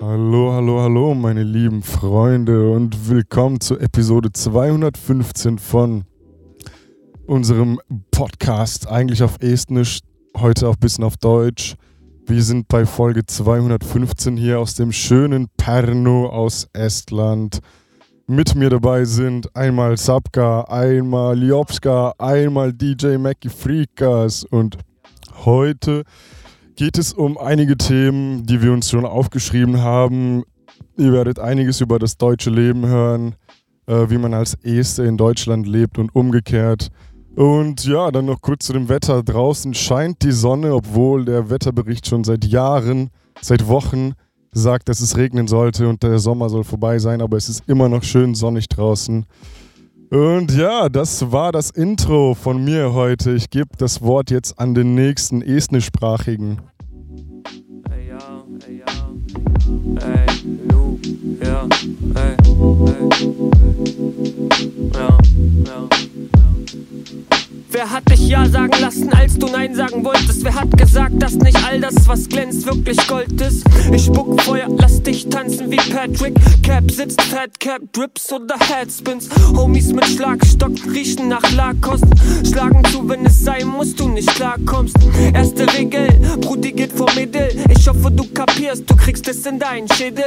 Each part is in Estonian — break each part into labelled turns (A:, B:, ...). A: Hallo, hallo, hallo, meine lieben Freunde und willkommen zur Episode 215 von unserem Podcast, eigentlich auf Estnisch, heute auch ein bisschen auf Deutsch. Wir sind bei Folge 215 hier aus dem schönen Pärnu aus Estland. Mit mir dabei sind einmal Sapka, einmal Liopska, einmal DJ Mackie Freakas und heute geht es um einige Themen, die wir uns schon aufgeschrieben haben. Ihr werdet einiges über das deutsche Leben hören, äh, wie man als Este in Deutschland lebt und umgekehrt. Und ja, dann noch kurz zu dem Wetter. Draußen scheint die Sonne, obwohl der Wetterbericht schon seit Jahren, seit Wochen sagt, dass es regnen sollte und der Sommer soll vorbei sein, aber es ist immer noch schön sonnig draußen. Und ja, das war das Intro von mir heute. Ich gebe das Wort jetzt an den nächsten estnischsprachigen.
B: Ey, ja, ey, ja. Ey, Lu, ja, ey, ey. Ja, ja. Wer hat dich Ja sagen lassen, als du Nein sagen wolltest? Wer hat gesagt, dass nicht all das, was glänzt, wirklich Gold ist? Ich spuck Feuer, lass dich tanzen wie Patrick. Cap sitzt, Fat Cap, Drips oder Headspins. Homies mit Schlagstock riechen nach Lakost. Schlagen zu, wenn es sein muss, du nicht klarkommst. Erste Regel, Brudi geht vor Mädel. Ich hoffe, du kapierst, du kriegst es in deinen Schädel.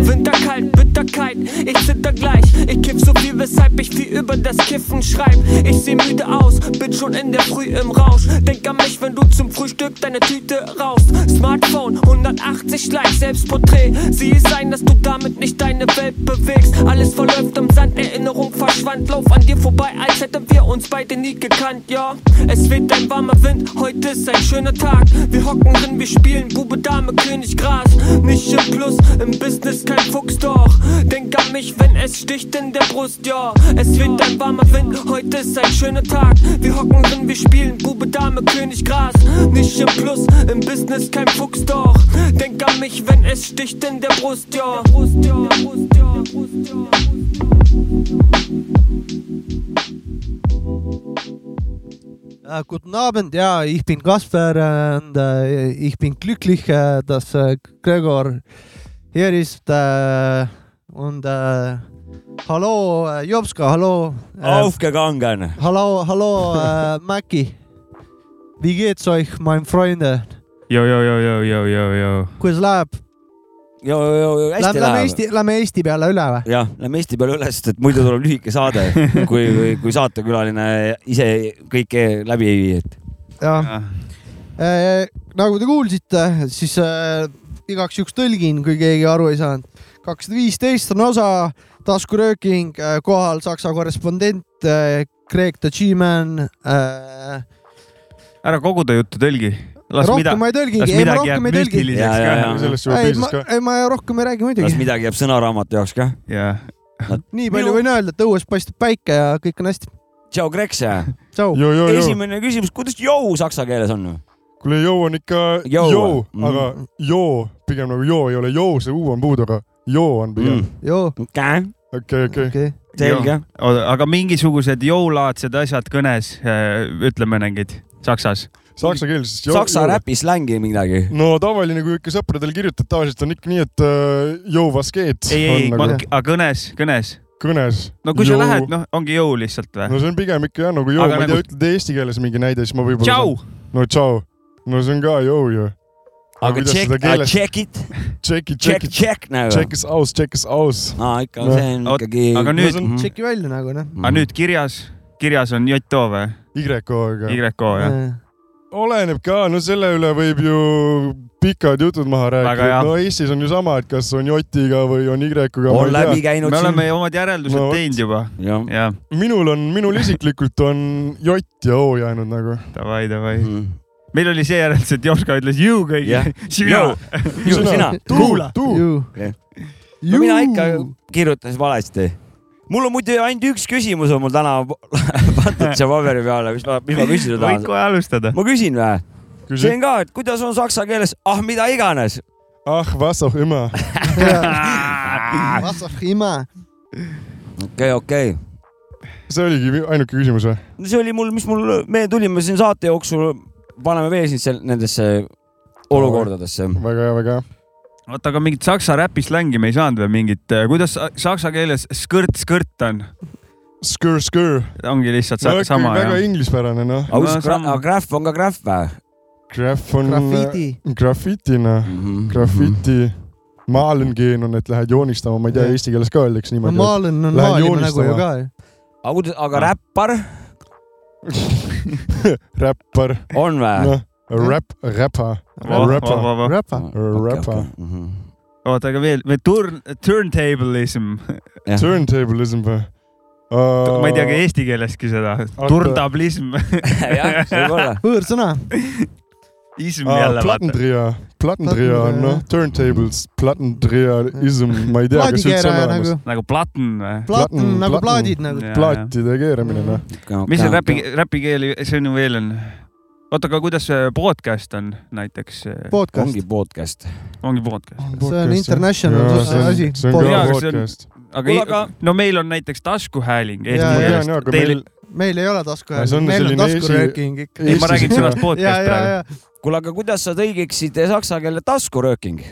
B: Winterkalt, Bitterkeit, ich zitter gleich. Ich kiff so viel, weshalb ich viel über das Kiffen schreib. Ich seh müde aus, bin schon in der Früh im Rausch. Denk an mich, wenn du zum Frühstück deine Tüte rauchst. Smartphone, 180 Likes, Selbstporträt. Sieh es ein, dass du damit nicht deine Welt bewegst. Alles verläuft im Sand, Erinnerung verschwand. Lauf an dir vorbei, als hätten wir uns beide nie gekannt, ja. Es weht ein warmer Wind, heute ist ein schöner Tag. Wir hocken drin, wir spielen Bube, Dame, König, Gras. Nicht im Plus, im Business kein Fuchs, doch. Denk an mich, wenn es sticht in der Brust, ja. Es weht ein warmer Wind, heute ist ein schöner Tag. Wir hocken drin, wir spielen Bube, Dame, König, Gras. Nicht im Plus, im Business kein Fuchs, doch. Denk an mich, wenn es sticht in der Brust, ja.
C: Äh, guten Abend, ja, ich bin Kasper äh, und äh, ich bin glücklich, äh, dass äh, Gregor hier ist. Äh, und äh, hallo äh, Jopska, hallo. Äh,
D: Aufgegangen.
C: Hallo, hallo äh, Maki. Wie geht's euch, meine Freunde?
E: jo , jo , jo , jo , jo , jo , jo .
C: Kuidas läheb?
D: ja , ja , ja hästi
C: Lähme, lähme
D: läheb .
C: Eesti , lähme Eesti peale üle või ?
D: jah , lähme Eesti peale üles , sest et muidu tuleb lühike saade , kui , kui , kui saatekülaline ise kõike läbi ei vii , et
C: jah Eh, nagu te kuulsite , siis äh, igaks juhuks tõlgin , kui keegi aru ei saanud . kakssada viisteist on osa , taskurööking äh, , kohal Saksa korrespondent äh, Greg the G-man äh, .
E: ära kogu ta juttu tõlgi . las mida-
C: rohkem ma ei
E: las
C: tõlgigi , ei ma
E: midagi jääb
C: rohkem ei tõlgi .
E: müstiliseks
D: Jaa, jaa,
E: ka
D: jaa. .
A: Sellest juba
C: ei ,
A: piisas
C: ma
A: ka .,
C: ei ma rohkem ei räägi
D: las
C: muidugi .
D: midagi jääb sõnaraamatu jaoks ka .
E: jaa .
C: nii palju võin öelda , et õues paistab päike ja kõik on hästi .
D: tšau , Grekse .
C: tšau .
A: Jo, jo, jo.
D: esimene küsimus , kuidas jou saksa keeles on ?
A: kuule , joo on ikka
D: Joo.
A: joo ,
D: Mm.
A: aga joo pigem nagu joo ei ole joo , see U on puudu , aga joo on pigem .
C: joo ,
A: okei , okei .
C: okei .
D: Mm. selge .
E: aga mingisugused jõulaadsed asjad kõnes , ütleme mingid saksas .
A: Saksa keeles siis joo .
D: Saksa räpi slängi midagi .
A: no tavaline , kui ikka sõpradele kirjutad , tavaliselt on ikka nii , et äh, joo , was geht
E: ei , ei ,
A: on nagu
E: aga kõnes , kõnes .
A: kõnes .
E: no kui sa lähed , noh , ongi jõu lihtsalt või ?
A: no see on pigem ikka jah nagu joo ,
E: Aga
A: ma ei tea
E: nagu-
A: nagu... , ütled eesti keeles mingi näide , siis ma võib-olla .
E: tšau !
A: no tšau . no see on ka joo ju .
D: aga check , check it ,
A: tšeki ,
D: check ,
A: tšeki ,
D: check nagu .
A: tšekis aus , tšekis aus .
D: aa , ikka ,
A: No.
D: see on
E: Oot,
D: ikkagi . Mm.
E: aga nüüd , Mhm.
A: No
C: tšeki välja nagu noh .
E: aga nüüd kirjas , kirjas on JO või ?
A: Y-ga .
E: YO Oh, jah ?
C: Eh.
A: oleneb ka , no selle üle võib ju pikad jutud maha
E: Väga
A: rääkida
E: hea. .
A: no Eestis on ju sama , et kas on J-ga või on Y-ga .
D: on läbi käinud
E: me
D: siin .
E: oleme ju omad järeldused
A: No vot.
E: teinud juba .
D: jah .
E: jah ,
A: minul on , minul isiklikult on J ja O jäänud nagu .
E: davai , davai .
D: Mm.
E: meil oli see järeldus , et Joška ütles jõu
D: Jah.
E: kõigile .
D: Jou.
E: sina .
D: Ju- sina.
A: kuula , tuu .
D: no mina ikka kirjutasin valesti . mul on muidu ainult üks küsimus on mul täna pandud siia paberi peale , mis ma , mis ma küsida
E: võid
D: tahan .
E: kohe alustada .
D: ma küsin või ? see on ka , et kuidas on saksa keeles , ah mida iganes .
A: Ach , was auch immer .
C: Was auch immer .
D: okei , okei .
A: see oligi vi- ainuke küsimus või ?
D: no see oli mul , mis mul , me tulime siin saate jooksul , paneme veel siin seal nendesse olukordadesse .
A: väga hea , väga hea .
E: oota , aga mingit saksa räpi slängi me ei saanud või mingit , kuidas sa- saksa keeles skõrt , skõrt on ,
A: Skr , skr .
E: ongi lihtsalt sa- sama
A: väga
E: jah ?
A: inglispärane noh .
D: aga
E: No
D: kus gra-
E: sama.
D: aga grahv on ka grahv või
A: Graff on .
C: grafiidi .
A: graffiti noh ,
D: mm ?
A: graffiti . Maalen gehen on , et lähed joonistama , ma ei tea ,
C: Jah.
A: eesti keeles ka öeldakse
C: no
A: niimoodi .
C: Malen on
A: Lähen
C: Maalima nägu
A: joonistama.
C: ju ka ju .
D: aga kuidas , aga räppar
A: räppar ,
D: on või ? Mm,
A: noh , räpp , räpa , räpa , räpa , räpa .
D: Mhm.
E: oota , aga veel , või turn , turntablism ,
A: Turntablism või ?
E: ma ei tea ka eesti keeleski seda , turntablism ,
D: jah , võib-olla .
C: võõrsõna .
E: ism
A: Ah,
E: jälle vaata .
A: Plattendreher , Plattendreher
C: Plattendreher, ,
A: noh ,
C: jah.
A: Turntables , Plattendreherism , ma ei tea , kas üldse on
C: plaadikeeraja
A: olemas
C: nagu .,
E: nagu platin või ?
C: plaatn
A: Platn-
C: nagu
A: platn.
C: plaadid
E: mm.
C: nagu .
A: plaatide keeramine , noh .
E: mis see räpi , räpikeeli , see on ju veel on . oota , aga kuidas see podcast on näiteks ?
C: Podcast
D: ongi . podcast .
E: ongi podcast .
C: See on international asi.
A: see on
E: Jaa,
A: ka
C: nagu-
E: aga see on-
A: podcast .
E: aga
D: kuule , aga
E: i- no meil on näiteks taskuhääling
C: Jaa,
E: eesti
C: jaa,
E: keeles
A: jaa, . aga
E: Teil
A: meil- ,
C: meil ei ole taskuhääl
A: Aga see , on
C: meil on
A: selline esi-
C: taskurööking ikka .
E: ei ma räägin
A: Eestis-
E: sõnast
C: ja ,
E: podcast
C: ja ,
E: praegu .
C: ja
D: kuule , aga kuidas sa tõlgiksid saksa keelde taskurööking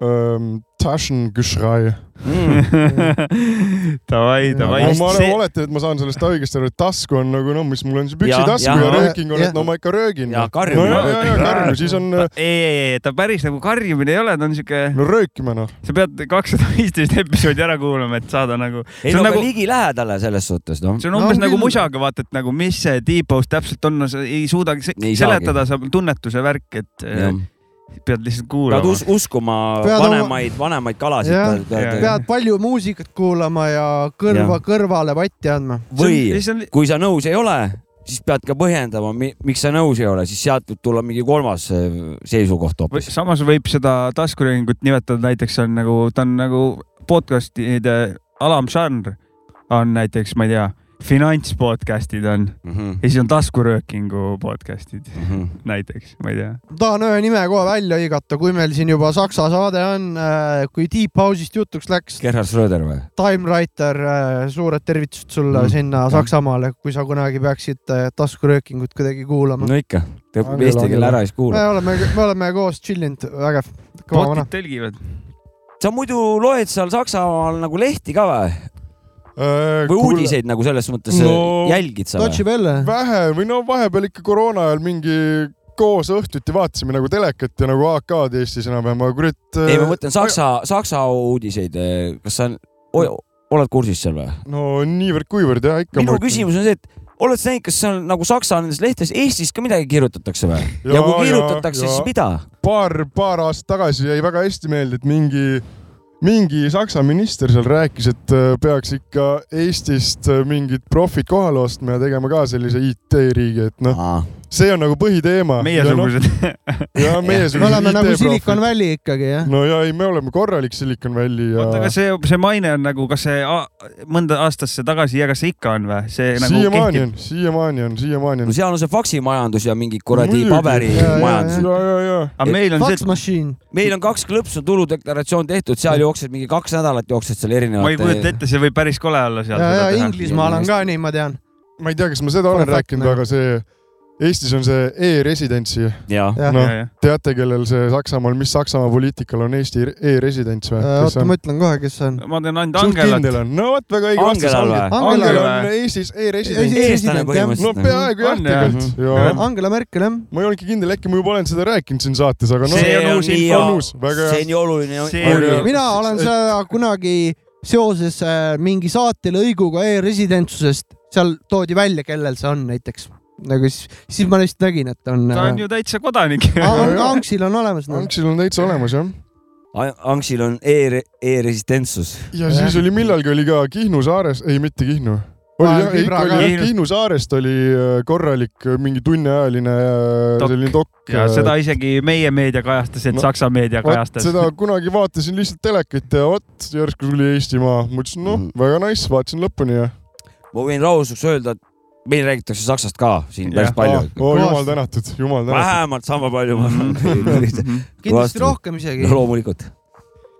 A: ähm, Taschengeschrei .
E: Mm.
D: Mm.
E: Davai , davai .
A: no ma olen , oletan , et ma saan sellest õigesti aru , et tasku on nagu noh , mis mul on siis
D: Jah,
A: püksitasku ja,
D: jah.
A: ja rööking on ,
C: Jah.
A: et no ma ikka röögin .
D: ja
A: no
D: karjub
A: ja , ja , ja
E: Rööking.
A: karju , siis on
E: ei , ei , ei , ta päris nagu karjumine ei ole , ta on siuke ,
A: no röökima noh .
E: sa pead kakssada viisteist episoodi ära kuulama , et saada nagu ,
D: ei
E: see
D: no
E: on
D: aga
E: nagu-
D: ligilähedale selles suhtes noh .
E: see on
C: No
E: umbes
C: on
E: nagu
C: küll.
E: musaga , vaata , et nagu mis see deep-house täpselt on , sa ei suudagi se-
D: Ei saagi.
E: seletada , saab tunnetuse värk , et ja. pead lihtsalt
D: pead
E: kuulama
D: us . uskuma
C: Pead oma-
D: vanemaid , vanemaid
C: Jah.
D: kalasid .
E: Jah.
C: pead palju muusikat kuulama ja kõrva , kõrvale patti andma .
D: või
E: see on ,
D: kui sa nõus ei ole , siis pead ka põhjendama , miks sa nõus ei ole , siis sealt võib tulla mingi kolmas äh, seisukoht
E: või,
D: hoopis .
E: samas võib seda taskurööhingut nimetada näiteks on nagu , ta on nagu podcast'ide alamžanr on näiteks , ma ei tea , finantspodcast'id on
D: Mhm.
E: ja siis on taskuröökingu podcast'id näiteks , ma ei tea .
C: tahan ühe nime kohe välja hõigata , kui meil siin juba Saksa saade on , kui Deep House'ist jutuks läks ,
D: Gerhard Schröder või ?
C: Time Writer , suured tervitused sulle
D: Mm,
C: mm, sinna
D: jah.
C: Saksamaale , kui sa kunagi peaksid äh, taskuröökingut kuidagi kuulama no, .
D: no ikka , ta õpib
A: Angela,
D: eesti keele ära ja siis
C: me
D: kuulab .
C: oleme , me oleme koos chillinud , vägev , kõva vana
E: bot'id . tõlgivad .
D: sa muidu loed seal Saksamaal nagu lehti ka või ? või
A: või
D: uudiseid nagu selles mõttes
A: No-
D: äh, jälgid sa või ?
C: Deutsche Welle ,
A: vähe või no vahepeal ikka koroona ajal mingi koos õhtuti vaatasime nagu telekat ja nagu AK-d Eestis enam-vähem , aga kurat . äh,
D: ei , ma mõtlen Saksa , Saksa uudiseid , kas sa o- oled kursis seal või ?
A: no niivõrd-kuivõrd jah , ikka .
D: minu küsimus on see , et oled sa näinud , kas seal nagu Saksa nendes lehtedes Eestis ka midagi kirjutatakse või ? ja kui kirjutatakse , siis . mida ?
A: paar , paar aastat tagasi jäi väga hästi meelde , et mingi , mingi Saksa minister seal rääkis , et äh, peaks ikka Eestist äh, mingid profid kohale ostma ja tegema ka sellise IT-riigi , et noh , see on nagu põhiteema .
E: meiesugused .
A: ja meiesugused .
C: me oleme nagu Silicon . Valley ikkagi jah .
A: no ja ei , me oleme korralik Silicon Valley ja .
E: oota , aga see , see maine on nagu , kas see a- mõnda aastasse tagasi ja kas see ikka on või ? see nagu
A: siiamaani
E: kehtib .
A: on , siiamaani on , siiamaani on
D: no . seal on see faksimajandus ja mingi kuradi
A: Muidugi.
C: Jaa, jaa,
D: paberimajandus .
A: ja , ja , ja .
E: aga meil on
C: Fax
E: see ,
C: Machine ,
D: meil on kaks klõpsu tuludeklaratsioon tehtud , seal jooksed mingi kaks nädalat jooksed seal eh,
E: ma ei kujuta
D: erinevate .
E: ette , see võib päris kole olla seal .
C: ja , ja Inglismaal on ka nii , ma tean .
A: ma ei tea , kas ma seda olen
C: Fun fact,
A: rääkinud ,
C: noh.
A: aga see Eestis on see e-residentsi ,
D: jah ,
C: jah ,
A: noh , teate , kellel see Saksamaal , mis Saksamaa poliitikal on Eesti e-residents või ?
C: Äh, oota , ma ütlen kohe , kes see on .
E: ma tean ainult
A: suht kindel
E: Angelat .
A: on , no vot , väga õige vastus
D: Angelal
A: ongi .
C: või?
A: Angel
E: Angelal
A: on Eestis e-resident .
D: eestlane
C: President,
A: no
D: põhimõtteliselt . nagu.
A: peaaegu jah ,
E: On, jah.
A: tegelikult . jaa
E: Jah.
C: Äh, Angela Merkel jah ,
A: ma ei olnudki kindel , äkki ma juba olen seda rääkinud siin saates , aga noh
E: See , on uus info.
A: On uus, väga hea.
D: see on ju oluline .
E: See on ju-
C: mina olen seda kunagi seoses äh, mingi saatelõiguga e-residentsusest , seal toodi välja , kellel see on näiteks . nagu siis , siis ma lihtsalt nägin , et on . äh,
E: ta on ju täitsa kodanik .
A: Ah,
C: Anksil on olemas no. .
A: Anksil on täitsa olemas jah .
D: Anksil on e- , e-resistentsus .
A: ja siis oli millalgi oli ka Kihnu saares , ei mitte Kihnu . oli
C: Aa,
A: jah , ikka
C: Kibra
A: oli
E: ka.
A: jah , Kihnu saarest oli äh, korralik äh, mingi tunniajaline äh,
E: Dok.
A: selline dokk
E: ja . seda isegi meie meedia kajastas , et
A: No,
E: no, Saksa meedia
A: vot
E: kajastas .
A: seda kunagi vaatasin lihtsalt telekat ja vot järsku tuli Eestimaa , mõtlesin noh ,
D: Mhm.
A: väga nice , vaatasin lõpuni ja
D: ma võin rahuseks öelda , et meil räägitakse Saksast ka siin päris
E: Jah.
D: palju .
A: Ah, oo jumal tänatud , jumal tänatud .
D: vähemalt sama palju , ma
E: Mhm.
D: arvan .
C: kindlasti rohkem isegi .
D: loomulikult .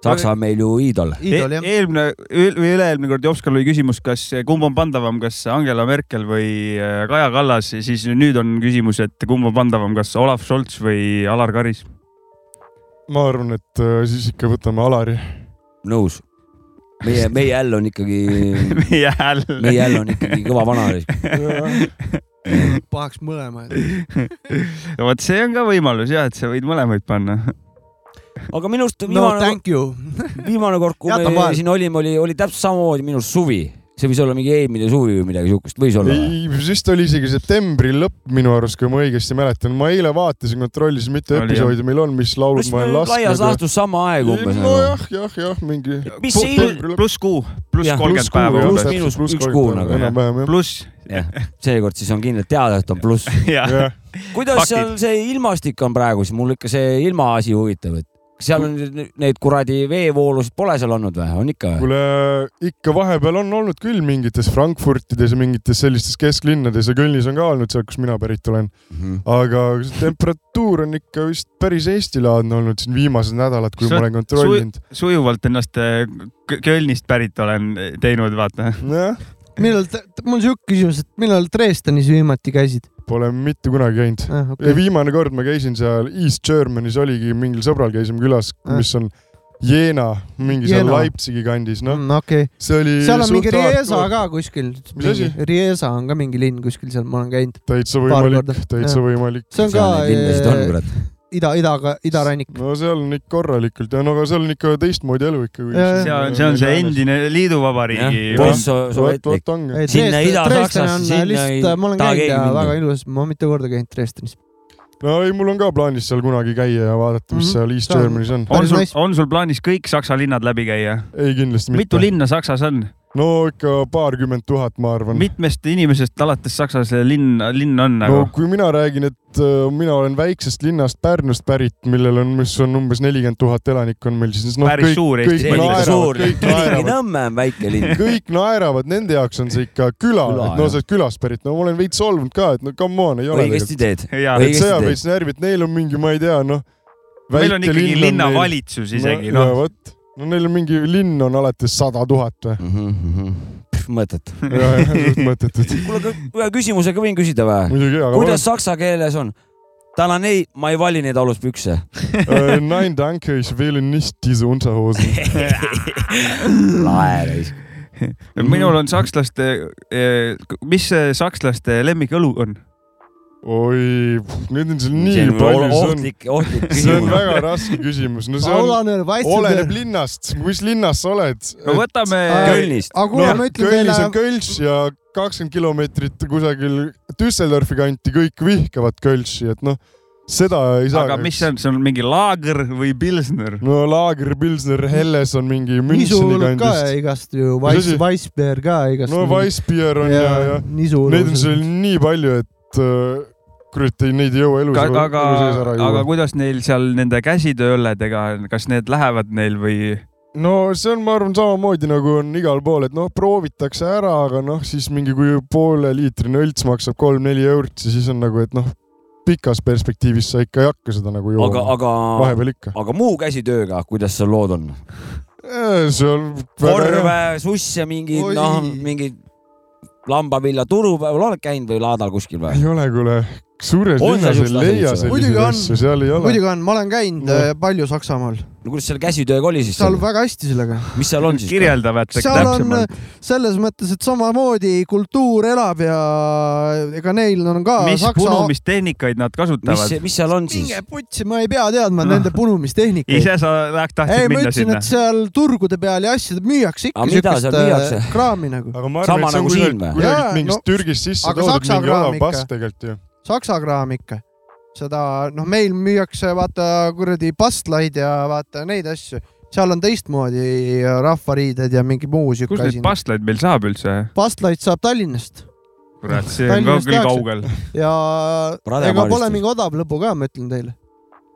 D: Saksa on meil ju iidol .
C: iidol jah .
E: E- eelmine ül- või üle-eelmine kord Jopskal oli küsimus , kas kumb on pandavam , kas Angela Merkel või äh, Kaja Kallas , siis nüüd on küsimus , et kumb on pandavam , kas Olav Scholz või Alar Karis .
A: ma arvan , et äh, siis ikka võtame Alari .
D: nõus . meie , meie häll on ikkagi ,
E: meie hääl .
D: meie häll on ikkagi kõva vana . eh.
C: pahaks mõlemaid .
E: vot see on ka võimalus jah , et sa võid mõlemaid panna .
D: aga minu arust
C: no
D: viimane ,
C: thank you .
D: viimane kord , kui
C: Jäta
D: me
C: vahele.
D: siin olime , oli , oli täpselt samamoodi minu arust suvi . see võis olla mingi eelmine suvi või midagi siukest , võis olla .
A: ei , vist oli isegi septembri lõpp minu arust , kui ma õigesti mäletan . ma eile vaatasin , kontrollisin , mitu
E: Oli,
A: episoodi meil on , mis laulud ma olen
D: laias
A: lasknud .
D: laastus sama aeg umbes nagu .
A: nojah , jah , jah , mingi .
D: mis see iidol ,
E: pluss kuu , pluss
D: Jah,
E: kolmkümmend päeva
D: pluss-
E: umbes .
D: miinus üks kuu nagu, jah.
A: enam-vähem jah .
E: pluss ,
D: jah , seekord siis on kindlalt teada , et on pluss .
E: jah .
A: jah ,
D: kuidas
E: Faktid.
D: seal see ilmastik on praegu , siis mul ikka see ilmaasi huvitab , et kas seal on nüüd neid kuradi veevoolusid pole seal olnud või , on ikka või ?
A: kuule ikka vahepeal on olnud küll mingites Frankfurtides ja mingites sellistes kesklinnades ja Kölnis on ka olnud seal , kus mina pärit olen .
D: Mhm.
A: aga see temperatuur on ikka vist päris eestilaadne olnud siin viimased nädalad , kui
E: Sa-
A: ma olen kontrollinud .
E: sujuvalt ennast äh, K- Kölnist pärit olen teinud , vaata .
A: jah ,
C: millal , mul on siuke küsimus , et millal Dresdenis viimati käisid ? Ah,
A: pole mitte kunagi käinud . ja viimane kord ma käisin seal East Germanis oligi mingil sõbral käisime külas ,
C: Ah.
A: mis on Jena , mingi seal
C: Jena.
A: Leipzigi kandis , noh ,
C: Mm, okei ,
A: see oli .
C: seal on mingi Riesa . ka kuskil .
A: Mis asi?
C: Riesa on ka mingi linn kuskil seal , ma olen käinud .
A: täitsa
C: Paar
A: võimalik
C: korda. ,
A: täitsa
C: Jah.
A: võimalik .
C: see on ka
D: linnasid on
C: eh,
D: kurat .
C: ida , idaga , idarannik .
A: no seal on ikka korralikult ja no aga seal on ikka teistmoodi elu ikka .
C: Jaa,
E: see on , see on see . endine liiduvabariigi .
A: vot ,
D: postsovetlik .
A: vot
C: Eh,
A: ongi .
D: Sinna Ida-Saksasse, sinna ei
C: ma olen
D: taha
C: käinud
D: keegi
C: ja
D: minna.
C: väga ilus , ma olen mitu korda käinud Dresdenis .
A: no ei , mul on ka plaanis seal kunagi käia ja vaadata , mis
C: Mhm.
A: seal East
C: See on-
A: Germanis on .
E: on
C: Päris
E: sul
C: nice. ,
E: on sul plaanis kõik Saksa linnad läbi käia ?
A: ei kindlasti mitte .
E: mitu linna Saksas on ?
A: no ikka paarkümmend tuhat , ma arvan .
E: mitmest inimesest alates Saksas linn , linn on nagu
A: no ? kui mina räägin , et äh, mina olen väiksest linnast Pärnust pärit , millel on , mis on umbes nelikümmend tuhat elanikku on meil siis noh ,
E: Päris
A: kõik ,
E: suur Eesti
A: kõik
E: linn.
A: naeravad , kõik naeravad ,
D: Nõmme on väike linn .
A: kõik naeravad , nende jaoks on see ikka küla,
D: Küla,
A: küla , et no
D: jah.
A: sa oled külast pärit , no ma olen veits solvunud ka , et no come on , ei ole
D: õigesti teed .
E: jaa ,
D: Või-
A: et
D: õigesti teed.
A: sõjaväes närvid , neil on mingi , ma ei tea , noh .
E: meil on ikkagi linnavalitsus isegi , noh .
A: vot , no neil on mingi linn on alates sada tuhat või ?
D: Mhm, mõttetu .
A: jah , jah , suht mõttetud .
D: kuule , aga ühe küsimuse ka võin küsida või ?
A: muidugi , aga
D: kuidas saksa keeles on ? täna neid , ma ei vali neid aluspükse .
A: äh, nein danke , ich wähle nicht diese Unterhosen .
D: lae reis .
E: minul on sakslaste , mis see sakslaste lemmikõlu on ?
A: oi , neid on seal nii palju , see on ,
D: ohtlik , ohtlik
A: see on
D: küsimus .
A: väga raske küsimus , no see on ,
C: Paulaner ,
A: oleneb
C: Vaitseter .
A: linnast , mis linnas sa oled .
E: no võtame ,
D: Kölnist .
C: aga kuule , ma ütlen
A: Noh, Kölnis on
C: teile ,
A: Kölš ja kakskümmend kilomeetrit kusagil Düsseldorfi kanti kõik vihkavad Kölši , et noh , seda ei saa .
E: aga mis see ? on , see on mingi laager või pilsner ?
A: no Laager , Pilsner , Helles on mingi
C: nisu
A: Müncheni
C: hulk ka
A: kandist .
C: igast ju ,
A: Mis asi?
C: Weiss , Weissbeer ka igast .
A: no Weissbier on ja , ja
C: nisu .
A: neid on seal nii palju , et äh, kurat , ei neid ei jõua elu
E: aga , aga ,
A: ära
E: aga
A: juua .
E: kuidas neil seal nende käsitööõlledega , kas need lähevad neil või ?
A: no see on , ma arvan , samamoodi nagu on igal pool , et noh , proovitakse ära , aga noh , siis mingi kui pooleliitrine õlts maksab kolm-neli eurot , siis on nagu , et noh , pikas perspektiivis sa ikka ei hakka seda nagu
D: aga ,
A: jooma .
D: aga ,
A: vahepeal ikka .
D: aga muu käsitööga , kuidas seal lood on ?
A: see on väga hea .
D: korve , susse , mingi
C: Oi.
D: noh , mingi lambavilja turupäeval oled käinud või laadal kuskil või ?
A: ei ole , kuule , suures
D: On seal
A: linnas ei
D: siukseid
A: leia
D: asju üldse või?
A: selliseid
C: Muidugi on.
A: asju , seal ei ole .
C: muidugi on , ma olen käinud
A: No.
C: äh, palju Saksamaal ,
D: no kuidas selle käsitööga oli siis
C: seal
D: seal
C: on , väga hästi sellega .
D: mis seal on siis ?
E: kirjeldavad
C: seal on
E: täpsemalt .
C: selles mõttes , et samamoodi kultuur elab ja ega neil on ka
E: mis
C: Saksa...
E: punumistehnikaid nad
D: mis
E: kasutavad ?,
D: mis seal on siis
C: minge ? putsi , ma ei pea teadma
E: Noh.
C: nende punumistehnikaid .
E: ise sa läheks
C: ei ,
E: tahtsid
C: ma
E: minna
C: ütlesin ,
E: sinna
C: et ? seal turgude peal ja asjad müüakse ikka
D: Aga mida seal
C: siukest, äh,
D: müüakse?
C: kraami nagu ,
A: aga ma arvan ,
D: Sama
A: et see on
D: nagu siin
A: kusagilt
D: või?
C: Jaa,
A: kusagilt mingist
C: no-
A: Türgist sisse
C: aga
A: toodud
C: Saksa
A: mingi
C: kraam
A: odav
C: ikka.
A: pass tegelikult ju .
C: saksa kraam ikka . seda , noh , meil müüakse vaata kuradi pastlaid ja vaata neid asju , seal on teistmoodi rahvariided ja mingi muu siuke
E: kus neid
C: asi .
E: pastlaid meil saab üldse ?
C: pastlaid saab Tallinnast
E: kurat , see on ka
C: Tallinnast
E: küll
C: tehakse.
E: kaugel .
C: ja
D: Rademaalistus.
C: ega pole mingi odav lõbu ka , ma ütlen teile .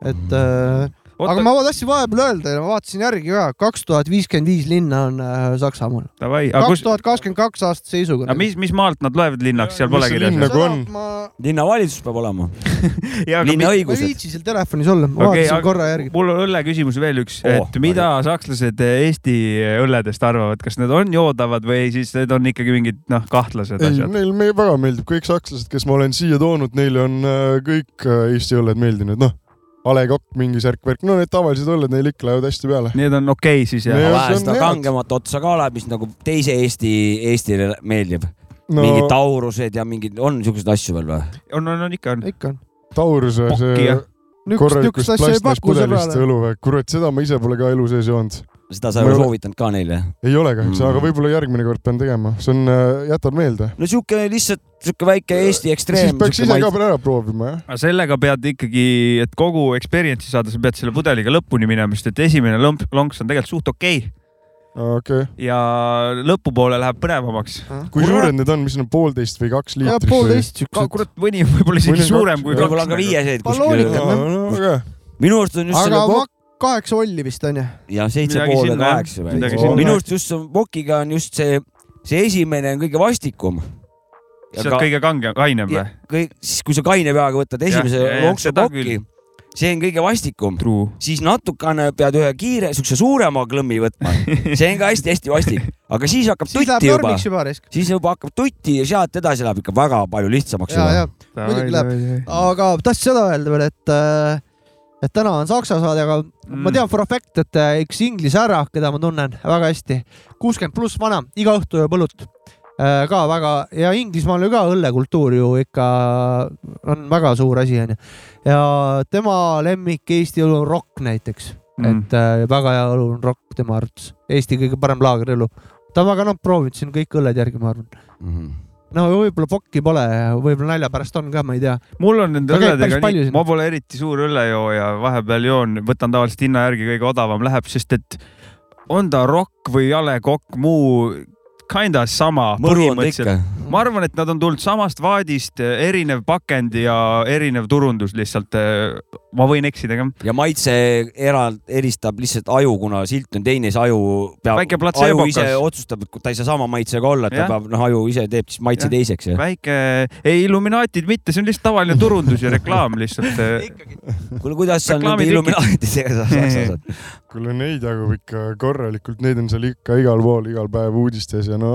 C: et äh, aga ma tahtsin vahepeal öelda ja ma vaatasin järgi ka , kaks tuhat viiskümmend viis linna on äh, Saksamaal .
E: Davai , aga
C: kaks
E: kus ,
C: tuhat kakskümmend kaks aasta seisuga
E: aga . mis , mis maalt nad loevad linnaks , seal
A: Mis
E: pole
A: see
E: kirjas
A: linn
E: ju .
A: nagu on?
C: ma
D: linnavalitsus peab olema ,
E: jaa , aga
D: linna
E: mis ,
C: ma ei
D: õigused .
C: viitsi seal telefonis olla , ma
E: Okei,
C: okay, vaatasin
E: aga-
C: aga... korra järgi .
E: mul on õlleküsimus veel üks
D: Oh,
E: oh, , et mida sakslased Eesti õlledest arvavad , kas need on joodavad või siis need on ikkagi mingid noh , kahtlased
A: ei ,
E: asjad ?
A: neil me väga meeldib , kõik sakslased , kes ma olen siia toonud , neile on äh, kõik äh, Eesti õlled meeldinud , noh . A Le Coq mingi särk-värk , no need tavalised õlled neil ikka lähevad hästi peale .
E: Need on okei okay, siis
A: Need-
E: jah ?
A: see
D: vahe
A: on
D: seda
A: head.
D: kangemat otsa ka läheb , mis nagu teise Eesti , Eestile meeldib no. .
A: no
D: mingid taurused ja mingid , on siisuguseid asju veel või ?
E: on , on , on ikka on .
C: ikka on .
A: Tauruse
E: Pokki
A: see
E: jah .
A: korralikust
C: niisugust asja ei
A: plastmass
C: paku
A: pudelist
C: sõbrale .
A: õlu või , kurat , seda ma ise pole ka elu sees joonud .
D: seda sa ei
A: Ma ei
D: ole
A: ole-
D: soovitanud ka neile .
A: ei ole kahjuks
D: Mm.
A: mm. , aga võib-olla järgmine kord pean tegema , see on äh, , jätab meelde .
D: no sihuke lihtsalt sihuke väike Eesti
A: siis
D: ekstreem .
A: peaks ise ka veel ära proovima jah .
E: aga sellega pead ikkagi , et kogu experience'i saada , sa pead selle pudeliga lõpuni minema , sest et esimene lõmp , lonks on tegelikult suht okei okay.
A: okei okay. ,
E: ja lõpupoole läheb põnevamaks .
A: kui suured need on , mis need on poolteist või kaks
C: jah ,
A: liitrit ?
C: poolteist siuksed .
E: kurat , mõni on võib-olla
A: Mõni
E: isegi
A: on
E: suurem
A: kaks-
E: kui
A: võib-olla
D: võib-olla
E: kaks
D: on ka . viieseid
C: Balloonid
D: kuskil .
A: no, no, aga.
D: minu arust on just
C: aga
D: selle
C: ma...
D: vok-
C: kaheksa olli vist on ju .
D: ja seitse
E: Midagi
D: pool ja
E: sinna, jah.
D: kaheksa või
E: Midagi
A: sinna. ?
D: minu arust just see vokiga on just see , see esimene on kõige vastikum .
E: see on kõige kangem , kainem või ?
D: kõik , siis kui sa kaine peaga võtad esimese
E: ja, ja,
D: lonksu
E: seda
D: pokki , see on kõige vastikum ,
E: True .
D: siis natukene pead ühe kiire , siukse suurema klõmmi võtma , see on ka hästi-hästi vastik , aga siis hakkab
C: siis
D: tutti
C: läheb
D: juba ,
C: karmiks juba risk .
D: siis juba hakkab tutti ja sealt edasi läheb ikka väga palju lihtsamaks
C: ja , ja
D: juba .
C: Muidugi läheb. . aga tahtsin seda öelda veel , et äh, et täna on Saksa saade , aga mm. ma tean for a fact , et äh, üks inglise härra , keda ma tunnen väga hästi , kuuskümmend pluss vana , iga õhtu joob õlut Äh, ka väga ja Inglismaal ju ka õllekultuur ju ikka on väga suur asi onju . ja tema lemmik Eesti õlu on rokk näiteks mm. ,
E: Mm.
C: et äh, väga hea õlu on rokk tema arvates , Eesti kõige parem laagriõlu . ta on väga noh proovinud siin kõik õlled järgi , ma arvan .
E: Mhm.
C: no võib-olla pokki pole , võib-olla nalja pärast on ka , ma ei tea .
E: mul on nende
C: Sa käid
E: õlledega
C: päris palju
E: nii ,
C: siin.
E: ma pole eriti suur õllejooja , vahepeal joon , võtan tavaliselt hinna järgi , kõige odavam läheb , sest et on ta rokk või A Le Coq , muu kinda sama .
D: mõru on ta ikka .
E: ma arvan , et nad on tulnud samast vaadist , erinev pakend ja erinev turundus lihtsalt . ma võin eksida ka .
D: ja maitse eraldi eristab lihtsalt aju , kuna silt on teine , siis aju peab ,
E: Väike
D: aju
E: platseebokas.
D: ise otsustab , et ta ei saa sama maitsega olla , ta
E: Jah.
D: peab , noh , aju ise teeb siis maitse
E: Jah.
D: teiseks ja .
E: väike , ei Illuminaatid mitte , see on lihtsalt tavaline turundus ja reklaam lihtsalt . eh.
D: kuule , kuidas sa nende
E: Reklaami tekib.
D: illuminaatidega sa saksa saad ?
A: kuule , neid jagub ikka korralikult , neid on seal ikka igal pool , igal päev uudistes ja no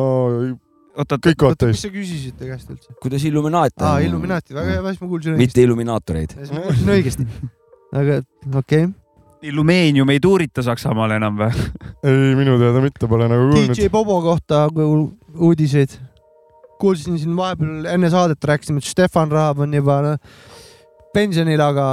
E: oota ,
A: kõik kohad
C: mis
A: täis .
C: sa küsisid käest üldse ?
D: kuidas illuminaat
C: aa , Illuminaati , väga hea , ma kuulsin õigesti .
D: mitte illuminaatoreid .
C: ma kuulsin õigesti . aga okei okay. ,
E: Illumeenium ei tuurita Saksamaal enam või ?
A: ei , minu teada mitte pole nagu kuulnud
C: DJ . Bobo kohta kuul- uudiseid . kuulsin siin vahepeal enne saadet rääkisime , et Stefan Raab on juba no, pensionil , aga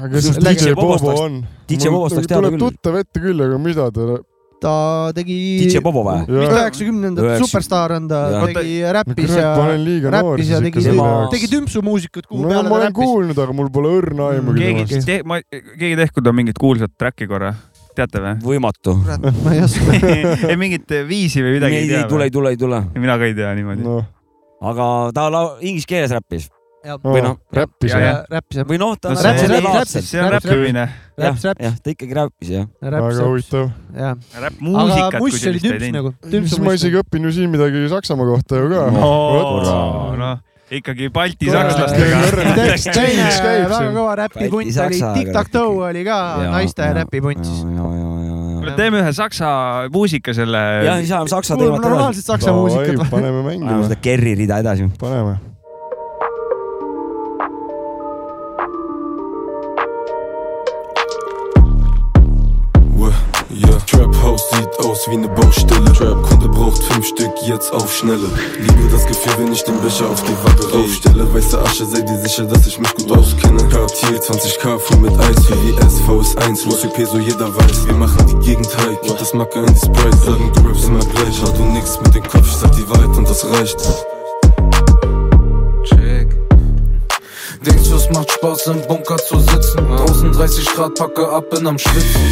A: aga siis
C: Läks
A: DJ
D: ja Bobost
A: Bobo
D: läks-
A: on .
D: DJ Bobost läks teada küll.
A: küll . tuleb tuttav ette küll , aga mida ta ,
C: ta tegi
D: DJ Bobo või ?
A: jah ,
C: üheksakümnendate
D: Üheksa-
C: superstaar on ta
D: Jah. ,
C: tegi räppis
A: kurat ,
C: ja
A: ma olen liiga noor
C: räppis ja
A: siis
C: tegi
A: ikka selle
D: tema-
A: jaoks .
C: tegi tümpsumuusikat , kuhu
A: no
C: peale
A: ma
C: ta
A: olen
C: räppis .
A: kuulnud , aga mul pole õrna aimugi
C: Keegi-
A: temast .
E: keegi , keegi tehku ta mingit kuulsat track'i korra , teate või ?
D: võimatu .
C: kurat , ma ei oska .
E: ei mingit viisi või midagi
D: ei , ei tule , ei
E: tea .
D: tule , ei tule .
E: mina ka ei tea niimoodi no. .
A: noh ,
D: aga ta lau- , inglise keeles räppis Või noh,
A: räppis
E: ja-
A: jah .
C: räppis ja
D: või noh , ta
E: No
D: no,
E: see-
D: räppis
C: räppis-
D: legaalselt .
E: see on
C: Räps-
E: räppimine ,
C: räps ,
D: jah ,
C: räps ,
D: jah , ta ikkagi räppis jah .
C: räps
A: väga , huvitav .
C: jah .
E: räppmuusikat
C: aga
E: kui
C: muss oli
E: sellist ei
C: tümps
E: teinud .
C: nagu .
A: siis ma isegi õpin ju siin midagi Saksamaa kohta ju ka .
D: Kurat.
E: noh , ikkagi Balti sakslastega .
C: teine
A: Change käib
C: väga
A: siin.
C: kõva räpipunt
D: Balti
C: oli
D: Saksa, ,
C: Tic-Tac-Toe oli ka naiste räpipunt siis .
D: siis .
E: teeme ühe saksa muusika selle .
D: ja siis ajame saksa
C: kuulame
D: teemat edasi .
C: normaalset saksa muusikat .
A: paneme
D: ajame
A: mängima
D: seda , Kerri rida edasi .
A: paneme .
F: Uhr, yeah. Trap House sieht aus wie eine Baustelle. Trap Kunde braucht fünf Stück, jetzt auf Schnelle. Liebe das Gefühl, wenn ich den Becher auf die Waage aufstelle. Weiße Asche, sei dir sicher, dass ich mich gut auskenne. Cartier 20k voll mit Eis, VVS, VS1, Los Peso, jeder weiß. Wir machen die Gegend high, gib das Macke in die Sprite. Sagen, du rappst immer gleich, hat du nix mit dem Kopf, ich sag die Wahrheit und das reicht.
G: Denkst du, es macht Spaß im Bunker zu sitzen? Draußen 30 Grad, packe ab, bin am Schwitzen.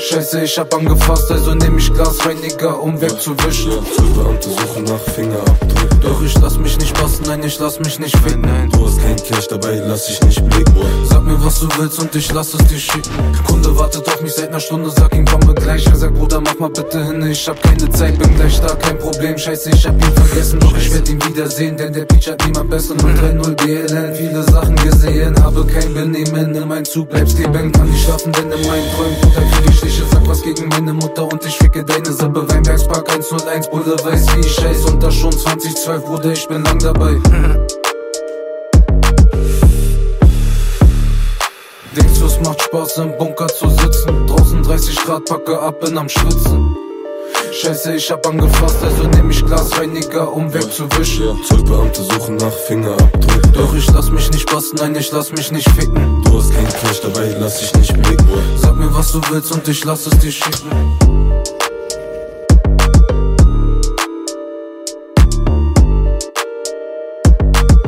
G: Scheiße, ich hab angefasst, also nehm ich Glasreiniger, um wegzuwischen.
F: Beamte suchen nach Fingerabdruck.
G: Doch ich lass mich nicht passen, nein, ich lass mich nicht finden. Nein.
F: Du hast kein Cash dabei, lass dich nicht blicken.
G: Sag mir, was du willst und ich lass es dir schicken. Kunde wartet auf mich seit einer Stunde, sag ihm, komme gleich. Er sagt, Bruder, mach mal bitte hin, ich hab keine Zeit, bin gleich da, kein Problem. Scheiße, ich hab ihn vergessen, doch ich werd ihn wiedersehen, denn der Peach hat niemand besseren. 3-0 BLN, viele Sachen gesehen, habe kein Benehmen. In meinem Zug bleibst leben, kann nicht schlafen, denn in meinen Träumen Bruder, krieg ich Stiche, sag was gegen meine Mutter und ich ficke deine Sippe. Weinbergspark 101, Bruder, weiß wie ich scheiß und das schon 2012, Bruder, ich bin lang dabei. Denkst du, es macht Spaß im Bunker zu sitzen? Draußen 30 Grad, packe ab, bin am Schwitzen. Scheiße, ich hab angefasst, also nehm ich Glasreiniger, um wegzuwischen.
F: Zollbeamte suchen nach Fingerabdruck.
G: Doch ich lass mich nicht passen, nein, ich lass mich nicht ficken.
F: Du hast kein Cash dabei, lass dich nicht blicken.
G: Sag mir, was du willst und ich lass es dir schicken.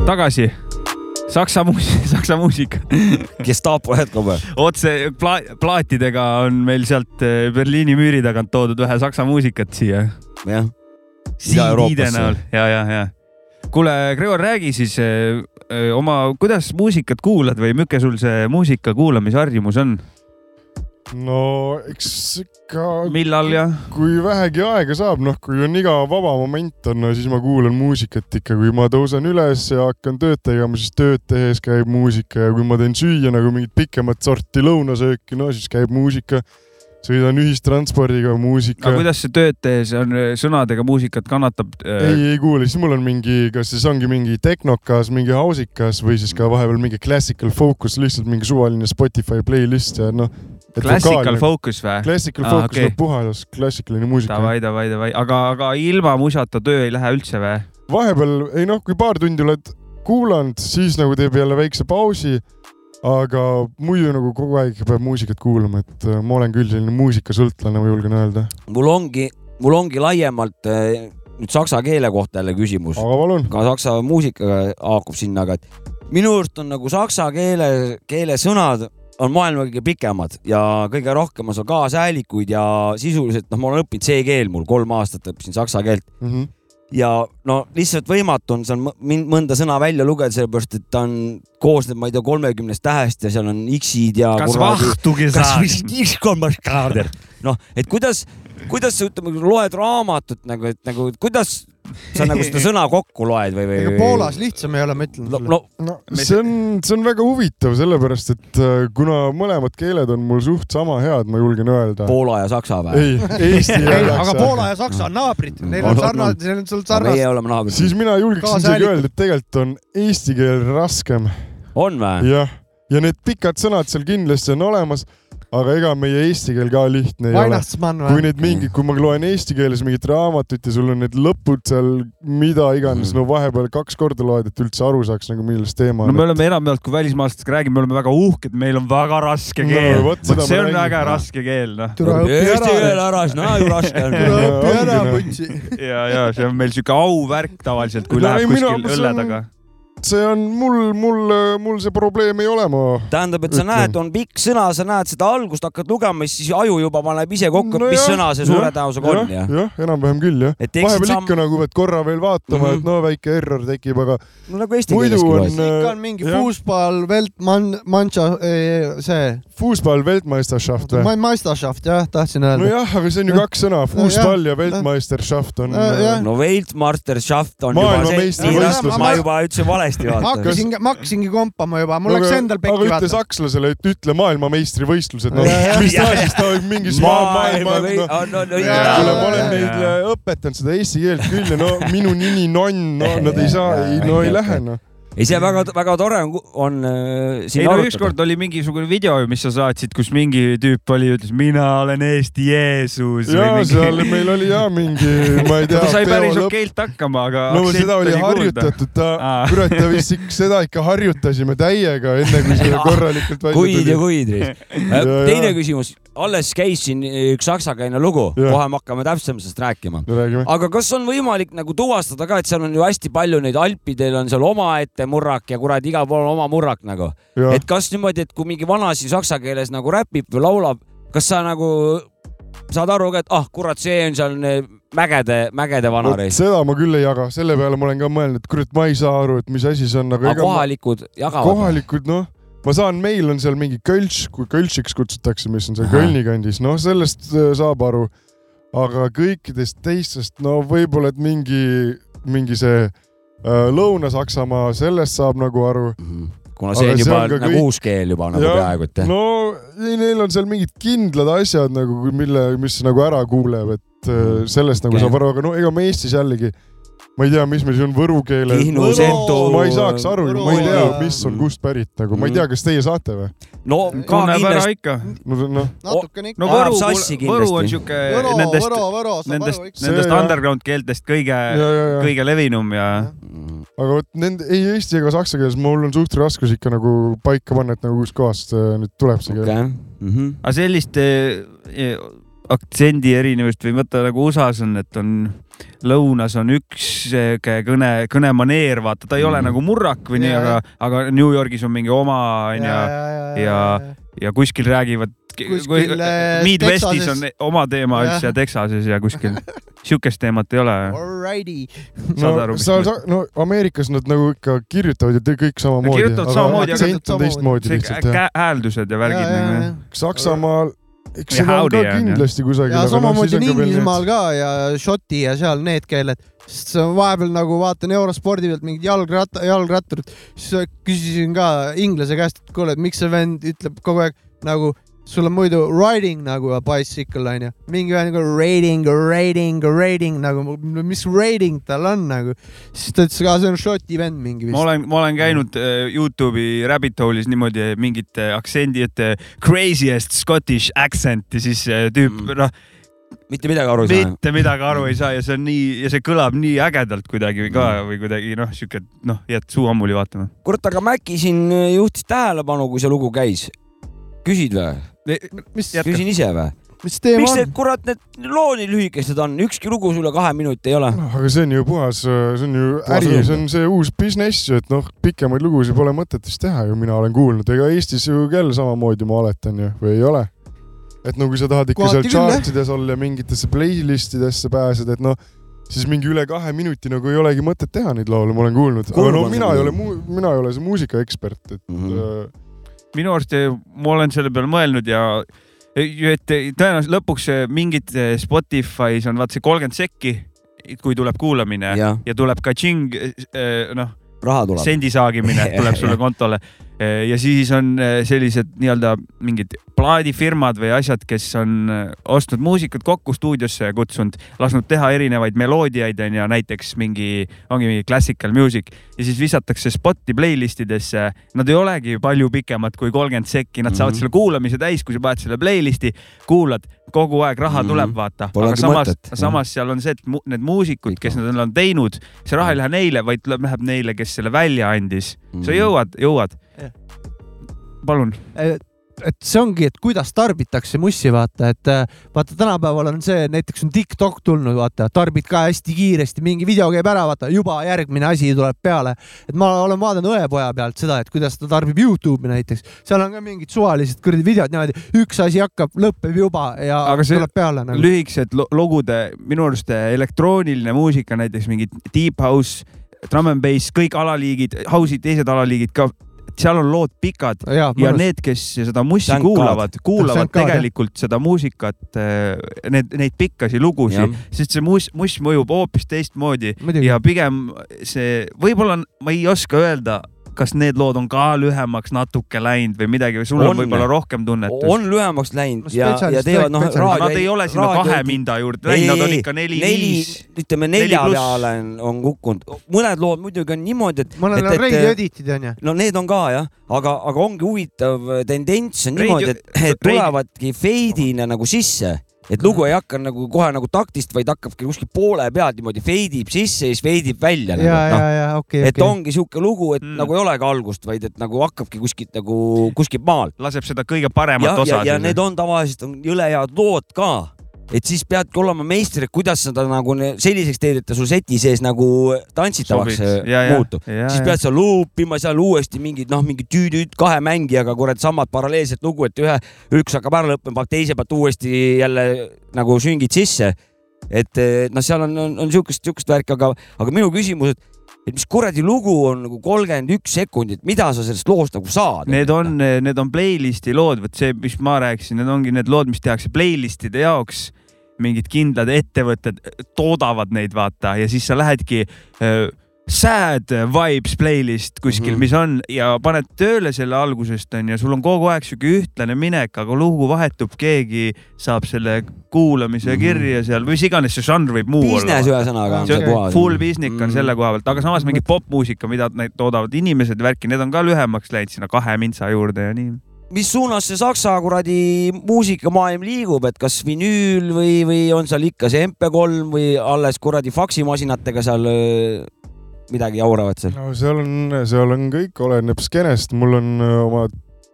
E: tagasi . Saksa muus- , Saksa muusika .
D: Gestapo jätkab või ?
E: otse pla- , plaatidega on meil sealt eh, Berliini müüri tagant toodud ühe saksa muusikat siia .
D: jah .
E: CD-de näol ja , ja , ja . kuule , Gregor , räägi siis eh, eh, oma , kuidas muusikat kuulad või milline sul see muusika kuulamisharjumus on ,
A: no eks ikka
E: millal ja ?
A: kui vähegi aega saab , noh , kui on iga vaba moment on , siis ma kuulan muusikat ikka , kui ma tõusen üles ja hakkan tööd tegema , siis tööd tehes käib muusika ja kui ma teen süüa nagu mingit pikemat sorti lõunasööki , no siis käib muusika . sõidan ühistranspordiga muusika
E: aga . kuidas see tööd tehes on eh, sõnadega muusikat kannatab ? eh,
A: ei , ei kuule , siis mul on mingi , kas siis ongi mingi tehnokas , mingi hausikas või siis ka vahepeal mingi classical focus , lihtsalt mingi suvaline Spotify playlist ja noh .
E: Classical focus või ?
A: Classical
E: Aa,
A: focus
E: okei.
A: okay. , puhas klassikaline muusika .
E: Davai , davai , davai , aga , aga ilma musata töö ei lähe üldse või ?
A: vahepeal , ei noh , kui paar tundi oled kuulanud , siis nagu teeb jälle väikse pausi . aga muidu nagu kogu aeg peab muusikat kuulama , et äh, ma olen küll selline muusikasõltlane , ma julgen öelda .
D: mul ongi , mul ongi laiemalt eh, nüüd saksa keele kohta jälle küsimus ,
C: Oh.
A: aga palun ,
D: ka saksa muusikaga haakub sinna , aga et minu arust on nagu saksa keele , keele sõnad on maailma kõige pikemad ja kõige rohkem on seal kaashäälikuid ja sisuliselt noh , ma olen õppinud C-keel mul kolm aastat õppisin saksa keelt
A: mm -hmm.
D: ja no lihtsalt võimatu on seal mõ- min- mõnda sõna välja lugeda , sellepärast et ta on , koosneb , ma ei tea , kolmekümnest tähest ja seal on X-id ja .
E: kas vahtugi saab ?
D: saad ? noh , et kuidas , kuidas sa ütleme , loed raamatut nagu , et nagu kuidas sa nagu seda sõna kokku loed või , või
C: ega ? Poolas lihtsam ei ole , ma ütlen
D: no,
C: sulle .
D: no
A: no
E: Me-
A: see on , see on väga huvitav , sellepärast et äh, kuna mõlemad keeled on mul suht sama head , ma julgen öelda .
D: Poola ja saksa või ?
A: ei , eesti ei
C: ei ,
A: oleks
C: aga . Poola ja Saksa on naabrid , neil on
D: Aga-
C: sarnased , neil on sul
D: meie
C: sarnased .
D: oleme naabrid .
A: siis mina julgeks isegi
C: Kaasahäälikud.
A: öelda , et tegelikult on eesti keel raskem
D: on või ?
A: jah , ja need pikad sõnad seal kindlasti on olemas , aga ega meie eesti keel ka lihtne ei ole .
C: Weihnachtsmann
A: kui
C: või ?
A: need mingid , kui ma loen eesti keeles mingit raamatut ja sul on need lõpud seal , mida iganes , no vahepeal kaks korda loed , et üldse aru saaks nagu millest teema
E: Mhm. no
A: on
E: me . oleme enamjaolt , kui välismaalastest räägime , me oleme väga uhked , meil on väga raske
A: No
E: keel
A: vot,
E: no, .
A: seda
E: vot see
A: ma
E: on
A: räägin.
E: väga raske keel , noh .
C: türa õpi
D: Eesti keel
C: ära ,
D: ära , siis no ju raske on .
C: türa õpi
A: Ongi,
C: ära ,
A: noh.
C: putsi .
E: ja , ja see on meil sihuke auvärk tavaliselt , kui
A: No ei,
E: läheb
A: minu
E: kuskil
A: arust
E: õlle
A: on-
E: taga .
A: see on mul , mul , mul see probleem ei ole , ma .
D: tähendab , et sa
A: Ütle.
D: näed , on pikk sõna , sa näed seda algust , hakkad lugema , siis aju juba paneb ise kokku , et mis sõna see suure tõenäosusega on ja .
A: jah , enam-vähem küll jah .
D: et
A: vahepeal
D: teeksid
A: samm...
D: samm
A: ikka , nagu pead korra veel vaatama mm , -hmm.
D: Mhm.
A: et no väike error tekib , aga
D: no nagu eesti
A: muidu
D: keeleski
A: on
D: loed .
C: ikka
A: äh,
C: on mingi
A: jah.
C: fuusball , Weltmann , Mancha , see ,
A: Fußball Weltmeisterschaft või ?
C: Meisterschaft jah , tahtsin öelda .
A: nojah , aga see on ju kaks sõna , Fußball ja Weltmeisterschaft on
C: Äh, jah.
A: äh,
D: no Weltmeisterschaft on juba
A: Maailmameistri-
D: see ,
C: võistlus.
D: ma juba ütlesin valesti ,
C: ma
D: vaata .
C: hakkasin , ma hakkasingi kompama juba , mul
A: aga-
C: läks endal
A: aga
C: pekki
A: ütle
C: vaata .
A: sakslasele , et ütle maailmameistrivõistlused , noh
D: Jah, ,
A: mis
D: jah,
A: asjast ta võib mingis maailma ,
D: Ah,
A: noh . kuule , ma olen
D: maailma .
A: neid äh, õpetanud seda eesti keelt küll ja no minu nini nonn , no nad ei saa , ei no ei lähe noh .
D: ei , see väga-väga tore on , on äh,
E: ei
D: siin
E: no
D: arutada .
E: ükskord oli mingisugune video , mis sa saatsid , kus mingi tüüp oli , ütles mina olen Eesti Jeesus .
A: ja seal meil oli ja mingi , ma ei tea
E: ta . sai päris
A: lõpp
E: okeilt hakkama , aga .
A: no seda oli . harjutatud , ta
E: Aa. ,
A: kurat , ta vist ikk- seda ikka harjutasime täiega , enne kui see korralikult välja
D: kuid ja
A: tuli .
D: kuid , Riis .
A: ja.
D: teine küsimus , alles käis siin äh, üks saksakeelne lugu ,
A: Jah.
D: kohe me hakkame täpsemast rääkima .
A: no räägime .
D: aga kas on võimalik nagu tuvastada ka , et seal on ju hästi palju neid alpidel on seal omaette murrak ja kuradi igal pool on oma murrak nagu .
A: Jah.
D: et kas niimoodi , et kui mingi vanasi saksa keeles nagu räpib või laulab , kas sa nagu saad aru ka , et ah kurat , see on seal ne- mägede , mägede vanareis .
A: seda ma küll ei jaga , selle peale ma olen ka mõelnud , kurat , ma ei saa aru , et mis asi see on , aga
D: aga
A: ega ma-
D: kohalikud jagavad . nagu.
A: kohalikud , noh , ma saan , meil on seal mingi Kölš , kui Kölšiks kutsutakse , mis on seal
D: Ahah.
A: Kölni kandis , noh , sellest äh, saab aru . aga kõikidest teistest , no võib-olla , et mingi , mingi see äh, Lõuna-Saksamaa , sellest saab nagu aru .
D: Mhm. kuna see
A: Aga
D: on
A: see
D: juba
A: on ka
D: nagu
A: kõik-
D: uus keel juba nagu
A: Jah.
D: peaaegu , et
A: no ei, neil on seal mingid kindlad asjad nagu , mille , mis nagu ära kuuleb , et
D: Hmm.
A: äh, sellest nagu
D: Okei.
A: saab aru , aga no ega me Eestis jällegi , ma ei tea , mis meil siin on võru keele .
D: Kihnu ,
C: Võru-
D: Sento .
A: ma ei saaks aru , ma ei tea ,
C: Võru-
A: mis on kust pärit nagu ,
D: Hmm.
A: ma ei tea , kas teie saate või ?
D: no ka
E: tunneb ära
D: kindlasti ,
E: ikka .
A: no , noh ,
C: natukene ikka
E: no
D: Ajab
E: Võru ,
D: sassi
E: Võru
D: kindlasti.
E: on siuke
C: Võro ,
E: nendest ,
C: Võro , Võro , saab
E: nendest
C: aru , ikka .
A: See
E: nendest
A: jah.
E: underground keeltest kõige ,
A: ja , ja , ja .
E: kõige levinum ja
A: aga vot nende , ei eesti ega saksa keeles mul on suht raskus ikka nagu paika panna , et nagu kustkohast see nüüd tuleb see keel .
D: okei , Mhm.
E: aga sellist eh, eh, aktsendi erinevust või vaata nagu USA-s on , et on lõunas on üks sihuke kõne , kõnemaneer , vaata ta ei ole
D: Mhm.
E: nagu murrak või nii ,
C: Jaa,
E: aga , aga New Yorgis on mingi oma onju ja- ja kuskil räägivad .
C: Kuskil, eh,
E: Midwestis on
C: Texases.
E: oma teema
C: Jah.
E: üldse ja Texases ja kuskil siukest teemat ei ole .
C: Alrighty .
A: no
E: saad aru , mis
A: sa
E: ma ,
A: no Ameerikas nad nagu ikka kirjutavad ju te- kõik samamoodi .
E: kirjutavad samamoodi,
A: aga
E: aga-
A: aktsent on teistmoodi
E: see
A: lihtsalt jah .
E: kä- hääldused ja värgid nagu jah .
A: Saksamaal , eks
E: Ja
A: seda on ka
E: howdy on, jah.
A: kindlasti kusagil . noh,
C: ja samamoodi on Inglismaal ka ja Šoti ja seal need keeled , sest see on vahepeal nagu vaatan eurospordi pealt mingid jalgratta , jalgratturid , siis küsisin ka inglase käest , et kuule , et miks see vend ütleb kogu aeg nagu sul on muidu riding nagu a bicycle onju , mingi vend nagu raiding , raiding , raiding nagu , mis raiding tal on nagu , siis ta ütles ka , see on Šoti vend mingi
E: ma
C: vist .
E: olen , ma olen käinud eh, Youtube'i rabbit hole'is niimoodi mingit eh, aktsendi , et eh, craziest Scottish accent ja siis eh, tüüp
D: Mm.
E: noh ,
D: mitte midagi aru ei saa .
E: mitte midagi aru ei saa ja see on nii ja see kõlab nii ägedalt kuidagi või ka
D: Mm.
E: või kuidagi noh , siuke noh , jääd suu ammuli vaatama .
D: kurat , aga Mäkki siin äh, juhtis tähelepanu , kui see lugu käis . küsid või ?
C: mis ,
E: Jätka.
D: küsin ise või ?
C: mis teema
D: miks need
C: on ?
D: kurat need loo nii lühikesed on , ükski lugu üle kahe minuti ei ole .
A: aga see on ju puhas , see on ju
D: Puhas
A: äri ,
D: õlg.
A: see on see uus business ju , et noh , pikemaid lugusid pole mõtet vist teha ju , mina olen kuulnud , ega Eestis ju jälle samamoodi , ma oletan ju , või ei ole ? et no kui sa tahad ikka
C: Kohati
A: seal
C: küll, jah.
A: chart ides olla ja mingitesse playlist idesse pääseda , et noh , siis mingi üle kahe minuti nagu ei olegi mõtet teha neid laule , ma olen kuulnud , aga
D: Kurb
A: no
D: on
A: mina
D: see
A: ei ole
D: muidugi. ,
A: mina ei ole see muusikaekspert , et
D: Mhm.
A: äh,
E: minu arust eh, ma olen selle peale mõelnud ja äh, et tõenäoliselt lõpuks eh, mingid eh, Spotify's on vaat see kolmkümmend sekki , kui tuleb kuulamine ja,
D: jah ,
E: ja tuleb ka-tšing eh, noh ,
D: raha tuleb .
E: sendi saagimine tuleb sulle kontole . ja siis on eh, sellised nii-öelda mingid plaadifirmad või asjad , kes on eh, ostnud muusikat kokku stuudiosse ja kutsunud , lasknud teha erinevaid meloodiaid onju , näiteks mingi , ongi mingi classical music ja siis visatakse spot'i playlist idesse . Nad ei olegi palju pikemad kui kolmkümmend sekki , nad saavad
D: Mhm.
E: selle kuulamise täis , kui sa paned selle playlist'i , kuulad , kogu aeg raha
D: Mhm.
E: tuleb , vaata . aga
D: Polegi
E: samas
D: mõtet, , jah.
E: samas seal on see , et mu- need muusikud , kes nad on teinud , see raha ei lähe neile , vaid tuleb- läheb neile , kes selle välja andis .
D: Mm.
E: sa jõuad , jõuad
C: Jah. .
E: palun .
C: et see ongi , et kuidas tarbitakse mussi , vaata , et äh, vaata , tänapäeval on see , näiteks on TikTok tulnud , vaata , tarbid ka hästi kiiresti , mingi video käib ära , vaata juba järgmine asi tuleb peale . et ma olen vaadanud õepoja pealt seda , et kuidas ta tarbib Youtube'i näiteks , seal on ka mingid suvalised kuradi videod niimoodi , üks asi hakkab , lõpeb juba ja
E: Aga see-
C: tuleb peale nagu .
E: lühikesed lo- lugude , minu arust elektrooniline muusika , näiteks mingi deep house , drum and bass , kõik alaliigid , house'i teised alaliigid ka , seal on lood pikad
C: ja,
E: ja need , kes seda mussi
D: Thank God.
E: kuulavad , kuulavad
C: Thank God, jah.
E: tegelikult seda muusikat , need , neid pikkasi lugusid , sest see muss , muss mõjub hoopis teistmoodi
C: muidugi
E: ja pigem see , võib-olla on- ma ei oska öelda , kas need lood on ka lühemaks natuke läinud või midagi või sul on,
D: On.
E: on võib-olla rohkem tunnetust .
D: on lühemaks läinud ja , ja
C: Spetsialist-
D: teevad noh ,
C: spetsialist-
E: Nad ei ole sinna kahe minda juurde läinud , nad on ikka neli , viis .,
D: ütleme
E: neli
D: nelja
E: pluss.
D: peale on, on kukkunud , mõned lood muidugi on niimoodi , et
C: mõnel
D: et-
C: on
D: et-
E: äh,
C: reidioeditid nagu onju .
D: no need on ka jah , aga , aga ongi huvitav äh, tendents on
E: Radio-
D: niimoodi , et , et
E: radio-
D: tulevadki feidina nagu sisse , et lugu ei hakka nagu kohe nagu taktist , vaid hakkabki kuskil poole pealt niimoodi feidib sisse ja siis feidib välja
C: ja , ja
E: noh,
D: nagu, . No, ,
C: ja okei ,
D: et
C: okei .
D: ongi sihuke lugu , et mm.
E: Mm.
D: nagu ei olegi algust , vaid et nagu hakkabki kuskilt nagu kuskilt maalt .
E: laseb seda kõige
D: ja
E: paremat ,
D: ja
E: osa .
D: ja need on tavaliselt on jõle head lood ka , et siis peadki olema meister , et kuidas seda nagu ne- selliseks teed , et ta sul seti sees nagu tantsitavaks
E: Sobiks.
D: äh,
E: Ja, ja.
D: muutub .
E: Ja,
D: siis
E: ja.
D: pead sa luupima seal uuesti mingid noh , mingi tüüd-tüüd kahe mängijaga , kurat , samad paralleelset lugu , et ühe , üks hakkab ära lõppema , teise pealt uuesti jälle nagu süngid sisse . et eh, noh , seal on , on, on siukest , siukest värki , aga , aga minu küsimus , et , et mis kuradi lugu on nagu kolmkümmend üks sekundit , mida sa sellest loost nagu saad ?
E: Need on , need on playlist'i lood , vot see , mis ma rääkisin , need ongi need lood , mis tehakse playlist'ide jaoks . mingid kindlad ettevõtted toodavad neid , vaata , ja siis sa lähedki äh, sad vibes playlist kuskil
D: Mhm.
E: mm , -hmm. mis on ja paned tööle selle algusest onju , sul on kogu aeg sihuke ühtlane minek , aga lugu vahetub , keegi saab selle kuulamise mm -hmm. kirja seal , mis iganes see žanr võib muu
D: Mhm.
E: olla
D: Business . ühesõnaga on
E: see
D: see
E: on
D: puhas .
E: full business
A: Mm.
E: on selle koha pealt , aga samas mingi popmuusika , mida neid toodavad inimesed , värki , need on ka lühemaks läinud sinna kahe mintsa juurde ja nii .
D: mis suunas see saksa kuradi muusikamaailm liigub , et kas vinüül või , või on seal ikka see MP3 või alles kuradi faksimasinatega seal öö, midagi jauravad seal ?
A: no seal on , seal on kõik , oleneb skeenest , mul on öö, oma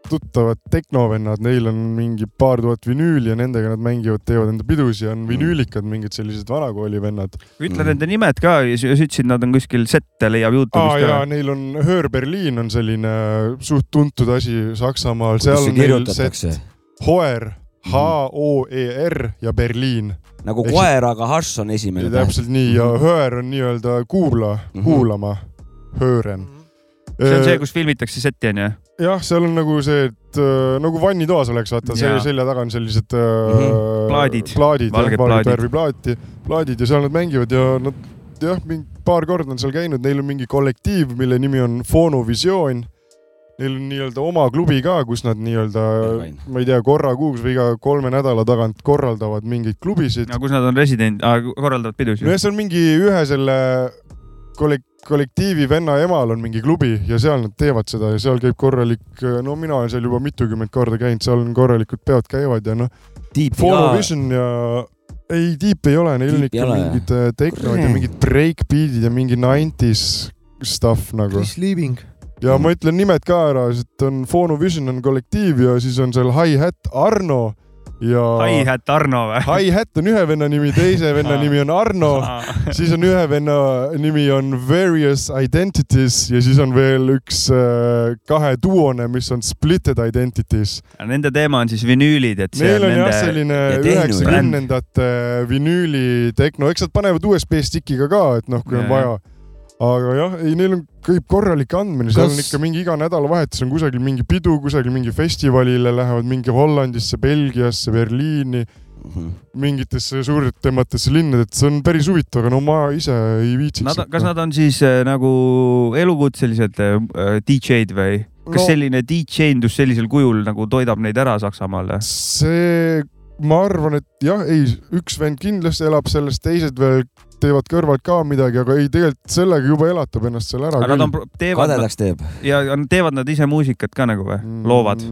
A: tuttavad tehnovennad , neil on mingi paar tuhat vinüüli ja nendega nad mängivad , teevad enda pidusi , on vinüülikad , mingid sellised vanakooli vennad .
E: ütle
D: Mhm.
E: mm. nende nimed ka ja sa ütlesid , nad on kuskil sette leiab
A: aa
E: Youtube'ist
A: jaa
E: ära .,
A: neil on Hör Berliin on selline äh, suht tuntud asi Saksamaal , seal
D: kuidas
A: on
D: see
A: neil set
D: kirjutatakse ?
A: Hoer , H-O-E-R ja Berliin .
D: nagu
A: Ehk siis-
D: koer , aga harss on esimene täht .
A: täpselt nii ja Hör on nii-öelda kuula ,
D: Mhm.
A: kuulama , Hören .
E: Mm-hmm. see on
A: Äh,
E: see , kus filmitakse setti onju .
A: jah , seal on nagu see , et äh, nagu vannitoas oleks , vaata ,
E: Jaa.
A: selja taga on sellised äh,
D: Mhm.
E: Plaadid.
A: plaadid ,
E: Valged
A: valget
E: plaadid.
A: värvi plaati , plaadid ja seal nad mängivad ja nad jah , mingi paar korda on seal käinud , neil on mingi kollektiiv , mille nimi on Fonovisioon . Neil on nii-öelda oma klubi ka , kus nad nii-öelda
D: Fine. ,
A: ma ei tea , korra kuus või iga kolme nädala tagant korraldavad mingeid klubisid .
E: aga kus nad on resident , korraldavad pidusid
A: nojah , see on mingi ühe selle kollek- , kollektiivi venna emal on mingi klubi ja seal nad teevad seda ja seal käib korralik , no mina olen seal juba mitukümmend korda käinud , seal on korralikud peod käivad ja noh , Follow Vision ja ei , Deep ei ole , neil on
D: Deep ei
A: ikka
D: ole, jah?
A: mingid äh, tehnod ja
D: Kurat.
A: mingid breakbeat'id ja mingi 90s stuff nagu .
C: Sleeping .
A: ja ma ütlen nimed ka ära , et on Follow Vision on kollektiiv ja siis on seal Hi-Hat Arno
E: ai ,
A: ja
E: hät Arno või ?
A: Hi-Hat on ühe venna nimi , teise venna nimi on Arno siis on ühe venna nimi on Various Identities ja siis on veel üks äh, kaheduone , mis on Splitted Identities .
E: Nende teema on siis vinüülid , et see
A: Neil
E: on
A: on jah
E: nende ,
A: selline
D: ja tehnu-
A: üheksakümnendate vinüüli tekno , eks nad panevad USB stickiga ka , et noh , kui on
E: Jajah.
A: vaja . aga jah , ei , neil on , käib korralik andmine , seal on
D: Kas-
A: ikka mingi iga nädalavahetus on kusagil mingi pidu , kusagil mingi festivalile lähevad mingi Hollandisse , Belgiasse , Berliini ,
E: Mhm.
A: mingitesse suurtematesse linnadesse , see on päris huvitav , aga no ma ise ei viitsiks .
E: Nad , kas nad on siis äh, nagu elukutselised äh, DJ-d või ? kas
A: No-
E: selline DJ-ndus sellisel kujul nagu toidab neid ära Saksamaal või ?
A: see , ma arvan , et jah , ei , üks vend kindlasti elab sellest , teised veel teevad kõrvalt ka midagi , aga ei , tegelikult sellega juba elatab ennast seal ära
E: aga nad on , teevad nad,
D: kadedaks teeb .
E: ja ja teevad nad ise muusikat ka nagu või ?
A: Mm.
E: loovad ?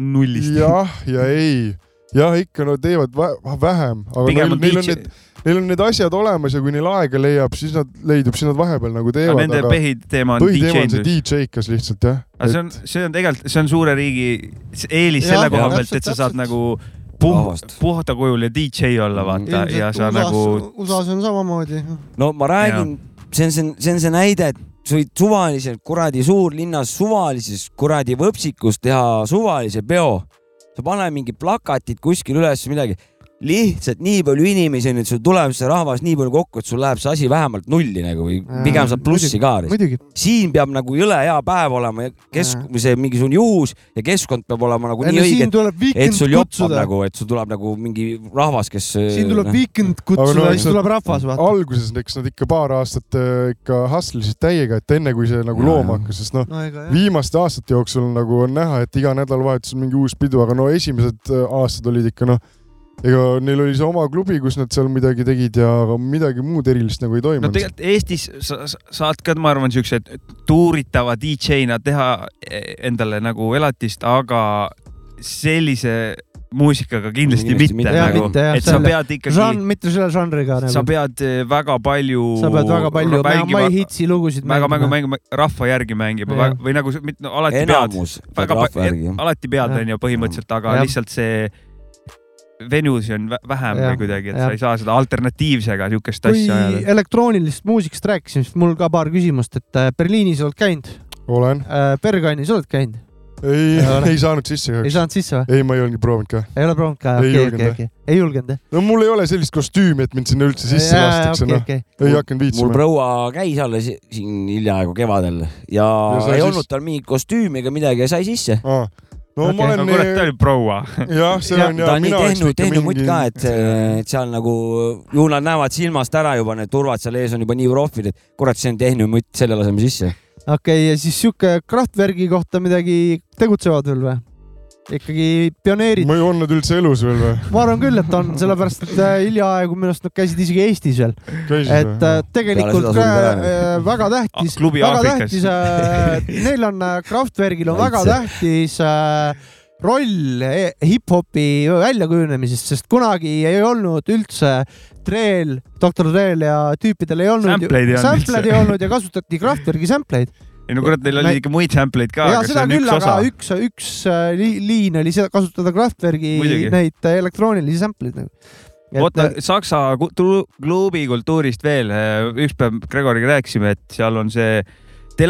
E: nullist .
A: jah , ja ei , jah , ikka nad teevad vä- vähem , aga
E: pigem
A: neil,
E: on
A: neil on
E: DJ ,
A: need , neil on need asjad olemas ja kui neil aega leiab , siis nad leidub , siis nad vahepeal nagu
E: aga
A: teevad ,
E: nende
A: aga
E: põhiteema on
A: põhiteema on see
E: DJ-ndus .
A: DJ-kas lihtsalt jah .
E: aga see on , see on tegelikult , see on suure riigi s- eelis
C: Jah,
E: selle koha
D: jah,
E: pealt , et sa
C: täpselt,
E: saad
C: täpselt.
E: nagu puh,
D: Vabast.
E: puhtakujuline DJ olla , vaata , ja sa nagu
C: USA-s on samamoodi .
D: no ma räägin , see on see , see on see näide , et sa võid suvaliselt kuradi suurlinnas suvalises kuradi võpsikus teha suvalise peo . sa pane mingi plakatid kuskil üles või midagi , lihtsalt nii palju inimesi on , et sul tuleb see rahvas nii palju kokku , et sul läheb see asi vähemalt nulli nagu või
C: Jaa,
D: pigem saab plussi ka .
C: muidugi .
D: siin peab nagu jõle hea päev olema ja kesk- , see mingisugune juhus ja keskkond peab olema nagu nii
C: enne
D: õige
C: siin , tuleb
D: et
C: Weekend
D: sul joppab
C: kutsuda .
D: nagu , äh, et sul tuleb nagu mingi rahvas , kes . noh,
C: siin tuleb
A: Aga
C: Weekend
A: no
C: kutsuda ,
A: eks
C: siis
A: nad-
C: tuleb rahvas , vaata .
A: alguses eks nad ikka paar aastat äh, ikka hustlesid täiega , et enne kui see nagu
D: Jaa,
A: looma
D: jah.
A: hakkas , sest noh ,
C: no ega jah .
A: viimaste aastate jooksul nagu on näha , et iga nädalavahetus on mingi uus pidu , aga no esimesed äh, aastad olid ikka noh , ega neil oli see oma klubi , kus nad seal midagi tegid ja aga midagi muud erilist nagu ei
E: no
A: toimunud .
E: tegelikult Eestis sa sa- saad ka , ma arvan , siukse tuuritava DJ-na teha eh, endale nagu elatist , aga sellise muusikaga kindlasti,
D: Kindlasti
E: kindlasti mitte,
D: mitte.
E: mitte
C: Jaa,
E: nagu ,
C: mitte, jah,
E: et sa
C: selle-
E: pead
C: Žan- ,
E: ikkagi ,
C: mitte selle žanriga
E: sa
C: nagu .
E: pead eh, väga palju .
C: sa pead väga palju , ma ei hitsi lugusid
E: väga mängu . mängima , rahva järgi mängima
C: Jah.
E: väga, või nagu sa- mit- no, alati pead ,
D: enamus peab
E: väga
D: rahva
E: palju
D: järgi , jah .
E: alati pead ,
C: Jah.
E: onju , põhimõtteliselt , aga
C: Jah.
E: lihtsalt see venue'si on vä- vähem
C: Jah,
E: või kuidagi , et
C: jah.
E: sa ei saa seda alternatiivsega siukest
C: kui
E: asja ajada .
C: elektroonilisest muusikast rääkisime , siis mul ka paar küsimust , et äh, Berliinis oled käinud ,
A: olen .
C: Bergainis oled käinud ,
A: ei
C: Ei ole. ,
A: ei saanud sisse
C: ei
A: kahjuks .
C: saanud sisse või ?
A: ei , ma ei olnudki proovinud ka .
C: ei ole proovinud ka ,
A: Ei
C: okei ,
A: julgenud,
C: okei ,
A: jah.
C: okei , ei julgenud jah ?
A: no mul ei ole sellist kostüümi , et mind sinna üldse sisse lastakse , noh .
C: okei ,
A: ei hakanud
D: mul
A: viitsima .
D: proua käis alles siin hiljaaegu kevadel ja,
A: Ja
D: ja
A: sai
D: ei
A: siis-
D: olnud tal mingit kostüümi ega midagi ja sai sisse .
A: no ma
C: Okei.
E: no kurat ,
A: olen ,
E: ta oli proua .
A: jah , see
C: Ja
A: on
D: ta
A: ja
D: on nii
A: mina oleks
D: tehnu ,
A: ikka
D: tehnumutt
A: mingi
D: ka , et , et seal nagu ju nad näevad silmast ära juba need turvad seal ees on juba nii profid , et kurat , see on tehnumutt , selle laseme sisse .
C: okei , ja siis sihuke Kraftwerki kohta midagi tegutsevad veel või ? ikkagi pioneerid ,
A: ma ei olnud üldse elus veel või ?
C: ma arvan küll , et on , sellepärast et äh, hiljaaegu minu arust nad käisid isegi Eestis veel ,
A: käisid
C: et äh,
A: või ?
C: tegelikult
D: Peale seda sulged
C: ka,
D: ära.
C: äh, väga tähtis ,
E: Ah, klubi
C: väga
E: Aafrikas.
C: tähtis äh, , neil on äh, Kraftwerkil on väga
D: Kaitse.
C: tähtis äh, roll e- hip-hopi väljakujunemises , sest kunagi ei olnud üldse Treel , doktor Treel ja tüüpidel ei olnud ,
E: Sampleid ei olnud
C: sampleid
E: üldse.
C: ei olnud ja kasutati Kraftwerki sampleid .
E: ei no kurat , neil
C: Ma-
E: oli ikka muid sample'id ka ,
C: ja
E: aga see
C: seda
E: on
C: küll ,
E: üks
C: aga
E: osa .
C: üks , üks äh, li- liin oli seda kasutada Kraftwerki
E: Muidugi.
C: neid äh, elektroonilisi sample'id nagu .
E: oota , Saksa ku- tu- klubikultuurist veel , üks päev Gregoriga rääkisime , et seal on see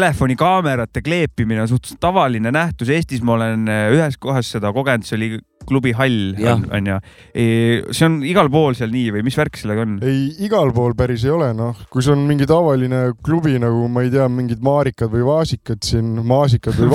E: telefonikaamerate kleepimine on suhteliselt tavaline nähtus , Eestis ma olen eh, ühes kohas seda kogenud , see oli klubi Hall
D: Jah.
E: on- onju . see on igal pool seal nii või mis värk sellega on ?
A: ei , igal pool päris ei ole , noh , kui see on mingi tavaline klubi nagu ma ei tea , mingid maarikad või vaasikad siin , maasikad või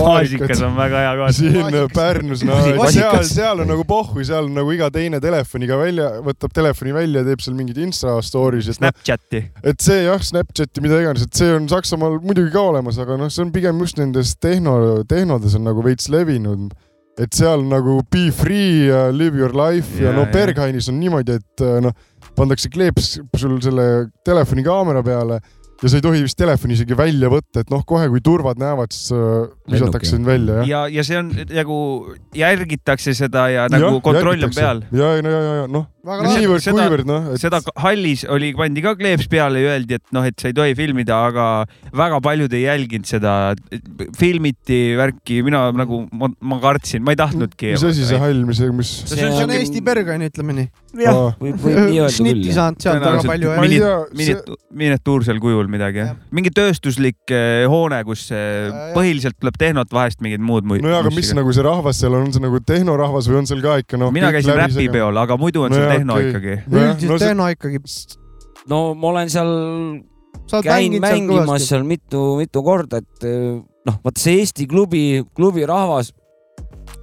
A: vaarikad
E: maasikas on väga hea koht .
A: siin
C: Vaasikas.
A: Pärnus , no
D: Vaasikas.
A: seal , seal on nagu pohhu , seal on nagu iga teine telefoniga välja , võtab telefoni välja ja teeb seal mingeid insta story's , et noh ,
E: Snapchati .
A: et see jah , Snapchati , mida iganes , et see on Saksamaal muidugi ka olemas , aga noh , see on pigem just nendes tehno , tehnodes on nagu veits levinud . et seal nagu be free ja live your life ja, ja
E: Jaa,
A: no
E: jaa.
A: Berghainis on niimoodi , et äh, noh , pandakse kleeps sul selle telefoni kaamera peale ja sa ei tohi vist telefoni isegi välja võtta , et noh , kohe kui turvad näevad , siis äh, visatakse sind välja jah .
E: ja , ja see on nagu järgitakse seda ja nagu kontroll on peal .
A: ja , ja , ja , ja noh ,
C: väga lahe ,
A: niivõrd ,
E: seda-
A: kuivõrd noh , et
E: seda ka- hallis oli , pandi ka kleeps peale ja öeldi , et noh , et sa ei tohi filmida , aga väga paljud ei jälginud seda . filmiti värki , mina nagu , ma, ma kartsin , ma ei tahtnudki .
A: mis asi see ? hall , mis , mis
D: See
C: see on
D: on-
C: Eesti Bergain , ütleme nii .
D: jah
A: Aa. ,
D: võib , võib nii öelda küll
C: šnitti
D: jah .
C: saanud sealt väga
E: Tõenäoliselt
C: palju
A: ma ei
E: minid-
C: jah .
A: tea , see
E: Miniatu- , miniatuursel kujul midagi jah
C: Jah. ?
E: mingi tööstuslik eh, hoone , kus eh,
C: jah.
E: põhiliselt tuleb tehnot , vahest mingid muud .
A: Äh, nojah , aga mis ? nagu see rahvas seal on , on see nagu tehnorahvas või on seal ka ikka noh ?
E: mina käisin räpipeol , aga muidu on see
A: Nojah,
E: tehno
A: okei.
E: ikkagi .
C: üldiselt no, tehno ikkagi ,
D: no ma olen seal ,
C: sa oled
D: käin
C: mänginud seal
D: mängimas
C: kõvasti .
D: seal mitu-mitu korda , et eh, noh , vaata see Eesti klubi , klubi rahvas ,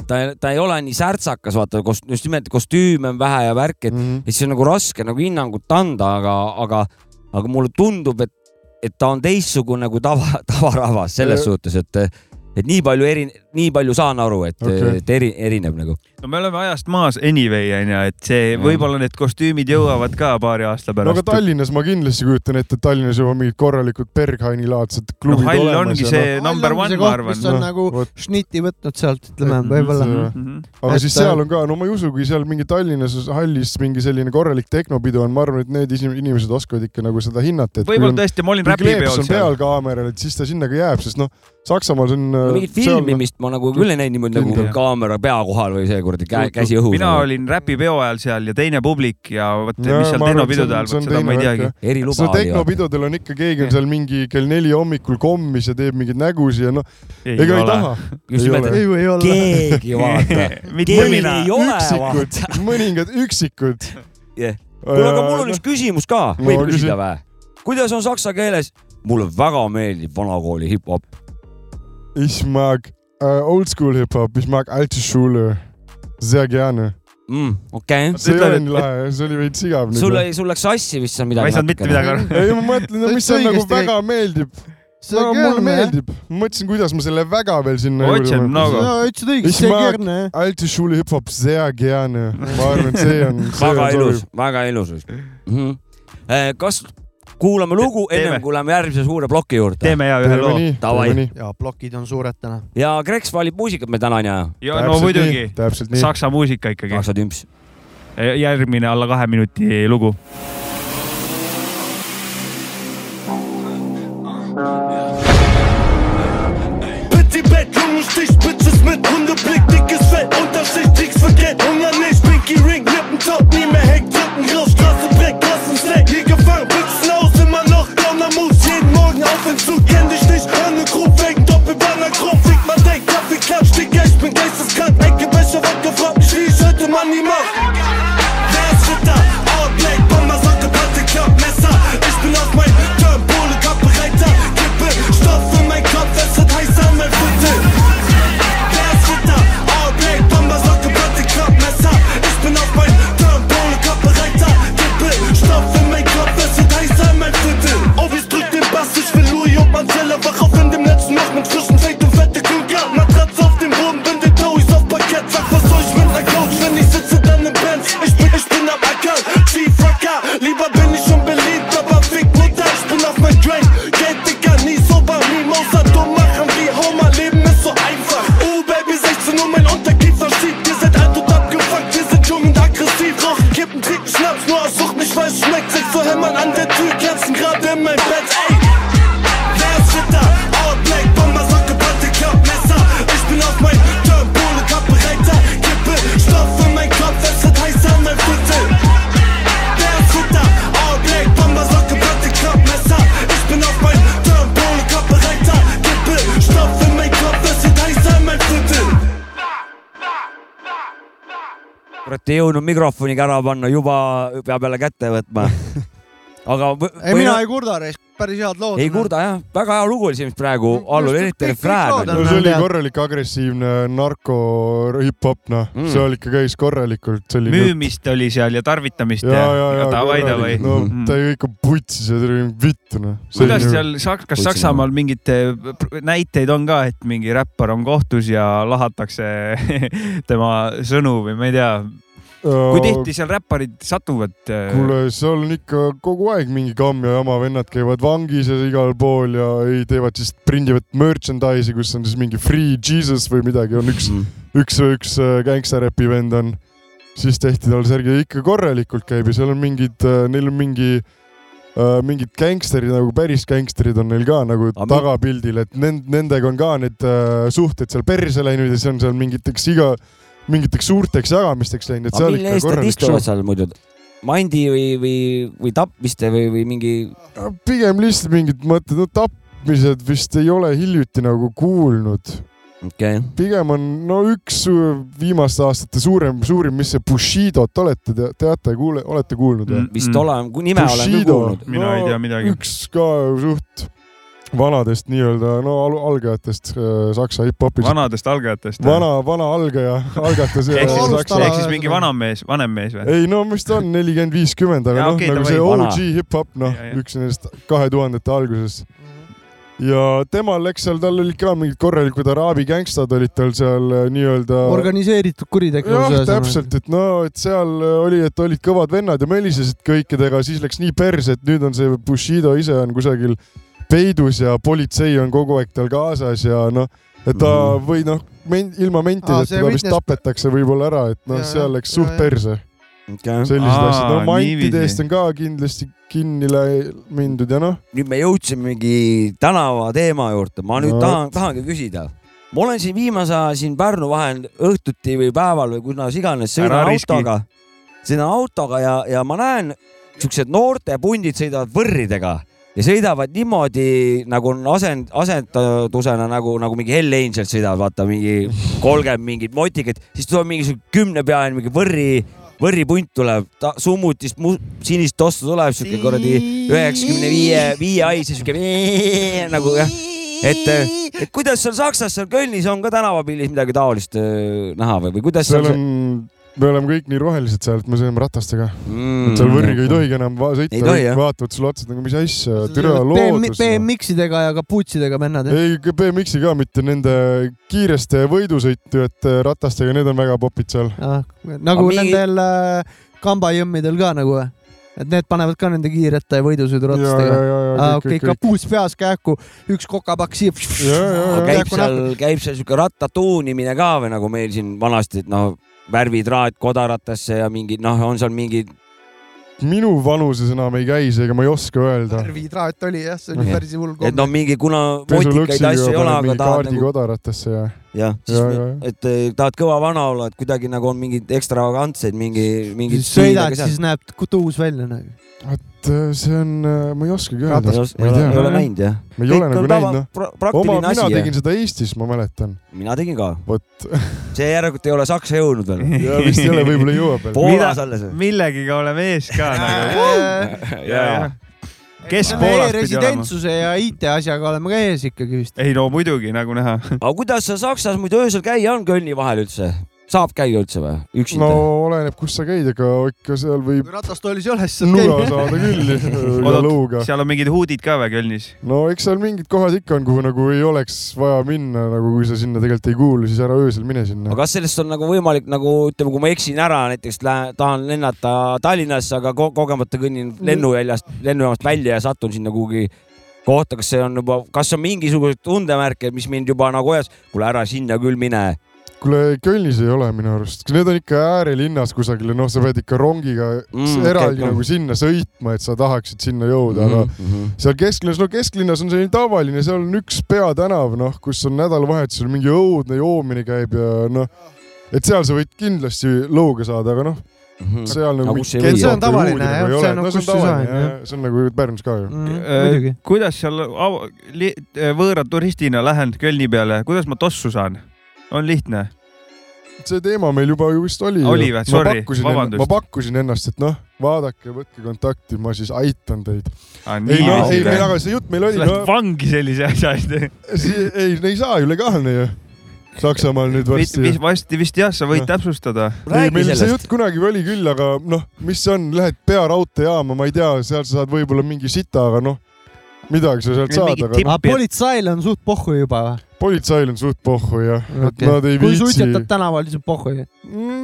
D: ta , ta ei ole nii särtsakas , vaata , just nimelt kostüüme on vähe ja värki , et
A: Mhm.
D: et siis on nagu raske nagu hinnangut anda , aga , aga , aga mulle tundub , et , et ta on teistsugune kui tava , tavarahvas selles
A: Ja-
D: suhtes , et , et nii palju eri , nii palju saan aru , et
A: Okei.
D: okay. , et eri , erineb nagu .
E: no me oleme ajast maas anyway onju , et see võib-olla need kostüümid jõuavad ka paari aasta
A: no aga
E: pärast .
A: Tallinnas ma kindlasti kujutan ette , et Tallinnas juba mingid korralikud Berghaini laadsed
E: no
A: klubid
E: hall
A: olemas
E: ongi
A: ja
E: see number one , ma arvan .
C: mis on
A: Noh,
C: nagu
A: vot.
C: šnitti võtnud sealt , ütleme
A: Et-
C: võib-olla .
A: see-
E: Mhm.
A: noh , aga
C: et-
A: siis seal on ka , no ma ei usu , kui seal mingi Tallinnas hallis mingi selline korralik tehnopidu on , ma arvan , et need isi- inimesed oskavad ikka nagu seda hinnata , et kui
E: Mm-hmm. võib-olla
A: on
E: tõesti , ma olin
A: kui kleeps
E: räpipeol
A: on
E: seal .
A: peal kaameral , et siis ta sinna ka jääb , sest noh , Saksamaal Äh, see on . noh,
D: mingit filmimist ma nagu küll ei näinud niimoodi nagu
E: Kindel.
D: kaamera pea kohal või seekord käe , käsi õhus . nagu.
E: mina olin räpipeo ajal seal ja teine publik ja vot
A: Jaa,
E: mis seal
A: ma arvan, et see
E: tehnopidude
A: on-
E: ajal ,
A: see on
E: vot seda
A: teine
E: ma ei
A: värk,
E: teagi
A: jah. .
D: eriluba
A: seda
D: oli vaata.
A: tehnopidudel on ikka , keegi on seal mingi kell neli hommikul kommis ja teeb mingeid nägusid ja noh , ega ei taha .
D: just
A: ei
D: nimelt ,
A: ole.
D: et
C: ei või olla .
D: keegi vaata .
E: mitte
D: Keegi
E: mina .
D: ei ole
A: üksikud
D: vaata .,
A: mõningad üksikud . Äh,
D: Jah. kuule , aga mul on üks küsimus ka ,
A: No
D: võib
A: küsi.
D: küsida või ? kuidas on saksa keeles ? mulle väga meeldib vanakooli hip-hop .
A: Ich mag äh, Oldschool Hip-Hop , ich mag alte Schule sehr gerne .
D: Mm, okei .
A: see ei
E: ütled,
A: ole
E: et-
A: nii lahe , see oli veits igav
D: sul
A: nüüd .
D: ei , sul läks sassi vist seal midagi .
E: ma ei saanud mitte midagi aru .
A: ei , ma mõtlen ,
C: Ta
A: mis
C: ütles
A: on nagu
C: õigesti
A: väga meeldib .
C: see on
A: mulle
C: Kerne ,
A: meeldib . ma mõtlesin , kuidas ma selle väga veel sinna
E: Otsin
A: panen.
E: nagu.
C: sa ütlesid õigesti , see on
A: Ismaak-
C: Kerne .
A: Alte Schule Hip-Hop sehr gerne . ma arvan , et see on .
D: väga ilus , väga ilus vist mm . -hmm. kas kuulame lugu ,
E: Teeme.
D: ennem kui läheme järgmise suure ploki juurde ?
E: teeme ja ühe
A: teeme
E: loo .
A: nii ,
D: Davai.
A: teeme nii .
C: ja plokid on suured täna .
D: ja Kreks valib muusikat meil täna , on ju ?
E: ja no muidugi ,
A: täpselt nii .
E: saksa muusika ikkagi .
D: Saksa tümps .
E: järgmine alla kahe minuti lugu .
H: Petit Bett, Lungenstich, Spitzes mit Hundeblick, dickes Fell, Unterschicht, Kriegsverkehr, Hunger nicht, Pinky Ring, Lippentuch,
F: Oh,
D: kurat ei jõudnud mikrofoniga ära panna , juba peab jälle kätte võtma . aga võ-
C: ei ,
D: või
C: mina
D: no-
C: ei kurda , päris head lood .
D: ei kurda jah , väga hea lugu oli siin praegu , allul eriti
C: kõik- kõik
D: refrään
C: lood
D: on
A: no
D: ju .
A: see oli korralik agressiivne narko-hip-hop , noh
D: Mm.
A: mm. , see oli ikka käis korralikult selline .
E: müümist oli seal ja tarvitamist
A: ja , ja , ja .
E: davai , davai .
A: no
E: Mhm.
A: ta ju ikka putsis ja tuli vitt , noh .
E: kuidas seal , kas
D: Võtsin
E: Saksamaal mingeid eh, pr- näiteid on ka , et mingi räppar on kohtus ja lahatakse tema sõnu või ma ei tea , kui tihti seal räpparid satuvad ? eh,
A: kuule , seal on ikka kogu aeg mingi kamm ja jama , vennad käivad vangis ja igal pool ja ei teevad siis , prindivad merchandise'i , kus on siis mingi Free Jesus või midagi , on
D: Mhm.
A: üks , üks , üks äh, gängsteräpi vend on . siis tehti tal särgi , ikka korralikult käib ja seal on mingid , neil on mingi , mingid gängsterid nagu päris gängsterid on neil ka nagu
D: Aga mi-
A: tagapildil , et nend- , nendega on ka need äh, suhted seal perse läinud ja see on seal mingiteks iga , mingiteks suurteks jagamisteks läinud , et
D: aga
A: seal
D: mille
A: ikka
D: eest nad
A: korralik show
D: istuvad seal muidu ? mandi või , või , või tapmiste või , või mingi
A: No pigem lihtsalt mingid mõtted , no tapmised vist ei ole hiljuti nagu kuulnud .
D: okei okay. ,
A: pigem on no üks su- viimaste aastate suurem , suurim , mis see Bushidot olete , teate , kuule , olete kuulnud või ?
D: vist mm. olen , nime olen küll
A: Bushido.
D: kuulnud .
E: mina ei tea midagi .
A: üks ka suht vanadest nii-öelda , no al- algajatest äh, saksa hip-hopist .
E: vanadest algajatest ?
A: vana , vana algaja , algatas .
E: ehk siis ,
C: Alustala-
E: ehk siis mingi vana mees , vanem mees või ?
A: ei no mis ta on , nelikümmend , viiskümmend , aga
E: Jaa,
A: noh
E: okei,
A: okay, , nagu
E: davai,
A: see
D: vana.
A: OG hip-hop , noh
E: Ja, ja. ,
A: üks nendest kahe tuhandete alguses . ja temal läks seal , tal olid ka mingid korralikud araabi gängstad olid tal seal äh, nii-öelda .
C: organiseeritud kuritegevus .
A: jah , täpselt , et no , et seal äh, oli , et olid kõvad vennad ja mölisesid kõikidega , siis läks nii perse , et nüüd on see Bushido ise on kusagil peidus ja politsei on kogu aeg tal kaasas ja noh , et ta
D: Mhm.
A: või noh , ilma
C: Aa,
A: mentideta
C: see
A: ta vist
C: Witness-
A: tapetakse võib-olla ära , et noh
C: Ja, , ja,
A: seal läks
C: ja,
A: suht
C: ja.
A: perse
D: Okay.
A: sellised
E: Aa,
A: asjad , no mantide
E: niiviisi.
A: eest on ka kindlasti kinni lä- mindud ja noh ,
D: nüüd me jõudsimegi tänava teema juurde , ma nüüd
A: No.
D: no. tahan , tahangi küsida . ma olen siin viimase aja siin Pärnu vahel õhtuti või päeval või kuidas iganes
E: Ära
D: sõidan
E: riski.
D: autoga , sõidan autoga ja , ja ma näen , siuksed noortepundid sõidavad võrridega ja sõidavad niimoodi nagu on asend , asendusena nagu , nagu mingi Hell Angel sõidavad , vaata mingi kolmkümmend mingit motikat , siis tuleb mingisugune kümnepealine mingi võrri , võrripunt tuleb , ta summutist mu, sinist tossu tuleb siuke kuradi üheksakümne viie , viie haise siuke nagu jah , et , et kuidas seal Saksas , seal Kölnis on ka tänavapildis midagi taolist öö, näha või , või kuidas
A: seal
D: seal
A: on , me oleme kõik nii rohelised seal , et me sõidame ratastega ,
D: mm,
A: seal võrriga ei tohigi enam va- sõita ,
D: Ei tohi, jah.
A: kõik vaatavad sulle otsa , et nagu mis asja , türa loodus . noh.
C: BMX-idega ja kaputsidega vennad .
A: ei , BMX-i ka mitte nende kiireste võidusõitujate ratastega , need on väga popid seal .
C: nagu
D: Aga mingi-
C: nendel äh, kambajõmmidel ka nagu või ? et need panevad ka nende kiirete
A: ja , ja ,
C: võidusõiduratastega .
A: ja , ja
D: Ah,
C: aa , okei ,. kapuus peas kähku , üks kokapakk siia .
A: ja , ja ,
D: käib
A: ja ,
C: Käiku
D: seal , käib seal siuke rattatuunimine ka või nagu meil siin vanasti , et noh , värvitraat kodaratasse ja mingid noh , on seal mingid
A: minu vanuses enam ei käi see , ega ma ei oska öelda .
C: värvitraat oli jah , see oli
D: Jah.
C: päris hull
D: et
C: komme
D: no . mingi , kuna motikaid asju ei ole ,
A: pesulõksiga
D: aga tahad
A: mingi
D: nagu ,
A: kaardikodaratesse ja
D: jah ,
A: Ja, ja, ja.
D: et eh, tahad kõva vana olla , et kuidagi nagu on mingid ekstravagantseid , mingi , mingid .
C: sõidad , siis näeb tuus välja nagu .
A: et äh, see on , ma ei oskagi
D: ei
A: öelda ,
D: os-
A: ma
D: ei
A: ei
D: ole, ei
A: tea ,
D: ole näinud jah .
A: ma ei ole nagu näinud , noh . oma ,
D: praktiline
A: mina
D: asi
A: tegin
D: tegin... ,
A: seda Eestis , ma mäletan .
D: mina tegin ka .
A: vot ,
D: see järelikult ei ole Saksa jõudnud veel .
A: ja vist ei ole võib-olla jõuab veel .
D: Poolas alles .
E: millegiga oleme ees ka nagu . kes Poolas pidi olema ?
C: e-residentsuse ja IT-asjaga oleme ka ees ikkagi vist .
E: ei no muidugi , nagu näha .
D: aga kuidas seal Saksas muidu öösel käia on Kölni vahel üldse ? saab käia üldse või ?
A: no
D: üksinda no. ?
A: oleneb , kus sa käid , aga ikka seal võib
C: ratastoolis ei ole , siis saad
A: nuga
C: käia .
A: saada küll üle
E: Oodata.
A: lõuga .
E: seal on mingid huudid ka või Kölnis ?
A: no eks seal mingid kohad ikka on , kuhu nagu ei oleks vaja minna , nagu kui sa sinna tegelikult ei kuulu , siis ära öösel mine sinna
D: aga . kas sellest on nagu võimalik nagu ütleme , kui ma eksin ära , näiteks lähen , tahan lennata Tallinnasse , aga ko kogemata kõnnin lennuväljast , lennujaamast välja ja satun sinna kuhugi kohta , kas see on juba , kas on mingisuguseid tundemärke , mis mind juba nagu hoias , kuule ära sinna küll mine .
A: kuule , Kölnis ei ole minu arust , need on ikka äärelinnas kusagil ja noh , sa pead ikka rongiga
D: Mm,
A: eraldi
D: okei, Mm.
A: nagu sinna sõitma , et sa tahaksid sinna jõuda ,
D: Mhm.
A: aga seal kesklinnas , no kesklinnas on selline tavaline , seal on üks peatänav , noh , kus on nädalavahetusel mingi õudne joomine käib ja noh , et seal sa võid kindlasti lõuga saada , aga noh , seal
D: Aga
A: nagu
D: kus ei või? Mhm. See on
C: tavaline, jah, see on
A: no,
C: nagu
A: see on
C: kus ei saa,
A: tavaline
C: jah.
A: jah , see on nagu Pärnus ka ju .
C: Mm, muidugi .
E: Äh, kuidas seal av- li- äh, võõra turistina lähen Kölni peale , kuidas ma tossu saan ? on lihtne .
A: see teema meil juba vist oli .
E: Oli või? Sorry, vabandust.
A: ma pakkusin ennast , et noh , vaadake , võtke kontakti , ma siis aitan teid . ei ,
E: ei,
A: ei , ei , aga see jutt meil oli ,
E: Lähed
A: no
E: vangi sellise asja eest .
A: see, ei , ei saa ju legaalne ju . Saksamaal nüüd varsti .
E: varsti vist jah , sa võid
A: Jah.
E: täpsustada .
A: ei ,
D: räägi
A: meil see
D: sellest .
A: jutt kunagi oli küll , aga noh , mis see on , lähed pearaudteejaama , ma ei tea , seal sa saad võib-olla mingi sita , aga noh , midagi sa sealt
E: Mingi
A: saad , aga
E: tipp-
C: aga politseil on suht pohhu juba või ?
A: politseil on suht pohhu jah , et
C: Okei.
A: nad ei
C: kui
A: viitsi .
C: suitsetad tänaval , siis on pohhu ju .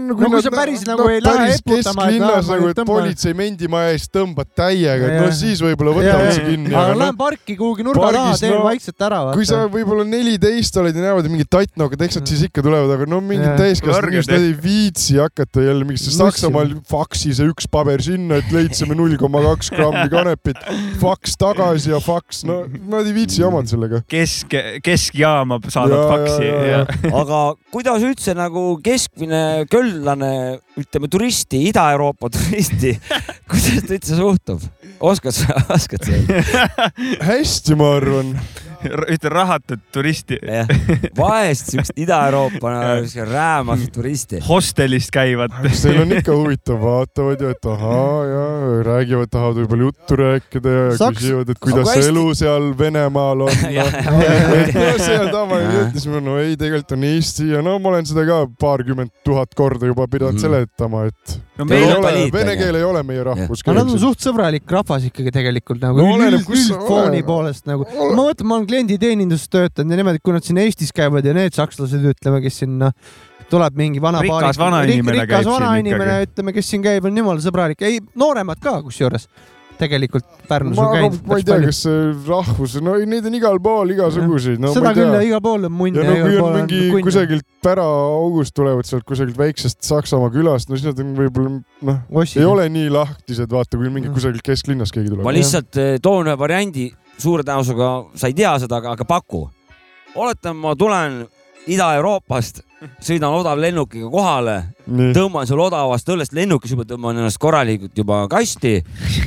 A: no
C: kui sa päris nagu ei lähe eputama, et
A: kesklinnas
C: lähe,
A: nagu ,
C: ma
A: et
C: tõmban.
A: politsei mendimaja ees tõmbad täiega , et
C: Jaa.
A: noh , siis võib-olla
C: Jaa,
A: võtavad su
C: jaa.
A: kinni ,
C: aga
A: aga noh
C: lähen , parki kuhugi nurga taha ,
A: pargis,
C: teen
A: no,
C: vaikselt ära ,
A: kui sa
C: vaata . Mm.
A: võib-olla neliteist oled ja näevad mingid tattnokad , eks nad siis ikka tulevad , aga no mingid
C: Jaa.
A: täiskasvanud
E: Kõrged,
A: inimesed , nad ei viitsi hakata jälle mingisse
C: Nussima.
A: Saksamaal faksi see üks paber sinna , et leidsime null koma kaks grammi kanepit , faks tagasi ja faks , no nad ei viitsi jamada sellega .
E: kesk , keskjaama saadad
A: Jaa,
E: faksi
A: jaa, jaa,
E: ja
A: jaa.
D: aga kuidas üldse nagu keskmine kölnlane , ütleme turisti , Ida-Euroopa turisti , kuidas ta üldse suhtub ? oskad sa , oskad sa öelda ?
A: hästi , ma arvan .
E: ühte rahatut turisti .
D: jah , vahest siukest Ida-Euroopa nagu siukest räämast turisti .
E: hostelist käivad .
A: kas teil on ikka huvitav , vaatavad ju , et ahaa ja räägivad , tahavad võib-olla juttu rääkida ja
C: Saks-
A: küsivad , et kuidas
D: Aga hästi-
A: elu seal Venemaal on no. . et no see on tavaline
D: Jaa.
A: jutt , siis ma no ei , tegelikult on Eesti ja no ma olen seda ka paarkümmend tuhat korda juba pidanud
D: Mhm.
A: seletama , et
E: no
A: ei
E: meil
D: Euroopa
A: ole,
D: Liit on
A: vene
D: ju.
A: keel ei ole meie rahvuskeel .
C: aga nad on suht sõbralik rahvas ikkagi tegelikult nagu
A: No
C: no,
A: oleneb, kus sa
C: üldfooni
A: oled.
C: poolest nagu .
A: Ole-
C: ma mõtlen , ma olen klienditeeninduses töötanud ja niimoodi , kui nad siin Eestis käivad ja need sakslased , ütleme , kes siin noh , tuleb mingi vana
E: Rikas
C: paarik-
E: vanainimene
C: rik-
E: käib
C: rikas
E: siin
C: vanainimene ,
E: ikkagi.
C: ütleme , kes siin käib , on jumala sõbralik , ei nooremad ka kusjuures tegelikult Pärnus
A: ma,
C: on
A: aga
C: käinud
A: ma ei tea , kas see rahvus , no ei, neid on igal pool igasuguseid , no ma
C: seda
A: ei
C: küll ja
A: tea .
C: igal pool on munn
A: ja no kui on
C: igal pool
A: mingi
C: kunn.
A: kusagilt päraaugust tulevad sealt kusagilt väiksest Saksamaa külast , no siis nad on võib-olla noh ,
C: Ossid.
A: ei ole nii lahtised , vaata , kui mingi kusagilt kesklinnast keegi tuleb
D: ma . lihtsalt eh, toon ühe variandi , suure tõenäosusega sa ei tea seda , aga , aga paku . oletame , ma tulen Ida-Euroopast , sõidan odavlennukiga kohale ,
A: nii ,
D: tõmban seal odavast õllest lennukis juba , tõmban ennast korralikult juba kasti ,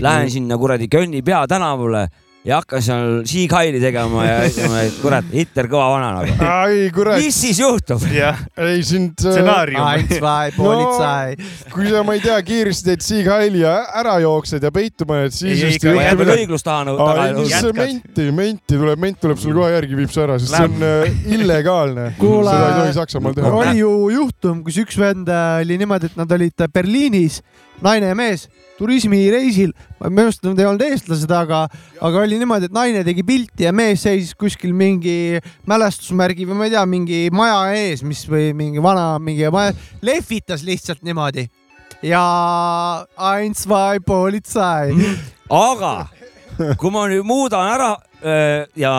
D: lähen sinna kuradi Kölni peatänavale ja hakkan seal Siighaili tegema ja ütlema , et kurat , Hitler kõva vana nagu .
A: ai kurat ,
D: mis siis juhtub ?
E: jah ,
A: ei sind .
E: stsenaarium .
C: Eins , zwei , politsei .
A: kui sa , ma ei tea , kiiresti teed Sieg Heili ja ära jooksed ja peituma jääd , siis
E: Ei,
A: vist
E: ikka
A: ei
D: ma
A: juhtu
D: jään veel
A: midagi .
D: õiglust taha
A: aa , ei ,
D: taga .
A: see
E: jätkad.
A: menti , menti tuleb , ment tuleb sulle kohe järgi , viib sa ära , sest see on äh, illegaalne .
C: Kuule-
A: seda ei tohi Saksamaal teha .
C: oli ju juhtum , kus üks vend äh, oli niimoodi , et nad olid äh, Berliinis , naine ja mees , turismireisil , minu arust nad ei olnud eestlased , aga , aga oli niimoodi , et naine tegi pilti ja mees seisis kuskil mingi mälestusmärgi või ma ei tea , mingi maja ees , mis või mingi vana mingi maja , lehvitas lihtsalt niimoodi ja eins , zwei , politsei .
D: aga kui ma nüüd muudan ära öö, ja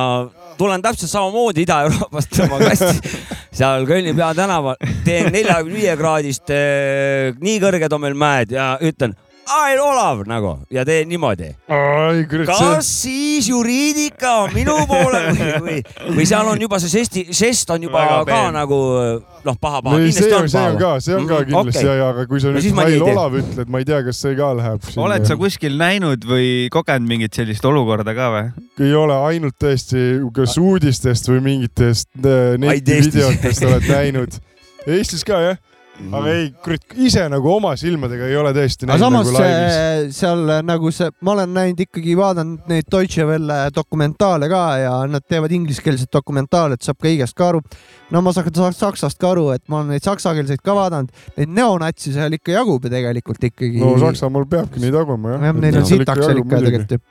D: tulen täpselt samamoodi Ida-Euroopast oma kasti seal Kölni peatänaval , teen neljakümne viie kraadist , nii kõrged on meil mäed ja ütlen , I am Olav nagu ja teen niimoodi .
A: ai , kurat , see
D: kas siis juriidika on minu poole või , või , või seal on juba see žesti , žest on juba
E: Väga
D: ka
E: peen.
D: nagu noh , paha-paha .
A: ei , see on , see on ka , see on ka
D: Mhm,
A: kindlasti
D: okei.
A: ja , ja aga kui
D: No
A: sa nüüd
D: siis ma nii ei
A: Mihhail
D: tee.
A: Olav ütled , ma ei tea , kas see ka läheb .
E: oled sa kuskil näinud või kogenud mingit sellist olukorda ka või ?
A: ei ole ainult tõesti kas uudistest või mingitest äh,
D: Vaid Eestis.
A: netivideotest oled näinud . Eestis ka jah , aga ei , kurat , ise nagu oma silmadega ei ole tõesti
C: aga
A: näinud
C: samas äh,
A: nagu laivis .
C: see, seal nagu see , ma olen näinud ikkagi vaadanud neid Deutsche Welle dokumentaale ka ja nad teevad ingliskeelset dokumentaale , et saab ka igast ka aru . no ma saan sa- saksast ka aru , et ma olen neid saksakeelseid ka vaadanud , neid neonatsi seal ikka jagub ju tegelikult ikkagi .
A: no Saksamaal peabki nii taguma jah .
C: jah , neil on sitaks seal ikka . tegelikult ju .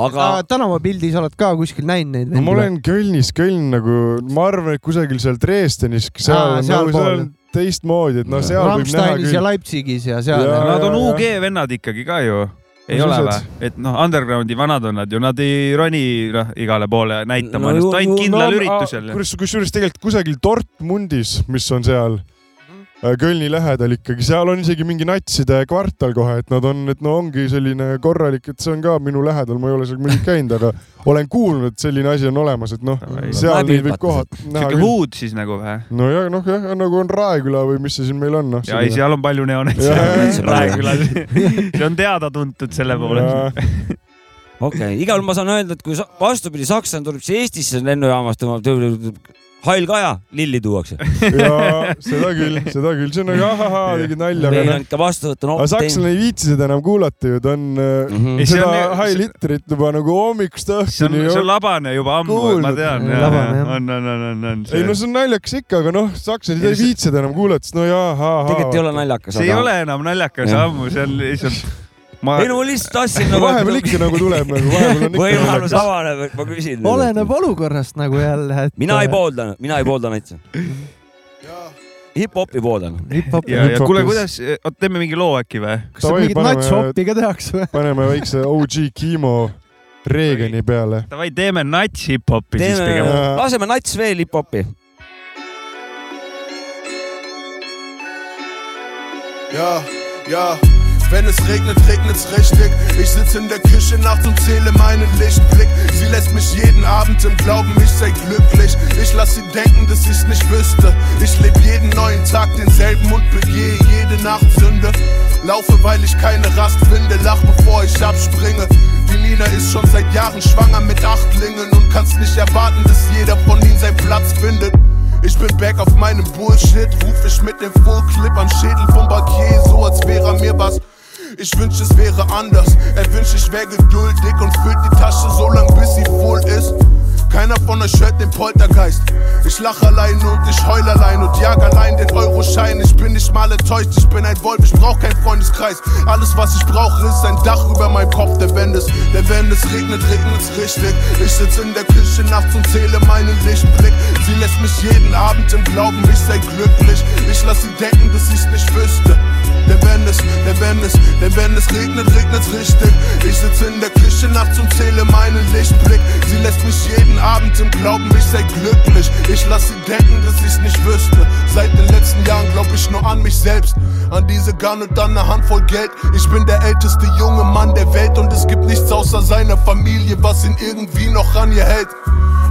D: aga
C: tänavapildis oled ka kuskil näinud neid
A: no ma ? olen Kölnis , Köln nagu , ma arvan , et kusagil seal Dresdenis , seal
C: Aa,
A: on nagu , seal
C: sealpool.
A: on teistmoodi , et noh , seal võib näha
C: Rammsteinis ja
A: küll .
C: Leipzigis ja seal
A: Jaa.
E: Nad on
A: jaa, jaa.
E: UG vennad ikkagi ka ju . ei
A: Mis
E: ole või
A: asjad? ?
E: et noh , undergroundi vanad on nad ju , nad ei roni noh igale poole
D: No
E: näitama no,
D: ju-
E: ennast ainult
D: ju-
E: kindlal no, üritusel .
A: kusjuures , kusjuures tegelikult kusagil Dortmundis , mis on seal äh, Kölni lähedal ikkagi , seal on isegi mingi natside kvartal kohe , et nad on , et no ongi selline korralik , et see on ka minu lähedal , ma ei ole seal muidugi käinud , aga olen kuulnud , et selline asi on olemas , et noh ,
E: Davai.
A: seal
D: Läbi
A: neid võib
D: hüpates.
A: kohad näha
E: siuke
A: küll .
E: hood siis nagu või ?
A: nojah , noh jah , nagu on Raeküla või mis see siin meil on , noh .
E: ja ei , seal on palju
A: Jaa, jaa, jaa.
E: neonatsi Raekülas . see on teada-tuntud selle poolest .
D: okei okay. , igal juhul ma saan öelda , et kui sa- vastupidi , sakslane tuleb siia Eestisse lennujaamast , tõmbab hall Kaja , lilli tuuakse .
A: jaa , seda küll , seda küll , see on nagu ahahaa , tegid nalja ,
D: meil on
A: aga noh .
D: ikka vastuvõtt on
A: aga sakslane ei viitsi seda enam kuulata ju , ta on äh,
D: Mhm.
E: see
A: seda
E: on-
A: high litterit juba nagu hommikust
E: see on
A: õhtuni ,
E: see on
A: jook-
E: labane juba ammu , ma
A: Kuulnud.
E: tean .
C: Labane, jah.
E: on , on , on , on , on .
A: ei no see on naljakas ikka , aga noh , sakslased
E: Ei,
A: ei
E: see-
A: viitsi seda enam kuulata , sest no jaa , ahaa .
D: tegelikult ei ole naljakas .
E: see ei ole enam naljakas
D: Jah.
E: ammu , see on lihtsalt . ma
D: ei no ma lihtsalt tahtsin
A: no vahepeal ikka nagu tuleb nagu , vahepeal on ikka
D: võimalus
A: naljakas .
D: avaneb , et ma küsin .
C: oleneb olukorrast nagu jälle , et .
D: mina ei . poolda , mina ei poolda näiteks . hip-hopi pooldan .
C: hip-hopi
E: ja , ja
A: Hip-hopis.
E: kuule , kuidas , oot , teeme mingi loo äkki või ?
C: kas seal
A: Davai,
C: mingit
A: paneme-
C: natshoppi ka tehakse või ?
A: paneme väikse OG Kimo Reegani peale .
E: Davai , teeme nats hip-hopi siis
D: teeme
E: pigem .
A: pigem. ,
D: laseme nats veel hip-hopi .
F: Ja, ja. Wenn es regnet, regnet's richtig. Ich sitz in der Küche nachts und zähle meinen Lichtblick. Sie lässt mich jeden Abend im Glauben, ich sei glücklich. Ich lass sie denken, dass ich's nicht wüsste. Ich leb jeden neuen Tag denselben und begehe jede Nacht Sünde. Laufe, weil ich keine Rast finde, lach bevor ich abspringe. Die Nina ist schon seit Jahren schwanger mit Achtlingen und kannst nicht erwarten, dass jeder von ihnen seinen Platz findet. Ich bin back auf meinem Bullshit, ruf ich mit dem Full-Clip am Schädel vom Bankier, so als wäre mir was. Ich wünsch, es wäre anders. Er wünscht, ich wär geduldig und füllt die Tasche so lang, bis sie voll ist. Keiner von euch hört den Poltergeist. Ich lach allein und ich heul allein und jag allein den Euroschein. Ich bin nicht mal enttäuscht, ich bin ein Wolf, ich brauch keinen Freundeskreis. Alles, was ich brauche, ist ein Dach über meinem Kopf, der wenn es, der wenn es regnet, regnet's richtig. Ich sitz in der Küche nachts und zähle meinen Lichtblick. Sie lässt mich jeden Abend im Glauben, ich sei glücklich. Ich lass sie denken, dass ich's nicht wüsste. Denn wenn es, denn wenn es, denn wenn es regnet, regnet's richtig. Ich sitze in der Küche nachts und zähle meinen Lichtblick. Sie lässt mich jeden Abend im Glauben, ich sei glücklich. Ich lass sie denken, dass ich's nicht wüsste. Seit den letzten Jahren glaub ich nur an mich selbst, an diese Gun und an eine Handvoll Geld. Ich bin der älteste junge Mann der Welt und es gibt nichts außer seiner Familie, was ihn irgendwie noch an ihr hält.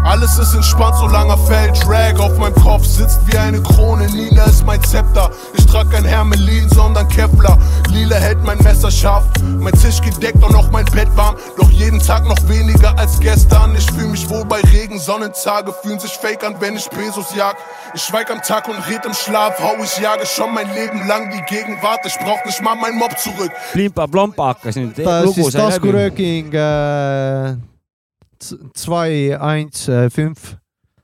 F: Alles ist entspannt, solange er fällt. Drag auf meinem Kopf sitzt wie eine Krone. Nina ist mein Zepter. Ich trag kein Hermelin, sondern Kevlar. Lila hält mein Messer scharf. Mein Tisch gedeckt und auch mein Bett warm. Doch jeden Tag noch weniger als gestern. Ich fühl mich wohl bei Regen. Sonnentage fühlen sich fake an, wenn ich Pesos jag. Ich schweig am Tag und red im Schlaf. Hau ich jage schon mein Leben lang die Gegenwart. Ich brauch nicht mal mein Mob zurück.
D: Plimpa-plompa hakkas nüüd
C: ta
D: lugu
C: siis
D: sai läbi .
C: taskurööking äh, z- zwei eins äh, fünf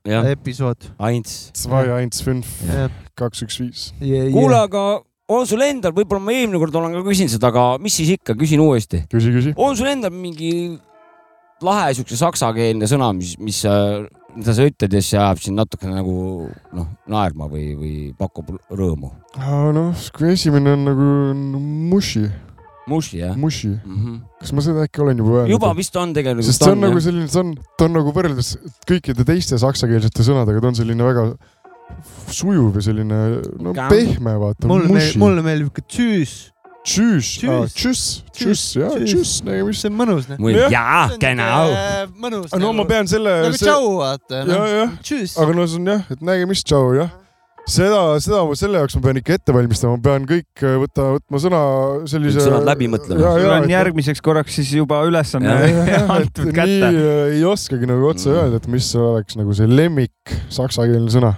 D: jah ,
C: episood .
D: aints .
A: zwei , eins , fünf ,
C: Ja.
A: kaks , üks , viis .
D: kuule , aga on sul endal , võib-olla ma eelmine kord olen ka küsinud seda , aga mis siis ikka , küsin uuesti .
A: küsi , küsi .
D: on sul endal mingi lahe siukse saksakeelne sõna , mis , mis sa , mida sa ütled ja siis see ajab sind natukene nagu noh , naerma või , või pakub rõõmu ?
A: noh , kui esimene on nagu n- mushi ,
D: Mushi jah ?
A: mushi .
D: Mm -hmm.
A: kas ma seda äkki olen juba öelnud ?
D: juba vist on tegelikult .
A: sest see on nagu selline , see on , ta on nagu võrreldes kõikide teiste saksakeelsete sõnadega , ta on selline väga sujuv ja selline no
D: Ka-
A: pehme , vaata .
C: mulle meeldib ,
A: mushi .
C: mulle meeldib ka tšüüs ,
A: tšüss , tšüss ,
C: Tschüss. Tschüss.
A: tšüss , jaa ,
C: Tschüss.
A: tšüss , nägemist .
C: see on mõnus noh .
D: või
A: Jah.
D: jaa , genau .
C: äh, mõnus .
A: Ah, no ma pean selle ,
C: nagu
A: see ,
C: tšau vaata . noh.
A: jaa , jah .
C: tšüüs .
A: aga no see on jah , et nägemist , tšau jah . seda , seda , selle jaoks ma pean ikka ette valmistama , pean kõik äh, võtta , võtma sõna sellise .
D: Kõik sõnad läbi mõtlema.
E: sul on järgmiseks korraks siis juba ülesanne antud kätte .
A: nii äh, ei oskagi nagu otse
D: Mm.
A: öelda , et mis oleks nagu see lemmik saksakeelne sõna .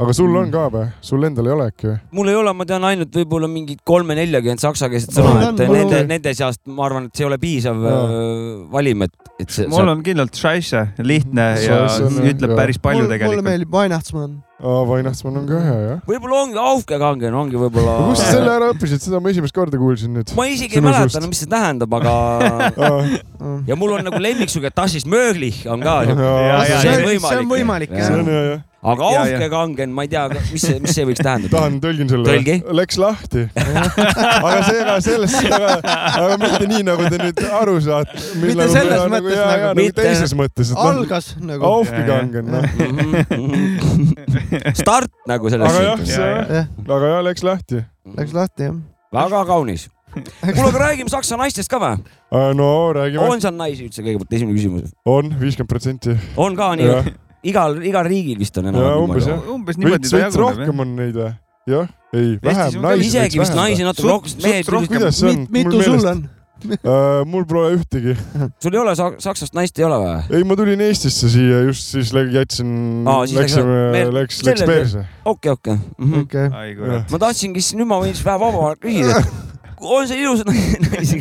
A: aga sul on ka või ? sul endal ei ole äkki või ?
D: mul ei ole , ma tean ainult võib-olla mingit kolme-neljakümmet saksakeelset
A: Mul
D: sõna ,
C: on-
D: et
C: mul on-
D: nende , nende seast ma arvan , et see ei ole piisav
A: Jaa.
D: äh, valim , et , et see .
E: mul on kindlalt Scheisse , lihtne ja
A: Mm, Scheisse on,
E: ütleb
A: jah.
E: päris palju
C: mulle
E: tegelikult .
C: meeldib Weihnachtsmann .
A: aa , Weihnachtsmann on ka hea jah .
D: võib-olla ongi Aufgegangen ongi võib-olla .
A: kust sa selle ära õppisid , seda ma esimest korda kuulsin nüüd .
D: ma isegi ei
A: Sinu
D: mäleta
A: suust.
D: enam , mis see tähendab , aga ja mul on nagu lemmiksuga Das ist möglich on ka .
E: Jaa, jaa,
D: see
E: jaa.
D: on
C: See- see on
D: võimalik
C: võimalik, .
A: see on hea jah .
D: aga
E: Jaa, jaa.
D: Aufgegangen , ma ei tea , mis see , mis see võiks tähendada .
A: tahan , tõlgin selle
D: Tõlgi. .
A: Läks lahti . aga see , aga sellest , aga, aga mitte nii , nagu te nüüd aru saate .
C: Mitte selles mõttes
A: jaa,
C: nagu.
A: jaa,
D: Mitte-
A: nagu teises mõttes , et noh ,
C: algas nagu .
A: aufgegangen , noh .
D: Mhm. start nagu selles
A: aga jah ,
D: suhtes .
A: see
E: Jaa, ,
C: jah ,
A: aga jah , läks lahti .
C: läks lahti jah .
D: väga kaunis . kuule , aga räägime saksa naistest ka või ?
A: no räägime ,
D: on seal naisi üldse kõigepealt , esimene küsimus .
A: on viiskümmend protsenti .
D: on ka nii ?
A: jah ,
D: igal , igal riigil vist on
A: Jaa,
D: enam-vähem
A: umbes
D: niimoodi.
A: jah.
E: umbes niimoodi
A: veits ,
E: ta
A: veits
E: jaguneb jah .
A: rohkem on neid või ? jah , ei , vähem
E: on ka
A: naisi .
D: isegi vist naisi natuke
A: Suht-
D: rohkem , sest mehed
A: suht rohkem . kuidas see on ?
C: mitu sul ? on ?
A: äh, mul pole ühtegi .
D: sul ei ole sa- Saksast naist ei ole või ?
A: ei , ma tulin Eestisse siia , just siis lä- jätsin
D: Aa, , siis läks-
A: läksime
D: me- ,
A: läks ,
D: sellel-
A: läks perse .
D: okei , okei . Mhm.
C: okei .
E: ai kurat .
D: ma tahtsingi , siis nüüd ma võin siis vähe vabamalt küsida . on see ilus naisi ,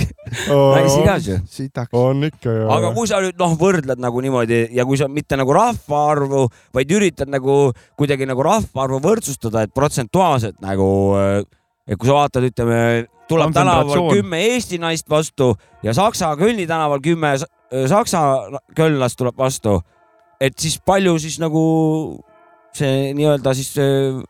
D: naisi ka ju ?
C: sitaks .
A: on ikka ja .
D: aga kui sa nüüd noh , võrdled nagu niimoodi ja kui sa mitte nagu rahvaarvu , vaid üritad nagu kuidagi nagu rahvaarvu võrdsustada , et protsentuaalselt nagu , et kui sa vaatad , ütleme , tuleb tänaval
E: Kontsentratsioon.
D: kümme Eesti naist vastu ja Saksa Kölni tänaval kümme s- äh, Saksa kölnlast tuleb vastu , et siis palju siis nagu see nii-öelda siis öö,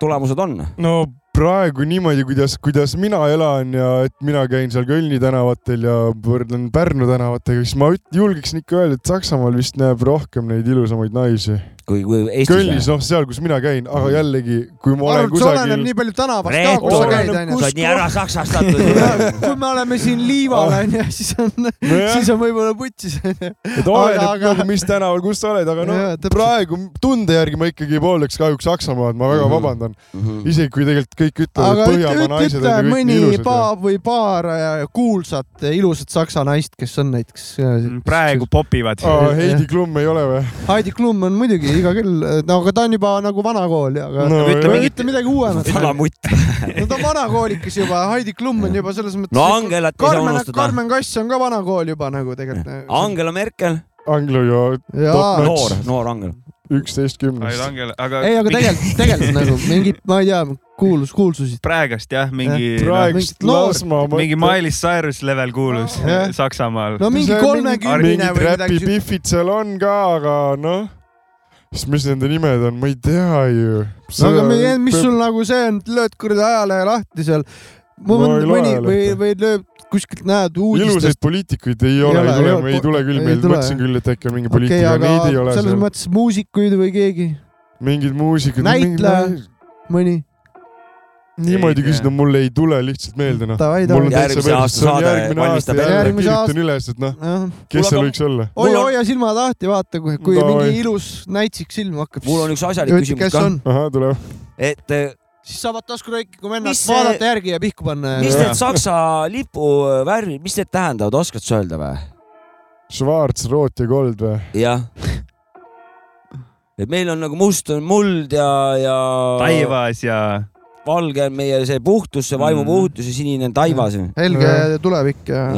D: tulemused on ?
A: no praegu niimoodi , kuidas , kuidas mina elan ja et mina käin seal Kölni tänavatel ja võrdlen Pärnu tänavatega , siis ma üt- julgeksin ikka öelda , et Saksamaal vist näeb rohkem neid ilusamaid naisi .
D: kui , kui Eestis
A: Kölnis , noh , seal , kus mina käin , aga jällegi , kui ma olen
C: arvan , et see oleneb
A: kusagil
C: nii palju tänavast ka ,
D: Reetur ,
C: kus sa käid ,
D: sa
C: onju .
D: oled nii ära saksastatud .
C: kui me oleme siin liival , onju , siis on ,
A: Nojah.
C: siis on võib-olla putsis , onju .
A: et oleneb
C: Aga-
A: aga...
C: aga-
A: nagu , mis tänaval , kus sa oled , aga
C: Jaa,
A: noh ,
C: täpselt.
A: praegu tunde järgi ma ikkagi pooldaks kahjuks Saksamaad , ma väga
D: Mhm.
A: mm -hmm. vabandan . isegi kui tegelikult kõik ütlevad ,
C: aga
A: et
C: ütle ,
A: Põhjamaa
C: ütle ,
A: naised on
C: ütle
A: ju kõik nii
C: mõni
A: ilusad .
C: paar või paar äh, kuulsat äh, ilusat saksa naist , kes on näiteks . äh,
D: Mm.
E: Mm, praegu . popivad .
A: Aa, Heidi Klum ei ole või ?
C: Heidi Klum on muidugi iga küll , no aga ta on juba nagu vana kool ja ,
A: No,
C: aga no,
A: ütle
C: ütle,
A: mingit-
C: ütle midagi uuemat .
D: vana mutt .
C: no ta on vana koolikas juba , Heidi Klum on juba selles mõttes .
D: no Angelat ei saa
C: Karmen ,
D: unustada .
C: Karmen Kass on ka vana kool juba nagu tegelikult .
D: Angela Merkel ,
A: Anglo ja
C: jaa
A: Top Notch.
D: noor , noor Angela .
A: üksteist
E: ai
A: kümnest .
E: langele , aga .
C: ei , aga tegelikult , tegelikult nagu mingid , ma ei tea , kuulus , kuulsusid .
E: praegast jah , mingi ,
A: praegust
C: mingit noort,
A: las ma Ah,
E: mingi Miley Cyrus level kuulus
C: Jah.
E: Saksamaal .
C: no mingi kolmekümnine
A: mingid
C: või midagi siukest .
A: räpipiffid seal on ka , aga noh , siis mis nende nimed on , ma ei tea ju .
C: no aga me, mis sul nagu see on , lööd kuradi ajalehe lahti seal .
A: Ma ei loe
C: mõni või
A: ajalehte. ,
C: või lööb kuskilt näed
A: ilusaid
C: uudistest .
A: poliitikuid ei ole , ei tule , ei tule küll
C: ei
A: meelde ,
C: tule,
A: mõtlesin
C: jah.
A: küll , et äkki on mingi
C: okei ,
A: poliitik , aga
C: aga
A: neid ei ole
C: selles
A: seal .
C: mõttes muusikuid või keegi ,
A: mingid muusikud .
C: Näitleja. mõni .
A: niimoodi
E: Ei tea.
A: küsida , mul ei tule lihtsalt meelde , noh .
C: Davai ,
A: mul on
C: davai .
A: täitsa
D: Järgmise
A: meeles ,
D: aasta
A: see on
D: saade
A: järgmine aasta
D: valmistab
A: ja
C: ette.
A: jälle
C: Järgmise
A: kirjutan üles , et noh ,
D: Mul
A: kes seal
D: aga-
A: võiks olla .
C: hoia ,
D: Mul on-
C: hoia silma lahti , vaata kui , kui
A: Davai.
C: mingi ilus näitsik silm hakkab .
D: mul on üks asjalik küsimus ka ,
A: ahah , tuleb .
D: et eh,
C: siis saavad taskuröökiku mennad
D: Mis see-
C: vaadata järgi ja pihku panna .
D: mis need Saksa lipu värvid , mis need tähendavad , oskad sa öelda või ?
A: Schwarz , root ja gold või ?
D: jah . et meil on nagu must on muld ja , ja
E: taevas ja
D: valge on meie see puhtus , see vaimu
E: Mm.
D: puhtus ja sinine on taivas .
C: helge tulevik ja .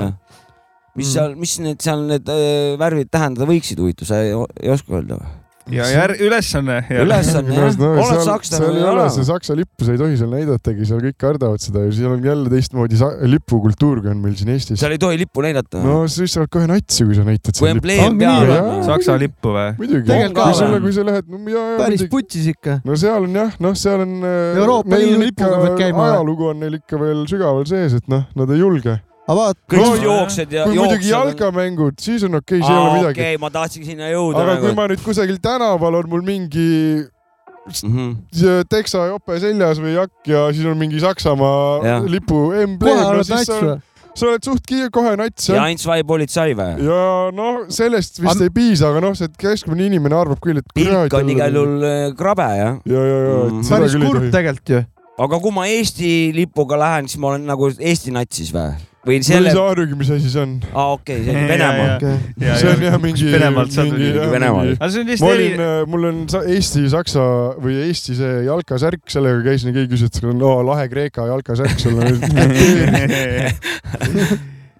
D: mis
C: Mm.
D: seal , mis need seal need eh, värvid tähendada võiksid , huvitav , sa ei, ei oska öelda või ?
E: ja jär- , ülesanne .
D: ülesanne jah , oled sakslane
A: seal
D: või
A: ei
D: ei
A: ole ,
D: ole
A: see ? Saksa lippu sa ei tohi seal näidatagi , seal kõik kardavad seda ja seal on jälle teistmoodi sa- lipukultuur , kui on meil siin Eestis .
D: seal ei tohi lippu näidata või ?
A: no siis sa oled kohe natsi , kui sa näitad
D: kui
A: seal lippu .
D: embleem
C: Ongi
D: peal
C: nii,
A: jah.
D: on .
E: Saksa lippu või ?
A: muidugi ,
C: Tegelikult ka
A: kui sa
D: või? ,
A: kui sa lähed , no ja , ja
C: päris
A: muidugi .
C: putsis ikka .
A: no seal on jah , noh , seal on .
C: Euroopa Liidu lipuga pead käima.
A: ajalugu on neil ikka veel sügaval sees , et noh , nad ei julge .
C: aga vaata ,
A: No,
D: kõik jooksed ja
A: kui
D: jooksed .
A: muidugi jalgamängud , siis on okei , siis ei ole
D: okei nagu-
A: midagi .
D: okay, , ma tahtsin sinna jõuda
A: aga kui ma nüüd kusagil tänaval on mul mingi
D: mm . -hmm.
A: see teksa jope seljas või jakk ja siis on mingi Saksamaa
D: Jah.
A: lipu embleem ,
C: kohe
A: no
C: oled
A: siis
C: nats
A: sa
C: või ?
A: sa oled suht kiire , kohe nats
D: ja
A: jah .
D: ainult vai politsei või ?
A: ja noh , sellest vist
C: Am-
A: ei piisa , aga noh , see keskmine inimene arvab küll , et .
D: pilk on igal . juhul äh, krabe jah ,
A: ja , ja , ja , et
D: Mm.
A: seda
C: päris
A: küll ei
C: kurb
A: tohi .
C: tegelikult ju .
D: aga kui ma Eesti lipuga lähen , siis ma olen nagu Eesti natsis või ? või
A: ma ei
D: selle ,
A: saa arugi , mis asi see on .
D: aa okei , see on Venemaa .
A: see on jah mingi .
E: Venemaalt saad muidugi.
D: Venemaal.
E: aga see on
A: ma
E: lihtsalt
A: olin äh,
E: eri- ,
A: mul on sa- Eesti-Saksa või Eesti see jalkasärk , sellega käisin ja keegi küsis , et sul on no, lahe Kreeka jalkasärk , sul on .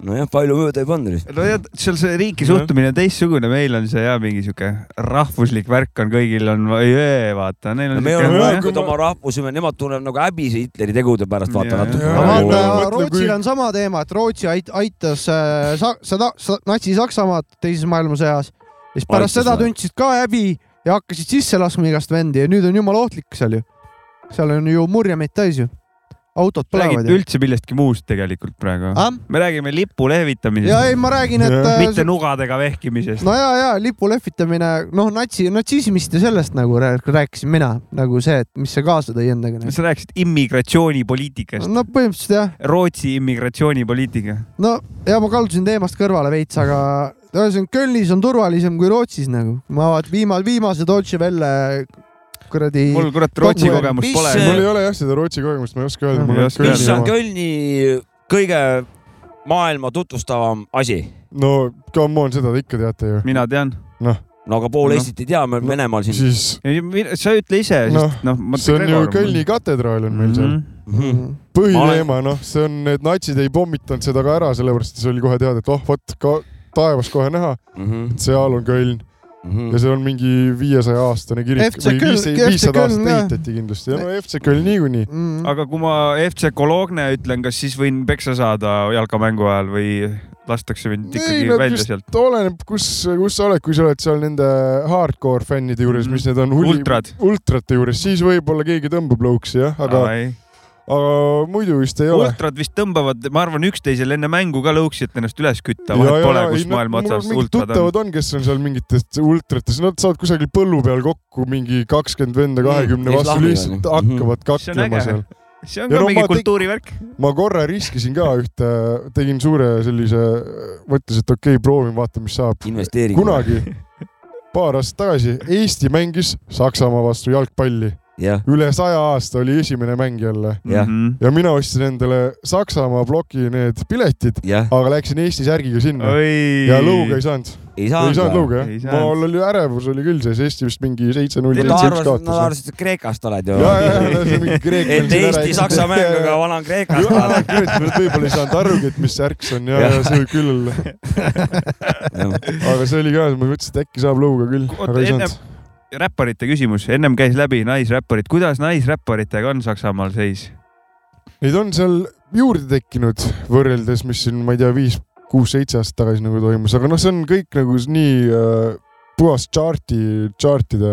D: nojah , palju mööda ei pannud .
E: no ja seal see riiki suhtumine on teistsugune , meil on see ja mingi sihuke rahvuslik värk on kõigil on , vaata , neil on
D: me oleme
A: Jaa,
E: sihuke-
A: kui
D: võetud
A: ma-
D: oma rahvusüme , nemad tunnevad nagu häbi see Hitleri tegude pärast , vaata
E: Jaa,
A: jaa.
D: natuke nagu-
A: Vaata, .
C: vaata ,
A: mõtle, kui-
C: Rootsil on sama teema , et Rootsi ait- aitas äh, sa- seda sa- natsi-Saksamaad teises maailmasõjas . ja siis pärast
D: Aitas
C: seda
D: või?
C: tundsid ka häbi ja hakkasid sisse laskma igast vendi ja nüüd on jumala ohtlik seal ju . seal on ju murjameid täis ju . autod
E: räägid
C: põlevad ju .
E: üldse millestki muust tegelikult praegu . me räägime
C: ja
E: lipu
C: Ah. ei ,
E: lehvitamisest ,
C: ma räägin , et
A: Jah.
C: äh,
E: mitte nugadega vehkimisest .
C: no ja , ja lipu lehvitamine , noh , natsi , natsismist ja sellest nagu rää- rääkisin mina , nagu see , et mis see kaasa tõi endaga .
E: sa rääkisid immigratsioonipoliitikast ,
C: no põhimõtteliselt jah ,
E: Rootsi immigratsioonipoliitika .
C: no ja ma kaldusin teemast kõrvale veits , aga ühesõnaga Kölnis on turvalisem kui Rootsis nagu . ma vaat- viimase , viimase Deutsche Welle kuradi
E: mul kurat Rootsi
C: Kokku-
E: kogemust
D: mis
E: pole
D: see-
A: mul ei ole jah seda Rootsi kogemust , ma ei oska öelda ,
C: Ei
A: mul on
E: oska öelda.
D: mis
A: Kölni
D: on
A: oma .
D: Kölni kõige maailma tutvustavam asi .
A: no come on , seda te ikka teate ju .
E: mina tean .
A: noh ,
D: no aga pool
E: Noh.
D: Eestit ei tea , me oleme Venemaal siin .
A: siis
E: sa ütle ise ,
A: Noh,
E: sest noh , ma . Mhm.
A: see on ju Kölni katedraal on meil seal .
D: Mhm.
C: Mm,
A: põhiteema , noh , see on , need natsid ei pommitanud seda ka ära , sellepärast et see oli kohe teada , et oh vot ka taevas kohe näha ,
D: Mhm.
A: et seal Mhm. on Köln
E: Mm.
A: ja see on mingi viiesaja aastane kirik
C: FC
A: või
C: Köln- FC
A: viissada aastat
C: Köln, jah.
A: ehitati kindlasti , no FC Köln niikuinii .
C: mm. .
E: aga kui ma FC Cologne ütlen , kas siis võin peksa saada jalkamängu ajal või lastakse mind ikkagi
A: no
E: välja
A: just
E: sealt ?
A: oleneb , kus , kus sa oled , kui sa oled seal nende hardcore fännide juures ,
E: Mm.
A: mis need on ,
E: Ultrad.
A: ultrate juures , siis võib-olla keegi tõmbab lõuksi jah , aga , aga muidu vist ei ole .
E: ultrad vist tõmbavad , ma arvan , üksteisele enne mängu ka lõuksi , et ennast üles kütta , vahet pole , kus maailma otsas ultrad on .
A: tuttavad on , kes on seal mingitest ultrates , nad saavad kusagil põllu peal kokku mingi kakskümmend venda kahekümne
D: kes
A: vastu ,
D: lahmivad. Mhm.
A: lihtsalt hakkavad
E: See on
A: kaklema
E: äge.
A: seal .
E: see on
A: Ja
E: ka
A: no ma
E: mingi
A: teg-
E: kultuurivärk .
A: ma korra riskisin ka ühte , tegin suure sellise , mõtlesin , et okei okay, , proovin , vaatan , mis saab .
D: investeering .
A: kunagi , paar aastat tagasi , Eesti mängis Saksamaa vastu jalgpalli .
D: jah ,
A: üle saja aasta oli esimene mäng jälle
D: Jah.
E: Mhm.
A: ja mina ostsin endale Saksamaa ploki need piletid ,
D: jah ,
A: aga läksin Eesti särgiga sinna Oi. ja lõuga
E: oi
A: ei , saanud ,
D: ei
A: ei saanud
D: saanud .
A: lõuga
E: Ei
A: jah .
E: saanud.
A: mul oli ärevus oli küll sees , Eesti vist mingi seitse-null ,
D: Nad
A: seitse-üks
D: arvasid , nad
A: kaotas .
D: arvasid , et Kreekast oled
A: ja , ja , ja ,
D: ju .
A: see on mingi
D: et
A: kreeklane .
D: Eesti-Saksa mäng , aga vana on Kreekast
A: jaa ,
D: oled .
A: kurat , nad võib-olla ei saanud arugi , et mis särk see on ja , ja see võib küll olla . aga see oli ka , ma mõtlesin , et äkki saab lõuga küll ,
E: Oota,
A: aga ei
E: enne-
A: saanud .
E: räpparite küsimus , ennem käis läbi naisräpparid , kuidas naisräpparitega on Saksamaal seis ?
A: Neid on seal juurde tekkinud võrreldes , mis siin , ma ei tea , viis , kuus , seitse aastat tagasi nagu toimus , aga noh , see on kõik nagu s- nii äh, puhas charti , chartide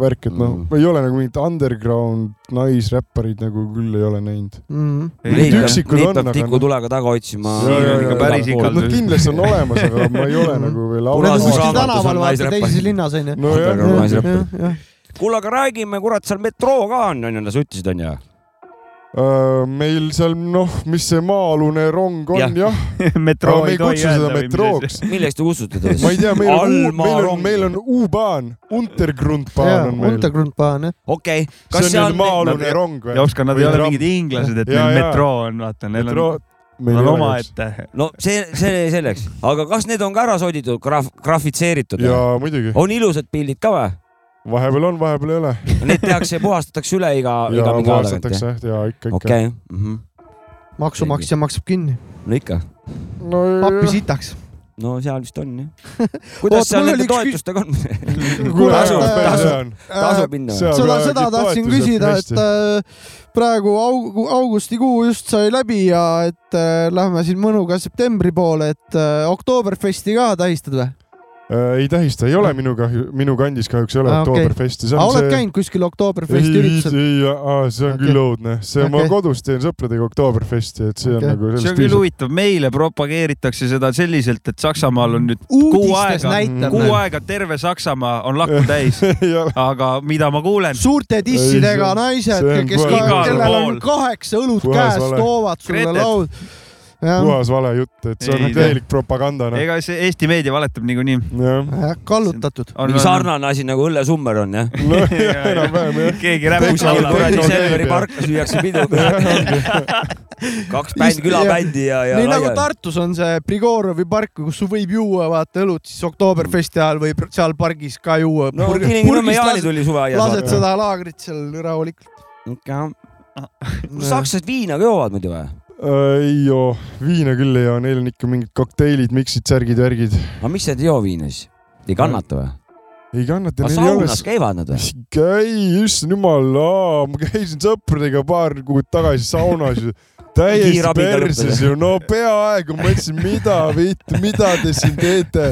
A: värk , et noh
D: Mhm.
A: mm. , ei ole nagu mingit underground naisräpparid nagu küll ei ole näinud .
C: Mm.
D: Neid
A: Üks-
D: peab
A: üksikud on, ,
D: neid peab
A: aga noh.
D: tikutulega taga otsima .
A: Jaa, jaa, jaa.
E: Päris ikal-
A: Nad kindlasti on olemas , aga ma ei ole nagu veel
D: Punases
C: Need on kuskil
D: raamatus on
C: tänaval , vaata
D: naisräpparid.
C: teises linnas onju .
A: nojah ,
D: Aga
A: no,
D: naisrä-
A: jah.
D: kuule , aga räägime , kurat , seal metroo ka on , onju , sa ütlesid , onju .
A: Äh, meil seal noh , mis see maa-alune rong on
D: Jah.
A: jah ja, , aga
E: metroo
A: me ei kutsu seda . metrooks .
D: milleks te kutsute teda
A: ma ei
D: siis ?
A: tea , meil on , meil on ,
D: Allmaa
A: meil on U-baan , Untergrundbaan
C: jaa ,
A: on meil .
C: Untergrundbahn jah .
D: okei ,
A: see
D: kas
A: on
D: seal
A: nüüd maa-alune rong või
E: ja ? Oskar , nad ei
A: Või
E: ole
A: tramm.
E: mingid inglased , et
A: Jaa,
E: neil
A: jaa.
E: metroo on , vaata , neil on ,
A: metroo , meil
E: nad
A: ei
E: on
A: ole üks .
E: omaette .
D: no see , see selleks , aga kas need on ka ära soditud , graf- , grafitseeritud ?
A: ja muidugi ,
D: on ilusad pildid ka või ?
A: vahepeal on , vahepeal ei ole .
D: Need tehakse , puhastatakse üle iga ,
A: ja
D: iga mingi aja tagant .
A: puhastatakse ja ikka , ikka
D: okei , no
C: maksumaksja maksab kinni .
D: ikka ,
A: no, .
C: pappi sitaks .
D: no seal vist on jah . kuidas
C: Oot,
D: seal
C: mul
D: nende
C: oli üks kü-
D: toetustega on ?
A: kuule ,
C: Tasub, tasub.
A: see on ,
C: Äh,
D: tasub minna või ?
A: see on
C: seda , seda tahtsin küsida , et äh, praegu aug- , augustikuu just sai läbi ja et äh, lähme siin mõnuga septembri poole , et äh, Oktoberfesti ka tähistad või ?
A: Äh, ei tähista , ei ole minu kahju , minu kandis kahjuks ei ole
C: Aa, Ah, okei.
A: Oktoberfesti , see
C: aga
A: on
C: oled
A: see .
C: käinud kuskil
A: ei ,
C: Oktoberfesti
A: ei ,
C: üritusel ?
A: ei , see on
C: Okei.
A: küll õudne , see ma
C: Okei.
A: kodus teen sõpradega Oktoberfesti , et see on
C: Okei.
A: nagu
E: see on
A: sellest
E: küll . huvitav , meile propageeritakse seda selliselt , et Saksamaal on nüüd kuu
C: uudistes
E: aega ,
C: näitab nagu.
E: kuu
C: näed.
E: aega terve Saksamaa on lakku täis ,
A: ei ole ,
E: aga mida ma kuulen ,
C: suurte
A: see
C: dissidega
A: on-
C: naised
A: see on ,
C: kes
A: kohe-
C: ka ,
E: Igal
C: kellel on
E: pool.
C: kaheksa õlut
A: Puhas
C: käes ,
A: vale.
C: toovad sulle
E: Gretet.
C: laud . jah ,
A: puhas vale jutt , et see
E: Ei
A: on nagu
E: tea.
A: täielik propaganda , noh .
E: ega see Eesti meedia valetab niikuinii .
A: jah ,
C: kallutatud .
D: mingi sarnane asi nagu Õlle Summer on jah ?
A: noh , enam-vähem jah .
E: keegi
A: Kui
E: räpus
A: sa
D: kuskil
A: oled
E: laulab
D: kuradi
A: kuradi . tehnoloogia
D: Selveri
A: peal.
D: parkas lüüakse pidu . kaks bändi ,
C: Just-
D: külabändi ja , ja
C: nii nagu
D: laiali.
C: Tartus on see Prigorovi park , kus sul võib juua vaata õlut , siis Oktoberfesti ajal võib seal pargis ka juua .
D: no Kilingi-Nõmme Jaani tuli
C: lased
D: suveaias .
C: seda laagrit seal rahulikult . Ah.
D: sakslased viina ka joovad muidu või ?
A: Äh, ei joo , viina küll ei joo , neil on ikka mingid kokteilid , miksid , särgid , värgid .
D: aga miks nad ei joo viina siis ? ei kannata või ?
A: ei kannata ,
D: aga
A: neil ei ole
D: saunas . käivad nad või ?
A: käi , issand jumal , ma käisin sõpradega paar kuud tagasi saunas ju . täiesti
D: Kiirabiga
A: perses
D: lõppenud.
A: ju , no peaaegu mõtlesin , mida , mida te siin teete .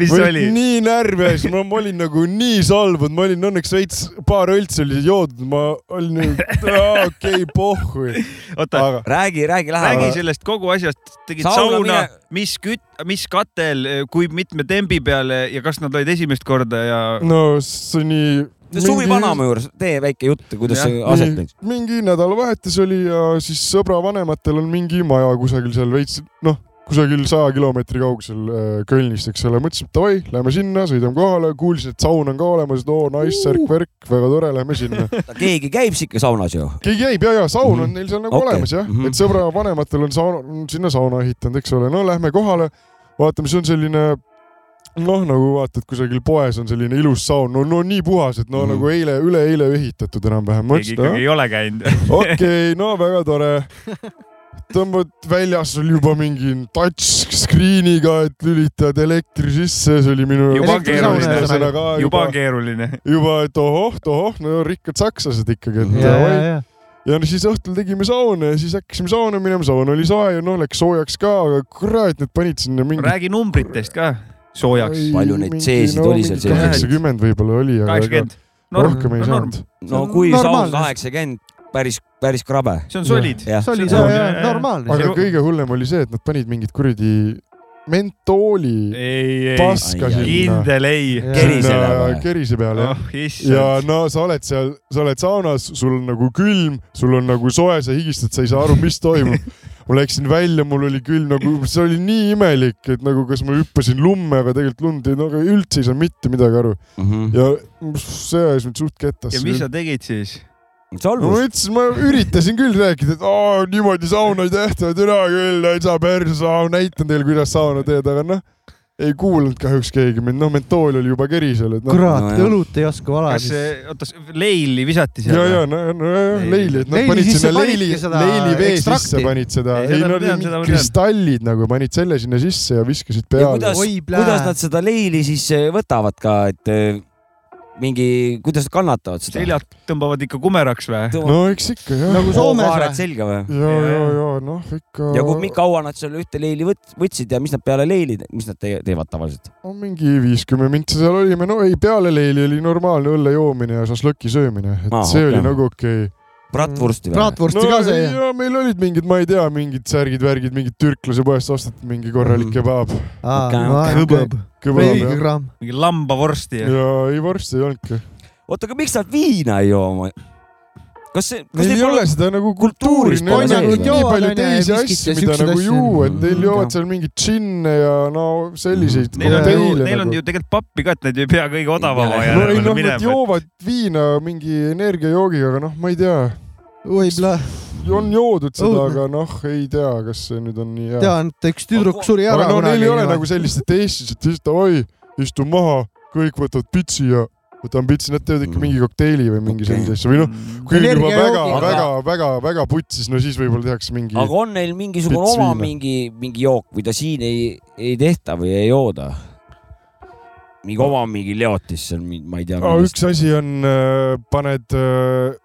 E: mis
A: ma
E: oli
A: olin ? nii närvis , ma ma olin nagu nii solvunud , ma olin õnneks veits paar õltsi oli joodud , ma olin nagu aa, okei okay, , pohhui .
E: oota ,
A: aga
D: räägi , räägi
E: räägi
D: lähemale .
E: sellest kogu asjast , tegid
D: Sauna
E: sauna
D: mine- ,
E: mis küt- , mis katel , kui mitme tembi peale ja kas nad olid esimest korda ja
A: no see on nii .
D: Suvi Vanamäe juures , tee väike jutt , kuidas
E: Jah.
D: see
A: Mm.
D: aset leidis .
A: mingi nädalavahetus oli ja siis sõbra vanematel on mingi maja kusagil seal veits , noh , kusagil saja kilomeetri kaugusel äh, Kölnist , eks ole , mõtlesime , et davai , lähme sinna , sõidame kohale , kuulsin , et saun on ka olemas , et oo , nice , särk-värk , väga tore , lähme sinna .
D: keegi käib ikka saunas ju .
A: keegi jäi , ja , ja saun
E: Mhm.
A: on neil seal nagu
D: Okei.
A: okay. olemas jah mm ,
D: Mhm.
A: -hmm. et sõbra vanematel on saun , sinna sauna ehitanud , eks ole , no lähme kohale , vaatame , see on selline noh , nagu vaatad kusagil poes on selline ilus saun , no , no nii puhas , et no mm
D: Mhm.
A: -hmm. nagu eile , üleeile ehitatud enam-vähem .
E: keegi ikkagi ei ole käinud .
A: okei , no väga tore . tõmbad väljas oli juba mingi touchscreen'iga , et lülitad elektri sisse , see oli minu
E: Juba
A: jaoks
E: keeruline.
A: esimene sõna ka
E: juba
A: juba ,
E: on keeruline .
A: juba , et ohoh , ohoh , no rikkad sakslased ikkagi , et
C: ja , ja
A: davai ., ja no siis õhtul tegime sauna ja siis hakkasime sauna minema , saun oli soe ja noh , läks soojaks ka , aga kurat , need panid sinna mingi .
E: räägi numbritest ka soojaks .
D: Palju neid C-sid oli seal sees?
A: kaheksakümmend võib-olla oli , aga Noh, ega
E: kaheksakümmend . norm ,
A: rohkem ei
E: norm ,
A: saanud .
D: no kui saun
C: Normaalne.
D: kaheksakümmend , päris , päris krabe .
E: see on solid .
D: jah ,
C: see oli
E: see on-
C: see normaalne .
A: aga kõige hullem oli see , et nad panid mingit kuradi mentooli
E: ei , ei ,
A: paska
D: Ai, ai.
A: sinna .
E: kindel ei .
D: kerise
A: Sinna
D: peale või?
A: kerise peale jah .
E: oh
A: ja
E: issand .
A: no sa oled seal , sa oled saunas , sul on nagu külm , sul on nagu soe , sa higistad , sa ei saa aru , mis toimub . ma läksin välja , mul oli külm nagu , see oli nii imelik , et nagu kas ma hüppasin lumme , aga tegelikult lund ei , no aga üldse ei saanud mitte midagi aru
D: Mhm.
A: ja see ajas mind suht kettasse .
E: ja mis sa tegid siis ?
A: no ma
D: solvus .
A: ütlesin , ma üritasin küll rääkida , et aa , niimoodi sauna ei tehta , türa küll , täitsa perse , näitan teile , kuidas sauna teed , aga noh , ei kuulanud kahjuks keegi mind , noh , mentool oli juba keri seal , et noh .
C: kurat
D: No , jah.
C: õlut ei oska valada
E: kas , oota , leili visati
A: ja ,
E: seal ?
A: ja , no , no ja,
E: Leili.
A: leili , et nad
C: Leili
A: panid
C: sisse
A: sinna
C: panidki
A: leili ,
C: seda
A: leili vee
C: ekstrakti.
A: sisse panid seda
E: Ei, , seda
A: ei
E: ma
A: no
E: tean,
A: need
E: seda ma tean.
A: kristallid nagu panid selle sinna sisse ja viskasid
D: ja
A: peale .
D: kuidas
C: Oi, , plää.
D: kuidas nad seda leili siis eh, võtavad ka , et eh, mingi , kuidas nad kannatavad seda ?
E: seljad tõmbavad ikka kumeraks või ?
A: no eks ikka jah .
C: Nagu Soomes
D: haared
C: või?
D: selga või ?
A: ja , ja , ja noh , ikka .
D: ja kui , kaua nad seal ühte leili võt- , võtsid ja mis nad peale leili , mis nad te teevad tavaliselt ?
A: no mingi viiskümmend mintsi seal olime , no ei peale leili oli normaalne õlle joomine ja šašlõki söömine , et
D: Aa,
A: ah, see
D: okei.
A: oli nagu okei okay. .
D: bratwursti või ?
C: praatvorsti ka see .
A: ja meil olid mingid , ma ei tea , mingid särgid-värgid , mingid türklase poest ostetud mingi korralik
D: Mhm.
A: kebaab .
D: Okei,
C: kõbõb ,
A: kebaab
C: veidi
A: jah .
C: gramm .
E: mingi lambavorsti ja .
A: ja ei varsti ei olnudki .
D: oota , aga miks nad viina ei joo oma ? kas see , kas
A: Neil ei ole seda nagu
D: kultuuris
A: kultuuri , neil on
D: pole sees,
A: nagu nii palju
C: jah. Joovad, on ju,
A: teisi
C: ja viskit
A: asju ,
C: ja
A: mida
C: siukseid
A: nagu
C: asju.
A: juua , et neil
D: Mhm.
A: joovad seal mingeid džinne ja no selliseid
E: Neil on ju ,
A: kokteile
E: neil on
A: nagu
E: ju . tegelikult pappi ka , et nad ju ei pea kõige odavama
D: Jah.
A: no ei
E: ajal
A: noh , nad joovad viina mingi energiajoogiga , aga noh , ma ei tea
C: oi ,
A: on joodud seda ,
C: Õudne.
A: aga noh , ei tea , kas see nüüd on nii hea .
C: tean , et üks tüdruk suri
A: aga
C: ära
A: no neil ei ole
C: kunagi .
A: nagu sellist , et Eestis , et istu , oi , istu maha , kõik võtavad pitsi ja võtame pitsi , nad teevad ikka
D: Mm.
A: mingi kokteili või mingi
D: Okei.
A: sellise asja või noh ,
E: Mm.
A: kui on juba
C: Energiajoogi.
A: väga ,
D: Aga-
A: väga , väga , väga putsis , no siis võib-olla tehakse mingi .
D: aga on neil mingisugune
A: Pits
D: oma
A: viina.
D: mingi , mingi jook , mida siin ei , ei tehta või ei jooda ? mingi oma mingi leotis seal , ma ei tea .
A: üks asi on , paned äh,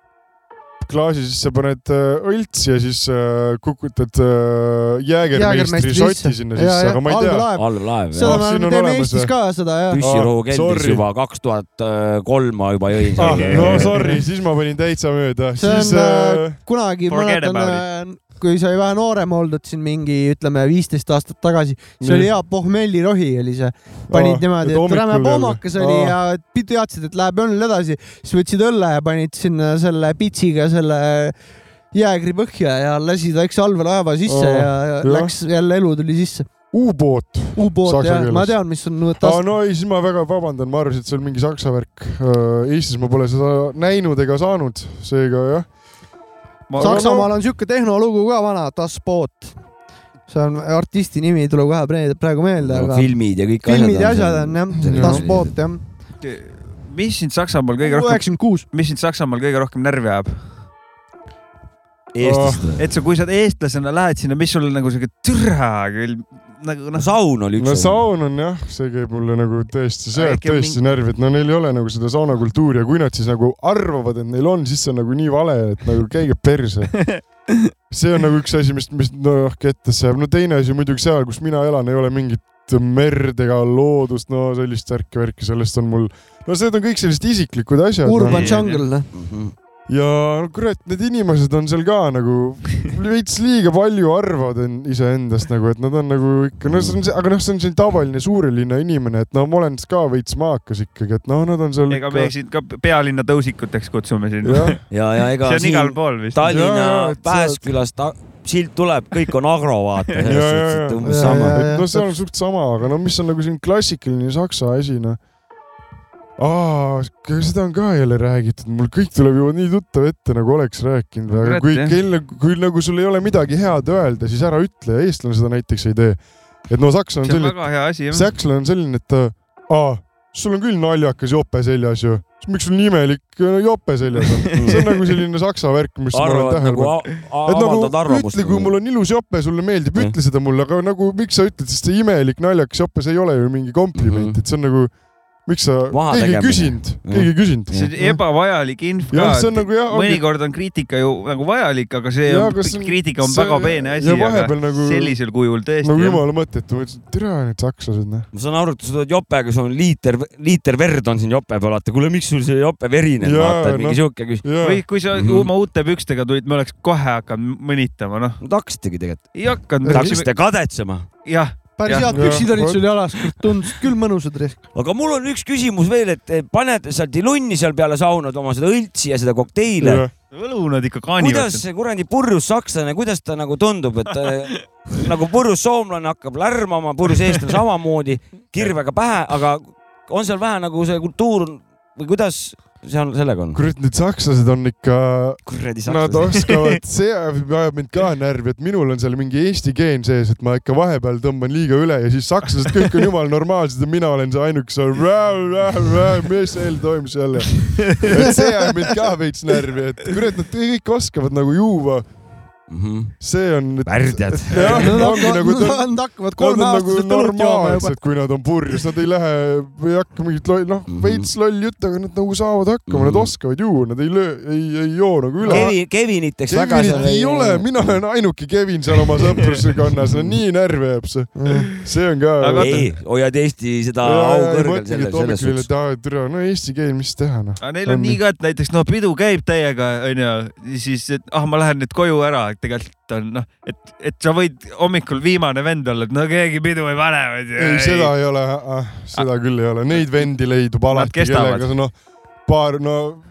A: klaasi sisse paned äh, õltsi ja siis äh, kukutad äh, jäägermeistri
C: Jäägermeistri
A: sotti
C: sisse.
A: sinna sisse , aga ma ei tea .
D: alllaev
C: seda
A: Ah,
D: jah ?
C: me
A: siin on
C: teeme
A: olemas,
C: Eestis
A: jah.
C: ka seda jah .
D: püssirohu
A: Ah,
D: keldris
A: sorry.
D: juba kaks tuhat kolm ma juba jõin
A: Ah,
D: seal .
A: no sorry , siis ma panin täitsa mööda ,
C: See on,
A: siis
C: äh,
A: äh,
C: kunagi ma
E: Forget
C: mäletan , kui sai vähe noorem oldud siin mingi ütleme viisteist aastat tagasi ,
A: Nii.
C: see
A: Oh,
C: oli hea pohmellirohi oli see .
A: ah,
C: panid niimoodi , et räme poomakas oli ja pi- teadsid , et läheb õnnel edasi , siis võtsid õlle ja panid sinna selle pitsiga selle jäägri põhja ja lasid väikse allveelaeva sisse
A: Aa,
C: ja, ja
A: Oh. jah.
C: läks jälle elu tuli sisse .
A: U-boot .
C: U-boot
A: Saksa
C: jah , ma
A: keeles.
C: tean , mis on
A: aa
C: tas- ,
A: no ei , siis ma väga vabandan , ma arvasin , et see on mingi saksa värk . Eestis ma pole seda näinud ega saanud , seega jah .
C: Saksamaal on siuke tehnolugu ka vana , Das Boot . see on artisti nimi , ei tule kohe pre- praegu meelde ,
D: No,
C: aga
D: filmid ja kõik
C: filmid ja asjad on
D: Selge.
C: jah , Das Boot jah .
E: mis sind Saksamaal kõige rohkem ,
C: üheksakümmend kuus .
E: mis sind Saksamaal kõige rohkem närvi ajab ?
D: Eestist või ?
E: et sa , kui sa eestlasena lähed sinna , mis sul nagu siuke türa küll nagu
D: no
E: noh ,
D: saun oli
A: no
D: üks .
A: saun on jah , see käib mulle nagu tõesti , see
E: Aga
A: jääb
E: äkki on
A: tõesti närvi , et no neil ei ole nagu seda saunakultuuri ja kui nad siis nagu arvavad , et neil on , siis see on nagu nii vale , et nagu käige perse . see on nagu üks asi , mis , mis noh kettasse jääb , no teine asi muidugi seal , kus mina elan , ei ole mingit merd ega loodust , no sellist värki-värki , sellest on mul , no need on kõik sellised isiklikud asjad .
C: Urban
E: Nii,
C: Jungle noh .
D: Mhm.
A: ja no kurat , need inimesed on seal ka nagu veits liiga palju arvavad en- iseendast nagu , et nad on nagu ikka , no see on see , aga noh , see on selline tavaline suure linna inimene , et no ma olen ka veits maakas ikkagi , et noh , nad on seal
E: ega me
A: ikka .
E: sind ka pealinna tõusikuteks kutsume sind .
A: jah ,
D: ja , ja ega
E: see on
D: siin
E: igal pool vist .
A: Jaa,
D: Tallinna
A: jaa, et sa-
D: Pääskülas ta- silt tuleb , kõik on agro , vaata .
A: ja , ja , ja ,
D: umbes sama .
C: Ja, ja,
A: no see on suht sama , aga no mis on nagu selline klassikaline saksa asi , noh . aa , seda on ka jälle räägitud , mul kõik tuleb juba nii tuttav ette , nagu oleks rääkinud , aga
E: Kurat,
A: kui
E: jah.
A: kelle , kui nagu sul ei ole midagi head öelda , siis ära ütle , eestlane seda näiteks ei tee . et no saksa on
E: see on
A: selline ,
E: väga hea asi jah .
A: sakslane on selline , et äh, aa , sul on küll naljakas jope seljas ju , miks sul nii imelik äh, jope seljas on , see on nagu selline saksa värk , mis ma olen
D: arvavad
A: tähele
D: nagu a-
A: pannud .
D: a-
A: et
D: avaldavad
A: nagu
D: arvamust
A: ütle , kui . mul on ilus jope , sulle meeldib ,
D: Jah.
A: ütle seda mulle , aga nagu miks sa ütled , sest see imelik naljakas jope , see ei ole ju mingi kompliment ,
D: Mhm.
A: et see on nagu , miks sa ,
D: Maha
A: keegi ei
D: tegemine.
A: küsinud ,
D: Jah. Mhm.
A: keegi ei küsinud .
E: see on ebavajalik info
A: jah , see
E: ka
A: on . nagu jah ,
E: mõnikord on kriitika ju nagu vajalik , aga see
A: Jaa,
E: on,
A: aga see on-
E: kriitika on
A: see-
E: väga peene asi
A: ja , vahepeal
E: aga
A: nagu-
E: sellisel kujul tõesti
A: nagu
E: jah.
A: jumala mõttetu , ma ütlesin , et tere , need sakslased , noh .
D: ma saan aru , et sa tuled jopega , sul on liiter , liiter verd on siin jope peal , vaata , kuule , miks sul see jope verine on ,
A: Jaa,
D: vaata , et mingi
A: noh.
D: siuke küsimus .
E: või kui sa
D: Mhm.
E: oma uute pükstega tulid , me oleks kohe hakanud mõnitama , noh ,
D: Nad hakkasidki tegelikult ,
E: ei hakanud .
D: hakkasid kadetsema .
E: jah ,
C: päris
E: Jah.
C: head
A: Jah.
C: püksid olid sul jalas , tundusid küll mõnusad .
D: aga mul on üks küsimus veel , et eh, paned seal tilunni seal peale saunad oma seda õltsi ja seda kokteile .
E: õlu nad ikka kaanivad
D: kuidas . see kuradi purjus sakslane , kuidas ta nagu tundub , et ta- nagu purjus soomlane hakkab lärmama , purjus eestlane samamoodi , kirvega pähe , aga on seal vähe nagu see kultuur või kuidas see on , sellega on ?
A: kurat , need sakslased on ikka ,
D: kuradi
A: nad
D: sakslased .
A: oskavad , see ajab mind ka närvi , et minul on seal mingi eesti geen sees , et ma ikka vahepeal tõmban liiga üle ja siis sakslased kõik on jumala normaalsed ja mina olen see ainuke seal , mis seal toimus jälle . et see ajab mind ka veits närvi , et kurat , nad kõik oskavad nagu juua ,
D: Mhm.
A: see on .
D: värdjad .
A: jah , ongi nagu ta on .
C: Nad
A: Nad on
C: hakkavad kolme
A: nagu
C: aastaselt õlut jooma juba
A: normaalsed ,. kui nad on purjus , nad ei lähe , ei hakka mingit loll , noh
D: Mhm. ,
A: veits lolli juttu , aga nad nagu saavad hakkama , nad
D: Mhm.
A: oskavad juua , nad ei löö , ei , ei joo nagu üle .
D: Kevi , Kevinit , eks väga
A: Kevinit
D: seal
A: ei ole , mina olen ainuke Kevin seal oma sõpruskonnas , no nii närvi jääb see .
C: Mhm.
A: see on ka .
D: ei , hoiad Eesti seda au kõrgel selles , selles suhtes .
A: tere , no eesti keel , mis teha noh .
E: aga neil on nii ka , et näiteks noh , pidu käib täiega , onju , siis , et ah , ma lähen nüüd koju ära , et tegelikult on noh , et , et sa võid hommikul viimane vend olla , et no keegi pidu ei pane , onju .
A: ei , seda ei ole , seda küll ei ole , neid vendi leidub alati ,
E: kestavad.
A: kellega sa noh , paar no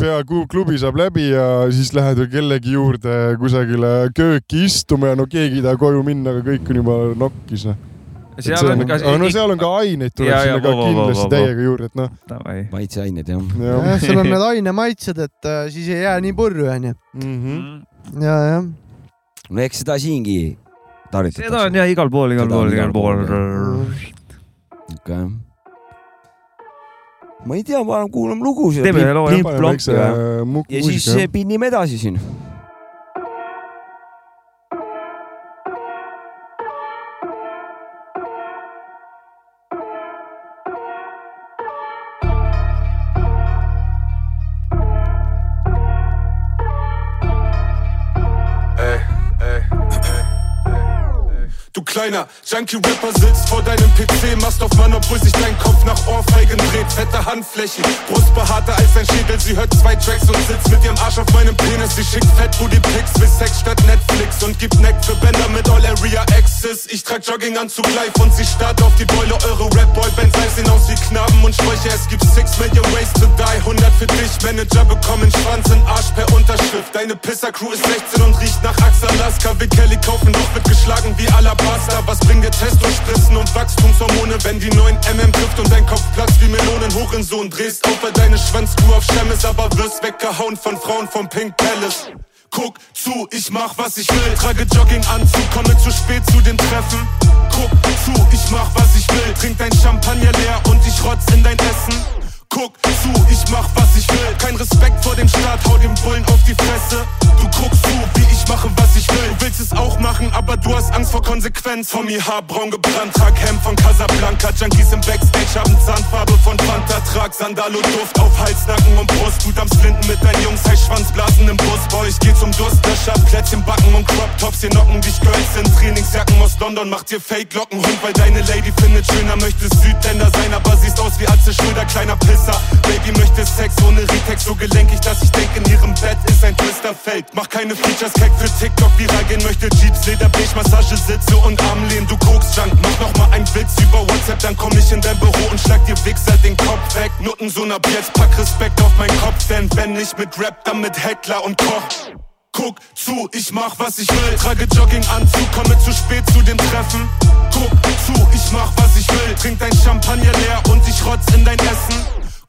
A: peaaegu klubi saab läbi ja siis lähed ju kellegi juurde kusagile kööki istuma ja no keegi ei taha koju minna , aga kõik on juba nokkis noh .
E: seal on ka .
A: aga no seal on ka aineid tuleb
E: Jaa, jaa,
A: sinna ka
E: voo, voo, voo, voo.
A: kindlasti täiega juurde , et noh ,
D: maitseained jah .
A: jah
E: Eh.
C: jah , seal on need ainemaitsed , et äh, siis ei jää nii purju , onju .
A: Mhm.
E: Mm.
C: ja , jah .
D: no eks seda siingi
E: seda on
D: tarvitatakse .
E: jah igal pool , igal
D: Seda on
E: pool ,
D: igal
E: igal
D: pool,
E: pool .
D: ma ei tea , ma kuulan lugusid .
E: Teeme ühe loo, jah.
A: paneme väikse mu-
D: ja siis
A: muusika .
D: pinnime edasi siin .
F: Ey, ey, ey, ey. Du kleiner Junkie-Rapper sitzt vor deinem PC, machst auf Mann, obwohl sich dein Kopf nach Ohrfeigen dreht. Fette Handflächen, Brust behaarter als dein Schädel. Sie hört zwei Tracks und sitzt mit ihrem Arsch auf meinem Penis. Sie schickt fett Booty Pics bis Sex statt Netflix und gibt Neck für Bänder mit All Area Access. Ich trag Jogginganzug live und sie starrt auf die Beule. Eure Rap-Boy-Bands live sehen aus wie Knaben und Schläuche. Es gibt six million ways to die. 100 für dich, Manager bekommen Schwanz in Arsch per Unterschrift. Deine Pisser-Crew ist 16 und riecht nach Axalaska. Will Kelly kaufen, doch wird geschlagen wie Alabasta. Was bringt dir Testospritzen und Wachstumshormone, wenn die neuen MM trifft und dein Kopf platzt wie Melonen? Hurensohn, drehst auf, weil deine Schwanzcrew auf Schemm ist, aber wirst weggehauen von Frauen vom Pink Palace. Guck zu, ich mach was ich will. Trage Jogginganzug, komme zu spät zu dem Treffen. Guck zu, ich mach was ich will. Trink dein Champagner leer und ich rotz in dein Essen. Guck zu, ich mach was ich will. Kein Respekt vor dem Staat, hau dem Bullen auf die Fresse. Du guckst zu, wie ich mache, was ich will. Du willst es auch machen, aber du hast Angst vor Konsequenz. Tommy Haar braun gebrannt, trag Hemd von Casablanca. Junkies im Backstage haben Zahnfarbe von Fanta. Trag Sandalo Duft auf Hals, Nacken und Brust. Gut am Splinten mit deinen Jungs, heiß Schwanzblasen im Bus. Boy, ich geh zum Durstlöscher. Plätzchen backen und Crop Tops, hier nocken dich Girls in Trainingsjacken aus London. Macht dir Fake-Lockenhund, weil deine Lady findet schöner, möchtest Südländer sein, aber siehst aus wie Atze Schröder, kleiner Pisser. Baby möchte Sex ohne Retex, so gelenkig, dass ich denke, in ihrem Bett ist ein Twisterfeld. Mach keine Features, keck für TikTok viral gehen, möchte Jeeps, Lederbeige, Massagesitze und Armlehnen. Du guckst Junk, mach noch mal einen Witz über WhatsApp, dann komm ich in dein Büro und schlag dir Wichser den Kopf weg. Nutten so ab jetzt, pack Respekt auf meinen Kopf, denn wenn nicht mit Rap, dann mit Heckler und Koch. Guck zu, ich mach was ich will. Trage Jogginganzug, komme zu spät zu dem Treffen. Guck zu, ich mach was ich will. Trink dein Champagner leer und ich rotz in dein Essen.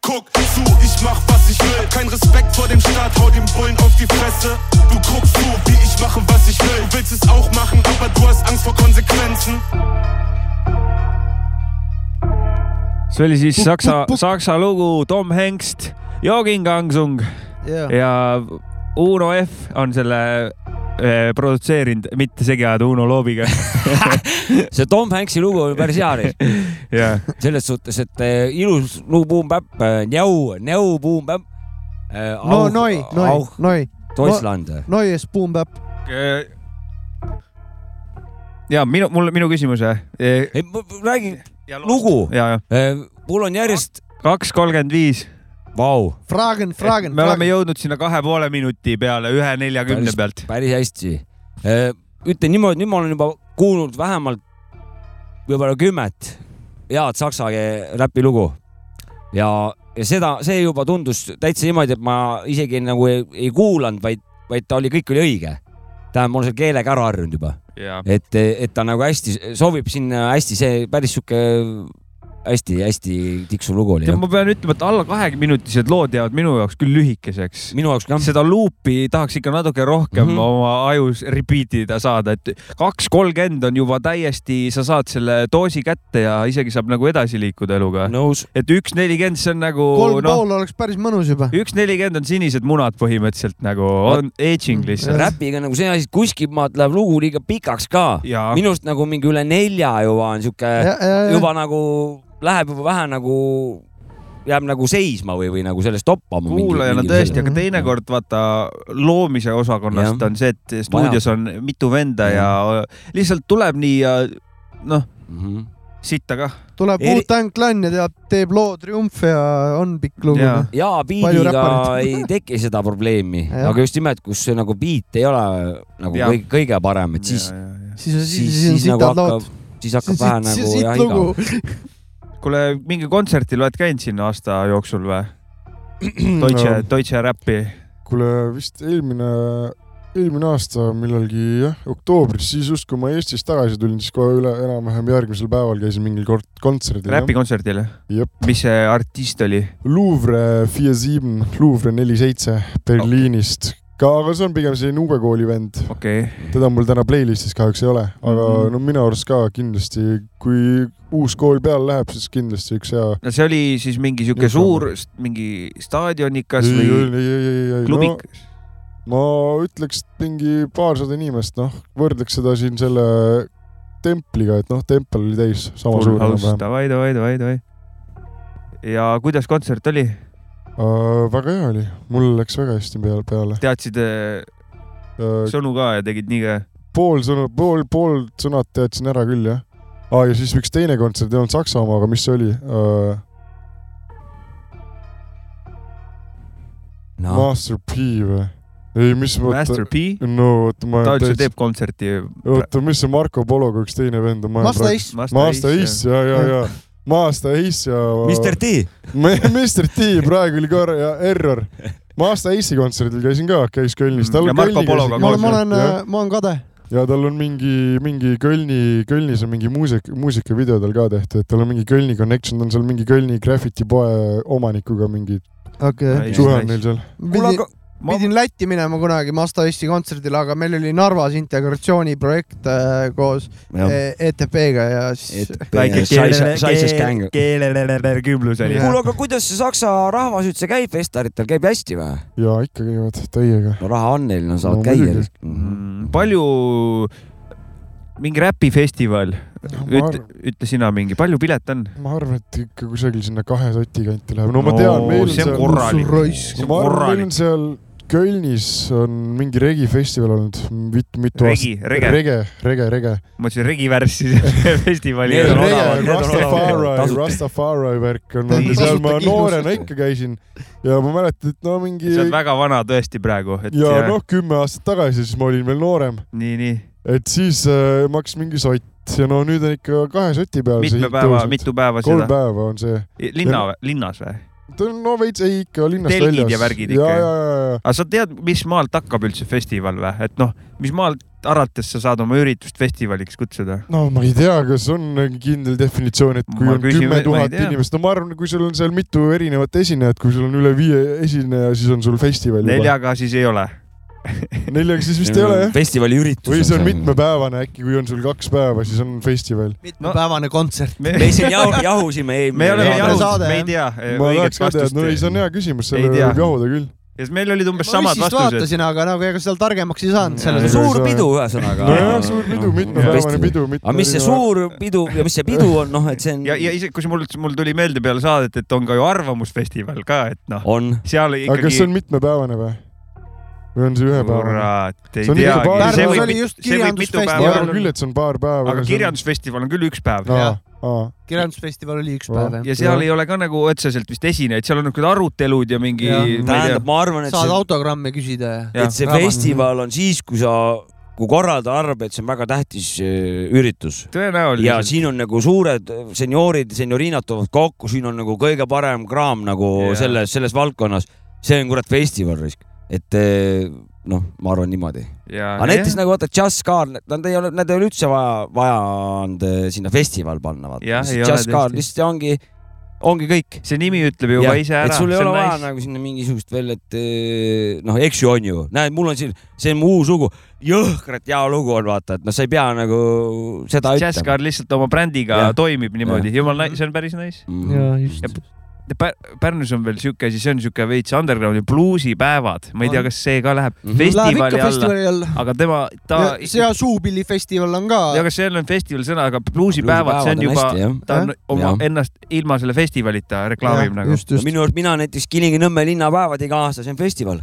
F: Guck zu, ich mach was ich will. Kein Respekt vor dem Staat, hau dem Bullen auf die Fresse. Du guckst zu, wie ich mache, was ich will. Du willst es auch machen, aber du hast Angst vor Konsequenzen.
E: see oli siis saksa , saksa lugu Tom Hengst , Jogingangsung
C: jaa .
E: ja Uno F on selle eh, produtseerinud , mitte segi ajada Uno loobiga
D: see Tom Hanks'i lugu oli päris hea neist ,
E: ja
D: selles suhtes , et eh, ilus lugu Boom Bap , Njau , Njau Boom Äh, Bap .
C: no noi , noi , noi ,
D: Deutschland .
C: noi es boom bap .
E: ja minu , mul , minu küsimus E, või ?
D: ei , ma räägin lugu ,
E: ja , ja
D: mul on järjest ,
E: kaks kolmkümmend viis .
D: vau ,
C: Fragen , fragen ,
E: me oleme
C: fragen .
E: jõudnud sinna kahe poole minuti peale ühe neljakümne pealt .
D: päris hästi . ütlen niimoodi , nüüd ma olen juba kuulnud vähemalt võib-olla kümmet head saksa ke- räpilugu ja , ja seda , see juba tundus täitsa niimoodi , et ma isegi nagu ei, ei kuulanud , vaid , vaid ta oli , kõik oli õige . tähendab , ma olen selle keelega ära harjunud juba ,
E: ja ,
D: et , et ta nagu hästi sobib sinna hästi , see päris sihuke hästi-hästi tiksuv lugu oli . noh.
E: ma pean ütlema , et alla kahekümneminutised lood jäävad minu jaoks küll lühikeseks .
D: minu jaoks ka .
E: seda luupi tahaks ikka natuke rohkem mm
D: Mhm.
E: -hmm. oma ajus repeat ida saada , et kaks kolmkümmend on juba täiesti , sa saad selle doosi kätte ja isegi saab nagu edasi liikuda eluga .
D: nõus .
E: et üks nelikümmend , see on nagu
C: kolm
E: noh ,
C: pool oleks päris mõnus juba .
E: üks nelikümmend on sinised munad põhimõtteliselt nagu , on aging lihtsalt .
D: räpiga nagu see asi , et kuskilt maalt läheb lugu liiga pikaks ka .
E: ja ,
D: minu arust nagu mingi üle nelja juba on sihuke , juba nagu läheb juba vähe nagu , jääb nagu seisma või , või nagu sellest toppama .
E: kuulajana tõesti , aga teinekord vaata loomise osakonnast
D: Jah.
E: on see , et stuudios on mitu venda ja lihtsalt tuleb nii ja noh ,
D: tõesti .
E: sitta kah .
C: tuleb
D: Eri-
C: Wu-Tang Clan ja teab , teeb loo Triumf ja on pikk lugu noh.
E: Jaa. .
D: ja
C: Palju
D: biidiga
C: räppareid.
D: ei teki seda probleemi ,
C: Jah.
D: aga just nimelt , kus see nagu biit ei ole nagu
E: Jah.
D: kõige, kõige parem , et siis ,
C: siis on ,
D: siis ,
C: siis on
D: siis nagu
C: sitad
D: hakkab
C: lood .,
D: siis hakkab vähe nagu jah , igav .
E: kuule , mingi kontsertil oled käinud siin aasta jooksul või ?
A: Mm,
E: Deutsche no. , Deutsche Räppi .
A: kuule , vist eelmine , eelmine aasta millalgi jah , oktoobris , siis just kui ma Eestist tagasi tulin , siis kohe üle enam-vähem järgmisel päeval käisin mingil kord kontserdil .
E: Räpi kontserdil ?
A: Jep.
E: mis see artist oli ?
A: Louvre viie sieben , Louvre neli seitse Berliinist ka , aga see on pigem selline uue kooli vend ,
E: okei okay. ,
A: teda mul täna playlist'is kahjuks ei ole , aga
E: Mhm.
A: no minu arust ka kindlasti , kui uus kool peale läheb , siis kindlasti üks hea .
E: no see oli siis mingi sihuke
A: Just
E: suur , mingi staadionikas või
A: no
E: klubikas no. ?
A: ma ütleks et mingi paarsada inimest , noh , võrdleks seda siin selle templiga , et noh , tempel oli täis , sama
E: Full
A: suur
E: house ,
A: enam-vähem .
E: davai , davai , davai , davai . ja kuidas kontsert oli ?
A: väga hea oli , mul läks väga hästi peale , peale .
E: teadsid äh, sõnu ka ja tegid nii ka ?
A: pool sõna , pool , pool sõnad teadsin ära küll , jah . aa , ja siis üks teine kontsert , ei olnud Saksamaa , aga mis see oli ? Äh,
D: noh ,
A: Master P või ? ei , mis , oota
E: Master , P ,
A: no oota , ma
E: ta
A: olen
E: üldse
A: täitsa ,
E: teeb kontserti .
A: oota , mis see Marko Pologa üks teine vend on ?
C: Masta Iss ,
A: Master Ace , ja , ja , ja . Master Ace ja .
D: Mr T .
A: Meister T praegu oli korra ja Error . ma aasta Ace'i kontserdil käisin ka , käis Kölnis .
E: Mm. Ja Marko Pologa
C: ma olen , ma olen , ma olen kade .
A: ja tal on mingi , mingi Kölni , Kölnis on mingi muusik , muusikavideo tal ka tehtud , et tal on mingi Kölni connection , ta on seal mingi Kölni graffiti poe omanikuga mingi
C: okei .
A: suhe on neil seal .
D: kuule , aga
E: Ma-
C: pidin Lätti minema kunagi Masta Issi kontserdile , aga meil oli Narvas integratsiooniprojekt äh, koos
D: Jah.
C: eh, ETP-ga ja siis
D: väike keele .
E: keelekümblus oli .
D: kuule , aga kuidas see saksa rahvas üldse käib festivalitel , käib hästi või ?
A: ja ikka käivad täiega .
D: no raha on neil , no saavad
A: No
D: no, käia Mhm.
A: muidugi. .
E: Mm, palju , mingi räpifestival ,
A: ma
E: ütle
A: arvan ,
E: ütle sina mingi , palju pilet on ?
A: ma arvan , et ikka kusagil sinna kahe soti kanti läheb . no ma tean , meil on
E: see on
A: seal
E: korralik
C: Raisk. ,
E: see on
A: ma arvan , meil on
E: korralik .
A: seal Kölnis on mingi regifestival olnud mit, mitu
E: regi , rege ,
A: rege , rege , rege .
E: ma ütlesin regivärssi selle festivali .
D: Need on
A: rege
D: odavad, , need on
A: Rastafari ,
D: odavad.
A: Rastafari värk on olnud ja
E: Tasuta
A: seal ma
C: kindlus.
A: noorena ikka käisin ja ma mäletan , et no mingi
E: sa oled väga vana tõesti praegu , et
A: ja noh , kümme aastat tagasi , siis ma olin veel noorem ,
E: nii , nii
A: et siis äh, maksis mingi sott ja no nüüd on ikka kahe soti peal see
E: mitme
A: hind
E: päeva ,
A: tõusnud.
E: mitu päeva
A: kolm
E: seda ?
A: päeva on see ,
E: linna , linnas või ?
A: ta on no veits ei ikka linnast
E: Telgid ja
A: väljas .
E: värgid
A: ja ,
E: ikka,
A: ja , ja , ja .
E: aga sa tead , mis maalt hakkab üldse festival või ? et noh , mis maalt arvates sa saad oma üritust festivaliks kutsuda ?
A: no ma ei tea , kas on kindel definitsioon , et kui
E: Ma
A: on
E: küsin- ma
A: kümme
E: ei
A: tuhat
E: tea.
A: inimest , no ma arvan , kui sul on seal mitu erinevat esinejat , kui sul on üle viie esineja , siis on sul festival juba .
E: neljaga siis ei ole .
A: neljaga siis vist ei ole jah ?
D: festivali üritus .
A: või see on . mitmepäevane , äkki kui on sul kaks päeva , siis on festival .
C: mitmepäevane kontsert .
E: me
D: me siin jahu, jahusime
E: me ei ole
C: Saade.
E: jahus
C: Saade, ,
E: me ei
C: jah.
E: tea .
A: ma tahaks ka teada , no ei , see on hea küsimus , selle
E: Ei tea.
A: võib jahuda küll .
E: ja siis meil olid umbes
C: ma
E: samad
C: vist
E: vastused .
C: vaatasin , aga nagu ega seal targemaks ei saanud selles
A: Jaa.
C: suhtes .
D: suur pidu ühesõnaga .
A: nojah , suur pidu , mitmepäevane pidu .
D: aga mis see suur pidu ja mis see pidu on , noh , et see on ,
E: ja , ja isegi kui mul , mul tuli meelde peale saadet , et on ka ju arvamusfestival ka , et noh ,
D: on .
E: seal
A: aga kas see
E: ikkagi
A: on . mitmepäevane või ? või on see ühepäevane ?
E: kurat , ei
A: See on
E: tea
A: ikka . paar-
C: Pärnus oli just kirjandusfestival.
A: ma arvan küll , et see on paar päeva .
E: aga kirjandusfestival on küll üks päev
A: aa , aa ,
C: kirjandusfestival oli üks päev , jah .
E: ja seal
A: Jah.
E: ei ole ka nagu otseselt vist esinejaid , seal on niisugused arutelud ja mingi .
C: Jah.
D: tähendab , ma arvan , et
C: saad
D: see ,
C: autogramme küsida ja .
E: jah,
D: et see
C: raamatu-
D: festival on siis , kui sa , kui korraldaja arvab , et see on väga tähtis eh, üritus ja
E: tõenäoliselt .
D: siin on nagu suured senioorid , senioriinad toovad kokku , siin on nagu kõige parem kraam nagu
E: Jaa.
D: yeah. selles , selles valdkonnas . see on kurat festival risk , et eh, noh , ma arvan niimoodi . aga näiteks nagu vaata Just Car , nad ei ole , nad ei ole üldse vaja , vaja olnud eh, sinna festival panna , vaata
E: Jah, . ei ole
D: Just Car
E: tõesti.
D: lihtsalt ongi , ongi kõik .
E: see nimi ütleb juba ise ära .
D: et sul ei ole vaja nice. nagu sinna mingisugust veel , et eh, noh , eks ju on ju , näed , mul on siin , see on mu uus lugu , jõhkralt hea lugu on vaata , et noh , sa ei pea nagu seda ütlema .
E: Jazzcar lihtsalt oma brändiga
D: Jah.
E: toimib niimoodi , jumal ,
D: Mhm.
E: see on päris nice .
C: jaa , just
E: Ja . Pärnus on veel siuke asi , see on siuke veits underground'i bluusipäevad , ma ei tea , kas see ka läheb
D: Mhm.
C: Läheb ikka
E: festivali alla ,
C: festivali alla .
E: aga tema , ta ,
C: ja Suupillifestival on ka .
E: ja kas seal on festival sõna , aga bluusipäevad , see on juba , ta on oma
D: Jah.
E: ennast ilma selle festivalita reklaamib nagu .
C: just , just .
D: minu arust mina näiteks Kilingi-Nõmme linnapäevad iga aasta , see on festival .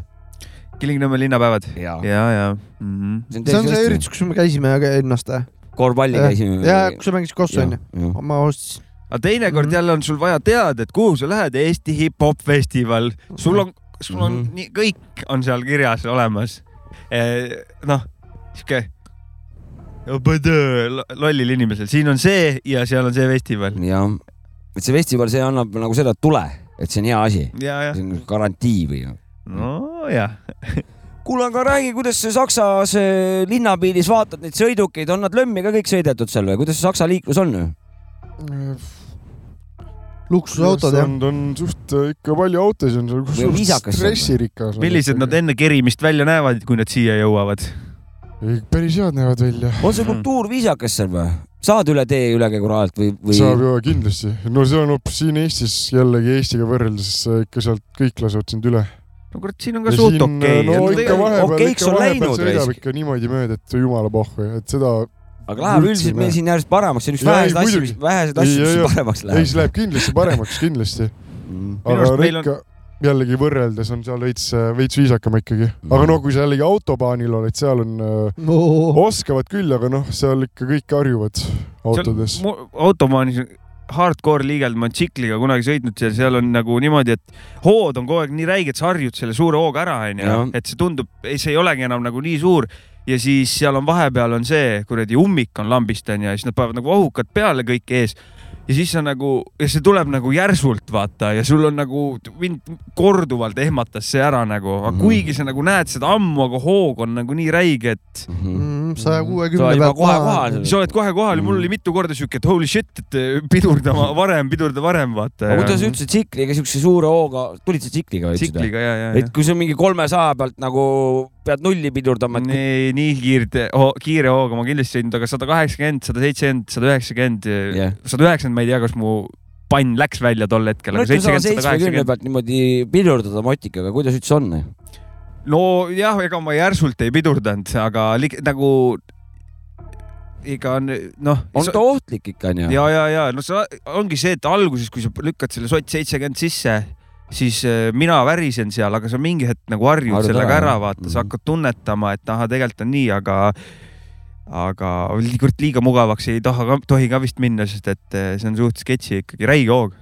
E: Kilingi-Nõmme linnapäevad .
D: jaa .
E: ja , ja . Mhm.
C: see on see üritus , kus me käisime aga ennast äh, või ?
D: korvpalli
C: Jah.
D: käisime .
C: ja , kus sa mängisid kossu onju . ma ostsin .
E: aga teinekord
C: Mhm.
E: jälle on sul vaja teada , et kuhu sa lähed , Eesti hip-hop festival , sul on , sul on
D: Mhm.
E: nii , kõik on seal kirjas olemas . noh , sihuke õpöö- lollil inimesel , siin on see ja seal on see festival .
D: jah , et see festival , see annab nagu seda tule , et see on hea asi ,
E: ja , ja
D: see , on garantii või noh .
E: nojah ,
D: kuule , aga räägi , kuidas sa Saksas eh, linnapiiris vaatad neid sõidukeid , on nad lömmi ka kõik sõidetud seal või kuidas see Saksa liiklus on ?
C: luksusautod jah .
A: on , on suht äh, ikka palju autosid on seal , kus
D: Või
A: suht
D: viisakas see on.
A: stressirikas .
E: millised nad ? enne kerimist välja näevad , kui nad siia jõuavad ?
A: päris head näevad välja .
D: on see kultuur viisakas seal või ? saad üle tee ülekäigurajalt või , või ?
A: saab ju kindlasti . no see on hoopis siin Eestis jällegi Eestiga võrreldes äh, ikka sealt kõik lasevad sind üle .
E: no kurat , siin on ka suht okei
A: no
D: on
A: ikka
D: tegelikult
A: vahepeal ,
D: okeiks
A: ikka
D: on
A: vahepeal
D: läinud
A: sõidab
D: raisk.
A: ikka niimoodi mööda , et jumala pohhu , et seda ,
D: aga läheb
A: Üldse
D: üldiselt meil
A: näe.
D: siin järjest paremaks , see on üks
A: Jaa, ei,
D: väheseid asju , mis
A: muidugi. ,
D: väheseid
A: Ei,
D: asju , mis
A: jaa, jaa.
D: siin paremaks
A: ei , see
D: läheb .
A: läheb kindlasti paremaks , kindlasti .
E: Minu
A: aga
E: arust meil on-
A: ikka jällegi võrreldes on seal veits , veits viisakam ikkagi .
E: Mm.
A: aga noh , kui sa jällegi autobaanil oled , seal on äh, oskavad küll , aga noh , seal ikka kõik harjuvad autodes .
E: automaanis hardcore liigelda , ma olen tsikliga kunagi sõitnud seal , seal on nagu niimoodi , et hood on kogu aeg nii räige , et sa harjud selle suure hooga ära , onju
D: Jah. ,
E: et see tundub , ei , see ei olegi enam nagu nii suur ja siis seal on vahepeal on see kuradi ummik on lambist onju ja siis nad panevad nagu ohukad peale kõik ees ja siis sa nagu ja see tuleb nagu järsult vaata ja sul on nagu mind korduvalt ehmatas see ära nagu , aga
D: Mhm.
E: kuigi sa nagu näed seda ammu , aga hoog on nagu nii räige , et
C: saja
D: sa juba
C: kuuekümne Mm, pealt
D: kohe kohal .
E: sa oled kohe kohal ja mul
D: Mm.
E: oli mitu korda siuke , et holy shit , et eh, pidurdama varem , pidurda varem , vaata .
D: aga kuidas üldse tsikliga , siukse suure hooga , tulid sa tsikliga ütlesid või ?
E: tsikliga ja , ja ,
D: et kui sa mingi kolmesaja pealt nagu pead nulli pidurdama , et
E: ja . nii kiirte ho, , kiire hooga ma kindlasti sõitnud , aga sada kaheksakümmend , sada seitsekümmend , sada üheksakümmend ,
D: Jah.
E: sada üheksakümmend , ma ei tea , kas mu pann läks välja tol hetkel ,
D: no
E: aga
D: ütleme sada
E: seitsekümmend , sada
D: seitsmekümne
E: kaheksakümmend .
D: pealt niimoodi pidurdada motikaga , kuidas üldse on ?
E: nojah , ega ma järsult ei pidurdanud , aga lig- nagu ikka on noh .
D: on ta ohtlik ikka onju ?
E: ja , ja , ja no see ongi see , et alguses , kui sa lükkad selle sott seitsekümmend sisse , siis äh, mina värisen seal , aga sa mingi hetk nagu harjud
D: Harjud ära,
E: sellega ära
D: jah. ,
E: vaata ,
D: Mhm.
E: sa hakkad tunnetama , et ahah , tegelikult on nii , aga aga li- kurat liiga mugavaks ei taha ka , tohi ka vist minna , sest et äh, see on suht sketši ikkagi , räige hoog .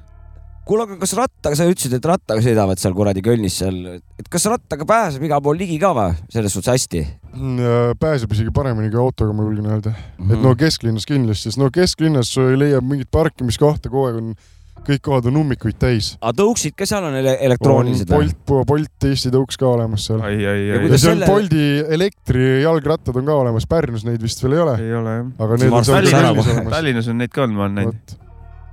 D: kuule , aga kas rattaga , sa ütlesid , et rattaga sõidavad seal kuradi Kölnis seal , et kas rattaga pääseb igal pool ligi ka või , selles suhtes hästi ?
A: Mm, pääseb isegi paremini kui autoga , ma
E: Mhm.
A: julgen öelda . et no kesklinnas kindlasti , sest no kesklinnas sul leiab mingit parkimiskohta kogu aeg on kõik kohad on ummikuid täis .
D: aga tõuksid ka seal on ele elektroonilised või ?
A: Bolt , Bolt Eesti tõuks ka olemas seal .
E: ai , ai ,
D: Ja
E: ai ,
A: ja
D: kuidas
A: seal
D: selle-
A: Bolti elektrijalgrattad on ka olemas , Pärnus neid vist veel ei ole ,
E: ei ole jah .
A: aga need on
D: Varsti
A: seal
D: ära
A: Tallinnas
D: kohe.
A: olemas .
E: Tallinnas on neid ka olnud , ma olen näinud .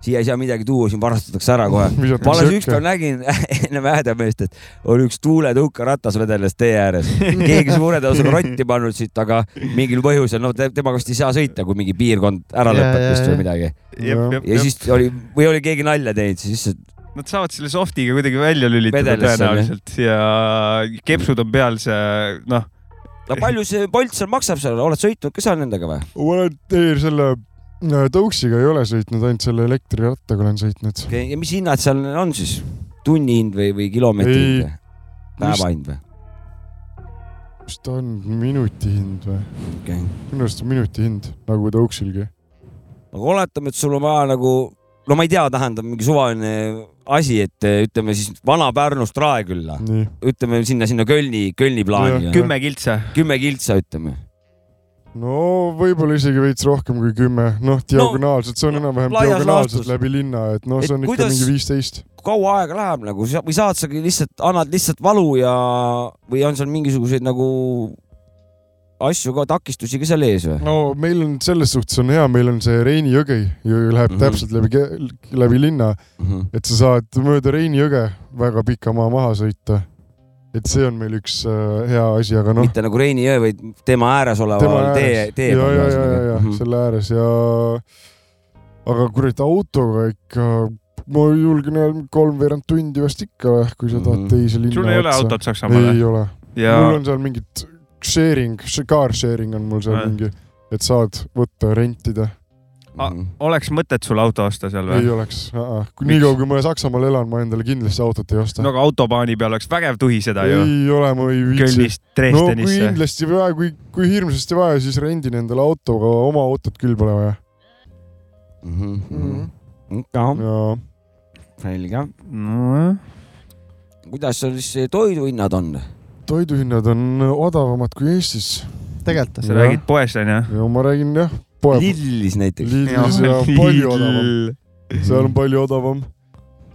D: siia ei saa midagi tuua , siin varastatakse ära kohe . ma alles ükskord nägin enne Vähedemeest , et oli üks tuuletõukeratas vedeles tee ääres . keegi suure tõusuga rotti pannud siit , aga mingil põhjusel , no te- tema vist ei saa sõita , kui mingi piirkond ära
C: Jaa,
D: lõpeb
C: jaa,
D: vist
C: jaa.
D: või midagi .
A: Jah.
E: ja
D: ja siis oli , või oli keegi nalja teinud , siis lihtsalt
E: Nad saavad selle soft'iga kuidagi välja lülitada
D: Vedelesse,
E: tõenäoliselt ja kepsud on peal , see noh ,
D: no palju see Bolt seal maksab seal , oled sõitnud ka seal nendega või ?
A: ma olen ei, selle äh, tõuksiga ei ole sõitnud , ainult selle elektrirattaga olen sõitnud .
D: okei , ja mis hinnad seal on siis ? tunni hind või , või kilomeetri
A: Ei,
D: hind või ? päeva hind või ?
A: mis ta on , minuti hind või ?
D: okei okay. .
A: minu arust on minuti hind , nagu tõuksilgi .
D: aga oletame , et sul on vaja nagu , no ma ei tea , tähendab mingi suvaline asi , et eh, ütleme siis Vana-Pärnust Raekülla ,
A: nii ,
D: ütleme sinna , sinna Kölni , Kölni plaani ,
E: kümme kiltsa .
D: kümme kiltsa , ütleme .
A: no võib-olla isegi veits rohkem kui kümme , noh , diagonaalselt , see on
D: no,
A: enam-vähem
D: laias
A: diagonaalselt
D: laastus.
A: läbi linna , et noh ,
D: Et
A: see on ikka
D: kuidas-
A: mingi viisteist .
D: kaua aega läheb nagu sa- või saad sa lihtsalt , annad lihtsalt valu ja , või on seal mingisuguseid nagu asju ka , takistusi ka seal ees või ?
A: no meil on selles suhtes on hea , meil on see Reini jõgi ju läheb
D: Mhm.
A: täpselt läbi , läbi linna et sa saad mööda Reini jõge väga pika maa maha sõita . et see on meil üks äh, hea asi , aga noh ,
D: mitte nagu Reini jõe , vaid tema ääres oleval tee , tee
A: ja , ja , ja , ja ,
D: Mhm.
A: selle ääres ja aga kurat autoga ikka , ma julgen öelda , kolmveerand tundi vast ikka , kui sa tahad
D: Mhm.
A: teise linna
E: sul ei ole
A: otsa .
E: autot eh? Saksamaal või ?
A: ei ole ,
E: ja
A: mul on seal mingid sharing , car sharing on mul seal
E: Aa.
A: mingi , et saad võtta , rentida .
D: Mhm.
E: oleks mõtet sul auto osta seal
A: ei
E: või ?
A: oleks , niikaua kui ma Saksamaal elan , ma endale kindlasti autot ei osta
E: no . aga autopaani peal oleks vägev tuhiseda ju .
A: ei ole , ma ei viitsi .
E: Kölnist
A: no kui
E: Dresdenisse .
A: kindlasti vaja , kui , kui hirmsasti vaja , siis rendin endale auto , aga oma autot küll pole vaja .
D: Mhm, mhm.
A: ja
D: selge .
E: nojah ,
D: kuidas seal siis toiduhinnad on ?
A: toiduhinnad on odavamad kui Eestis .
C: tegelikult .
E: sa
A: Jah.
E: räägid poes onju ?
A: ja ma räägin jah , poe ,
D: Lillis näiteks .
A: Lidlis ja palju odavam , seal on palju odavam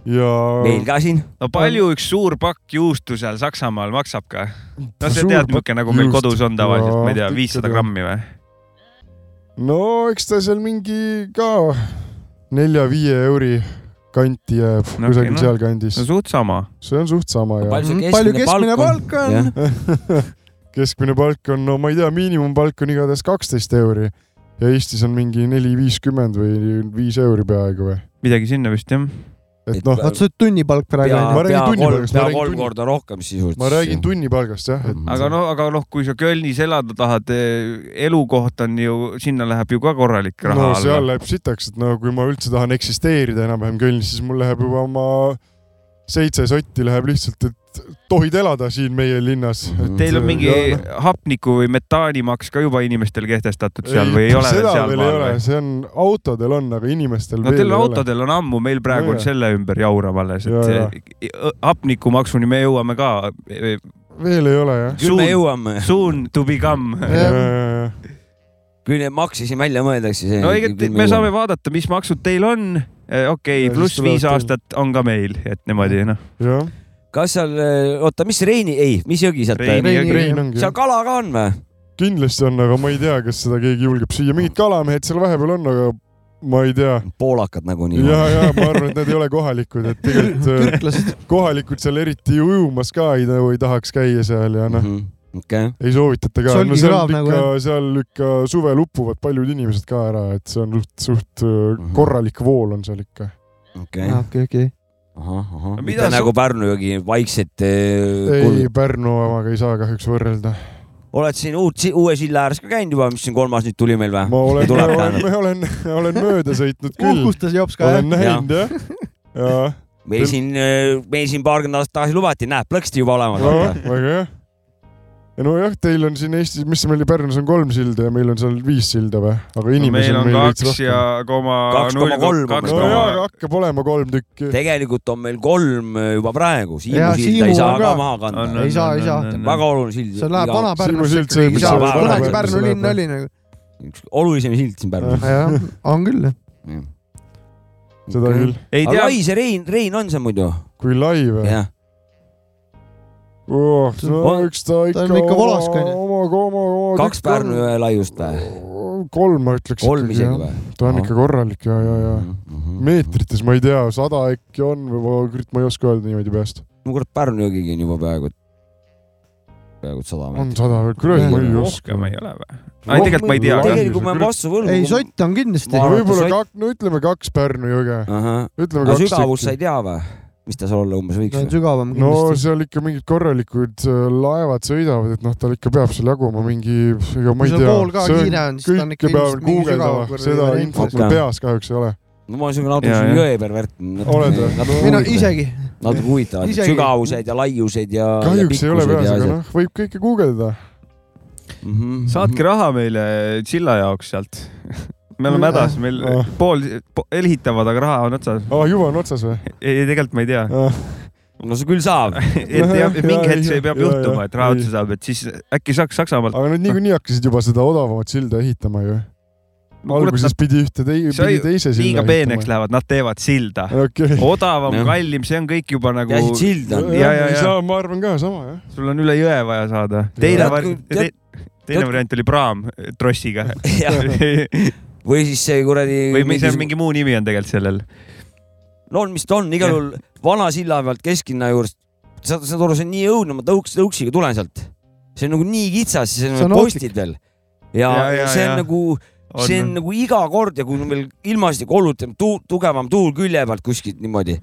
A: ja
D: meil ka siin .
A: Mhm.
E: no palju üks suur pakk juustu seal Saksamaal maksab ka ? no sa
A: Suur
E: tead ,
A: pakk
E: niisugune nagu meil
A: juust.
E: kodus on tavaliselt , ma ei tea
A: Jaa, ,
E: viissada
A: ikka
E: grammi või ?
A: no eks ta seal mingi ka nelja-viie euri kanti jääb
E: No
A: no, kusagil okay,
E: okei, no.
A: no. sealkandis
E: no , suht sama .
A: see on suht sama ja
D: Palju see
C: palju keskmine palk on ?
A: keskmine palk on , no ma ei tea , miinimumpalk on igatahes kaksteist euri ja Eestis on mingi neli viiskümmend või viis euri peaaegu või ,
E: midagi sinna vist jah .
A: et noh ,
C: oota , see on tunnipalk praegu
D: pea
A: Ma ,
C: on ju ?
A: räägin
D: pea
A: tunni
D: kolm ,
A: palgast, ma
D: pea
A: räägin
D: kolm
A: tunni-
D: korda rohkem sisuliselt . Mhm.
A: ma räägin . tunnipalgast jah , et
E: aga no , aga noh , kui sa Kölnis elada tahad , elukoht on ju , sinna läheb ju ka korralik raha
A: no seal
E: alla .
A: läheb sitaks , et no kui ma üldse tahan eksisteerida enam-vähem Kölnis , siis mul läheb juba oma seitse sotti läheb lihtsalt , et tohid elada siin meie linnas .
E: Teil on mingi
A: Jah,
E: hapniku või metaanimaks ka juba inimestele kehtestatud seal või ei ole veel
A: seda veel ei
E: sealmaal
A: ole
E: või ?,
A: see on , autodel on , aga inimestel
E: no
A: veel
E: teil
A: ei ole .
E: autodel on ammu , meil praegu
A: No
E: on
A: jaa.
E: selle ümber jaurab alles ,
A: Jaa,
E: et eh, hapnikumaksuni me jõuame ka .
A: veel ei ole jah .
D: küll me
E: Suund-
D: jõuame ,
E: Soon to become .
D: küll neid makse siin välja mõeldakse .
E: no ega te- me saame vaadata , mis maksud teil on . okei
A: Ja , siis
E: pluss
A: tulevad
E: viis
A: teil-
E: aastat on ka meil , et niimoodi noh .
A: jah ,
D: kas seal , oota , mis Reini , ei , mis jõgi sealt
E: Reini
D: Reini.
E: jõgi.
A: Rein ongi
D: seal . kala ka on või ?
A: kindlasti on , aga ma ei tea , kas seda keegi julgeb süüa , mingid kalamehed seal vahepeal on , aga ma ei tea .
D: poolakad nagu nagunii .
A: ja , ja ma arvan , et nad ei ole kohalikud , et tegelikult
C: türklased ,
A: äh, kohalikud seal eriti ujumas ka ei, nagu ei tahaks käia seal ja noh ,
D: Mhm. okei ,
A: ei soovitata ka
C: See ,
A: no
C: ongi
A: seal
C: kraav
A: ikka
C: nagu,
A: nagu, , seal ikka suvel upuvad paljud inimesed ka ära , et see on suht , suht
D: Mhm.
A: mm. korralik vool on seal ikka .
D: okei .
C: okei , okei .
D: ahah , ahah
E: No . mida
D: mitte
E: sa-
D: nagu Pärnu jõgi , vaikset eh,
A: ei
D: kuld- ,
A: Pärnu omaga ei saa kahjuks võrrelda .
D: oled siin uut , uue silla ääres ka käinud juba , mis siin kolmas nüüd tuli meil või ?
A: ma olen ,
D: Ah, tuleb
A: olen,
D: tähendab.
A: olen , olen mööda sõitnud küll ,
C: uhkustas Jops ka jah
A: olen ? näinud jah . jaa ,
D: meil siin , meil siin paarkümmend aastat tagasi lubati , näed , plõksti juba olemas .
A: väga hea . ja nojah , teil on siin Eestis , mis meil Pärnus on kolm silda ja meil on seal viis silda või ? aga inimesi
E: meil
A: on
E: on
A: meil veits
E: kaks
A: rohkem
E: ja . koma
D: Kaks koma kolm on
E: kaks
A: no
D: meil
A: jaa ,
E: koma
A: aga hakkab olema kolm tükki .
D: tegelikult on meil kolm eh, juba praegu , Siimu
C: Jaa,
D: silda
C: Siimu
D: ei saa
C: on
D: ka
C: ka.
D: maha
E: On,
D: kanda
E: on, .
C: Ei saa, ei
E: on,
C: saa.
E: on, on.
D: väga oluline sild .
C: see läheb Vana-Pärnusse
A: Simu sild, see, mis
D: seal
C: kunagi
D: Vana-Pärnusse
C: Pärnu
A: läheb,
C: linn
A: jah.
C: oli nagu .
D: üks olulisem sild siin Pärnus .
C: jah , on küll .
A: seda küll .
E: ei
D: aga
E: tea ,
D: lai see Rein , Rein on see muidu ?
A: kui lai või ?
D: jah .
A: Oh, no
D: On-
A: eks ta ikka
C: on ikka volask, on ju.
A: oma , oma , oma .
D: kaks Pärnu jõe laiust või ?
A: kolm ma ütleks .
D: kolm isegi või ? Mhm,
A: ta on
D: Ahah.
A: ikka korralik ja , ja , ja meetrites ma ei tea , sada äkki on või ma , kurat , ma ei oska öelda niimoodi peast .
D: no kurat , Pärnu jõgigi on juba peaaegu , peaaegu sada
A: on
D: meetrit .
A: sada või , kurat , ma ei oska
E: rohkem . ei ole või ? aga tegelikult ma ei tea
A: Rohkem-
E: ka .
D: tegelikult ma jään vastu võlgu .
C: ei , sott on kindlasti nagu-
D: Ma . arvan, et
A: võib-olla
D: sa-
A: kaks , no ütleme kaks Pärnu jõge ,
D: ahah ,
A: ütleme
D: aga
A: kaks
D: sügavust sa ei tea või ? mis ta seal olla umbes võiks
C: ta on
D: või ?
C: sügavam
A: no
C: kindlasti .
A: seal ikka mingid korralikud äh, laevad sõidavad , et noh , tal ikka peab seal jaguma mingi , ega ma
C: kui
A: ei
C: sul
A: tea .
C: pool ka kiire on , siis ta on ikka
A: kõike peab
C: ilmselt mingi sügavam
A: guugeldama , seda infot mul
D: Okei.
A: peas kahjuks ei ole .
D: no ma olen siuke natuke
E: Jaa,
D: siuke
E: jah.
D: jõepervert .
A: Oled või?
C: ei no . isegi ,
D: natuke huvitavad need
C: Isegi-
D: sügavused ja laiused ja .
A: kahjuks ei ole peas , aga noh , võib kõike guugeldada .
D: noh
E: saatke raha meile Chilla jaoks sealt . me oleme hädas , meil
A: Ah.
E: pool , ehitavad , aga raha on otsas .
A: aa , Ah, juba on otsas või ? Ah,
E: ei , tegelikult ma ei tea .
D: no see küll saab .
E: et Ah. jah ,
A: Jaa,
E: mingi hetk
A: jaa,
E: see peab
A: jaa,
E: juhtuma , et
A: jaa.
E: raha otsa saab , et siis äkki saaks Saksamaalt .
A: aga nad niikuinii hakkasid juba seda odavamat silda ehitama ju . alguses pidi ühte tei- ,
E: see
A: pidi
E: ju
A: teise
E: liiga
A: silda
E: peeneks . lähevad , nad teevad silda .
A: okei .
E: odavam
D: Jah. ,
E: kallim , see on kõik juba nagu ,
D: peaasi , et sild on .
E: Jaa, jaa, jaa.
A: sama , ma arvan ka sama jah .
E: sul on üle jõe vaja saada . teine
D: Tead-
E: variant ,
D: tead-
E: teine
D: tead-
E: variant oli praam eh, trossiga
D: või siis see kuradi .
E: või mis see on , mingi muu nimi on tegelikult sellel .
D: no on , mis ta on , igal
E: Jah.
D: juhul vana silla pealt kesklinna juurest , saad , saad aru , see on nii õudne , ma tõuks , tõuksiga tulen sealt . see on nagu nii kitsas , siis
C: See
D: on
C: on
D: postid veel . ja, ja ,
E: Ja,
D: ja
E: ja,
D: see on
E: ja.
D: nagu , see on nagu iga kord ja kui meil ilmastikku oluliselt tu, tugevam tuul külje pealt kuskilt niimoodi ,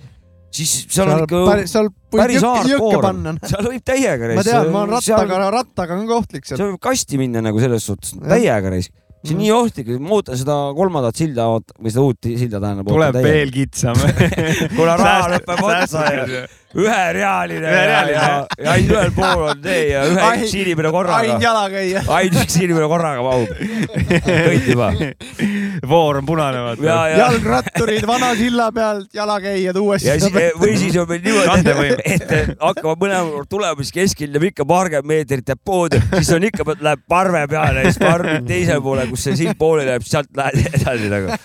D: siis seal on
C: seal
D: ikka
C: päris , seal võib
D: päris
C: jõkke , jõkke
D: hardcore
C: panna .
D: seal võib täiega
C: ma
D: reis .
C: tean , ma olen rattaga , rattaga on kohtlik seal .
D: seal võib kasti minna nagu selles suhtes ,
C: Jah.
D: täiega reis . see on
C: Mhm.
D: nii ohtlik , ma ootan seda kolmandat silda oot- või seda uut silda tähendab .
E: tuleb veel kitsam .
D: Kuule, raha lõpeb otsa ja- üherealine ja ,
E: Üherealine,
D: ja , ja ainult ühel pool on tee ja ühe
C: Ai-
D: üks inimene
C: ainult
D: korraga ,
C: jalaga ei jää .
D: ainult üks inimene korraga mahub . kõik juba .
E: voor on punane ,
D: ja
E: vaata .,
D: ja ,
C: jalgratturid vana silla pealt , jalakäijad uuesti .
D: ja siis või siis on meil niimoodi
E: Kandevõim. ,
D: et et hakkavad mõlemal pool tulema , siis keskel jääb ikka paarkümmend meetrit jääb poodi , siis on ikka , läheb parve peale ja siis parv teise poole , kus see sild pooleli jääb , sealt lähed edasi nagu .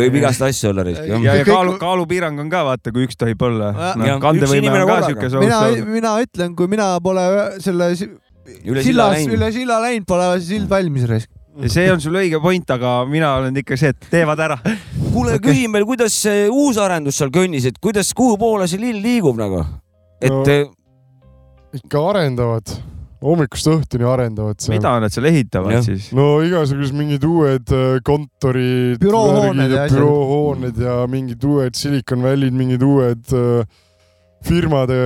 D: võib igast asju olla risk .
E: ja , ja
C: Kõik-
E: kaalu , kaalupiirang on ka vaata , kui üks tohib olla
C: Ja-
E: no,
D: ja . üks
E: kandevõime
D: inimene
E: on ka
D: korraga.
E: siuke
C: mina ,
E: soov-soov .
C: mina ütlen , kui mina pole selle si-
D: Üle silla
C: sillas ,
D: läinud.
C: üle silla läinud , pole see sild valmis raisk .
E: see on sul õige point , aga mina olen ikka see , et teevad ära .
D: kuule , küsi meil , kuidas see uus arendus seal kõnnis , et kuidas , kuhu poole see lill liigub nagu ?
A: No-
D: et eh,
A: ikka arendavad , hommikust õhtuni arendavad seal .
E: mida nad seal
D: Jah.
E: ehitavad siis ?
A: no igasugused mingid uued äh, kontorid ,
C: Büroohooned ja asjad.
A: büroohooned ja mingid uued Silicon Valley'd , mingid uued äh, firmade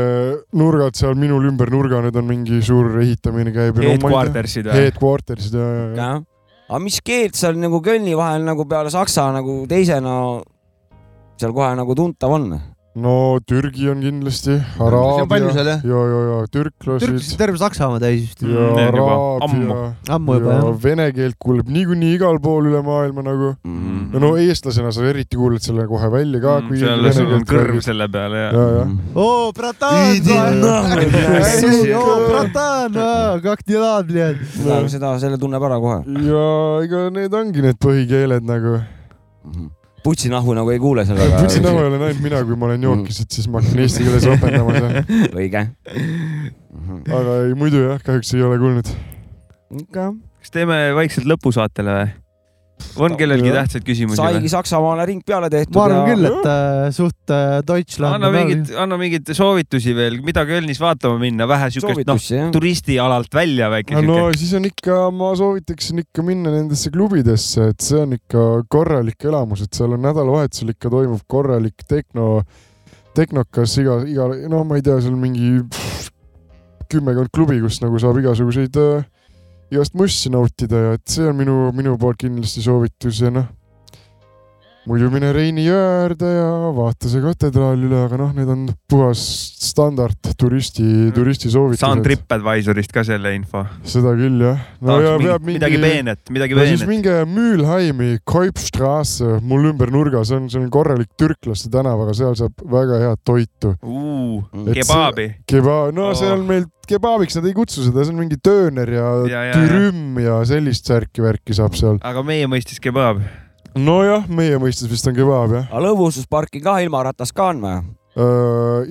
A: nurgad seal minul ümber nurga , nüüd on mingi suur ehitamine käib .
E: Headquartersid või ?
A: Headquartersid ja , ja , ja .
D: jah . aga mis keelt seal nagu Kölni vahel nagu peale saksa nagu teisena seal kohe nagu tuntav on ?
A: no Türgi on kindlasti ,
C: see on palju
A: Araabia ,
C: seal jah ?
A: ja , ja , ja
C: Türkis
A: türklasid
C: terve Saksamaa täis vist .
A: ja
E: Mm, need juba ammu.
A: araabia
C: ammu juba
A: ja
C: jah .
A: vene keelt kuuleb niikuinii igal pool üle maailma nagu .
D: Mhm.
A: ja no eestlasena sa eriti kuuled selle kohe välja ka , kui
E: Mm, seal Mm. sul on kõrv
A: räägid.
E: selle peale ja .
A: ja , ja .
C: oo , bratan . oo , bratan , kak dilad , bled .
D: seda , selle tunneb ära kohe .
A: ja ega need ongi need põhikeeled nagu .
D: Mhm. putsinahu nagu ei kuule seal väga .
A: putsi näo ei ole näinud mina , kui ma
C: Mm.
A: olen Yorkis , et siis ma hakkan eesti keeles õpetama seal ,
D: õige . Mhm.
A: aga ei muidu jah , kahjuks ei ole kuulnud .
E: kas teeme vaikselt lõpusaatele või ? on kellelgi
A: Jah.
E: tähtsaid küsimusi
D: saigi
E: või ?
D: Saksamaale ring peale tehtud
C: ma arvan küll ,
D: ja
C: et äh, suht äh, Deutschland .
E: anna mingit , anna mingeid soovitusi veel , mida Kölnis vaatama minna , vähe siukest noh ,
D: soovitusse jah .
E: turistialalt välja väike
A: no
E: siuke .
A: siis on ikka , ma soovitaksin ikka minna nendesse klubidesse , et see on ikka korralik elamus , et seal on nädalavahetusel ikka toimub korralik tehno , tehnokas iga , iga , no ma ei tea , seal mingi pff, kümmekond klubi , kus nagu saab igasuguseid äh, igast mussi nautida ja et see on minu , minu poolt kindlasti soovitus ja noh , muidu mine Reini jõe äärde ja vaata see katedraal üle , aga noh , need on puhas standard turisti , turisti
E: saan
A: soovitused .
E: Tripadvisorist ka selle info .
A: seda küll jah . no ja peab mingi ,
E: midagi peenet , midagi
A: no siis
E: peenet .
A: minge Müülheimi , Koipstrasse , mul ümber nurga , see on , see on korralik türklaste tänav , aga seal saab väga head toitu . Et see-
E: kebaabi .
A: keba- , no
E: Oh.
A: oh. seal meil kebaabiks nad ei kutsu seda , see on mingi tööner ja,
E: Ja,
A: ja
E: ja, ja.
A: türüm ja sellist särki värki saab seal .
E: aga meie mõistes kebaab .
A: nojah , meie mõistes vist on kebab jah .
D: aga lõbustusparki ka ilmaratas ka on või ?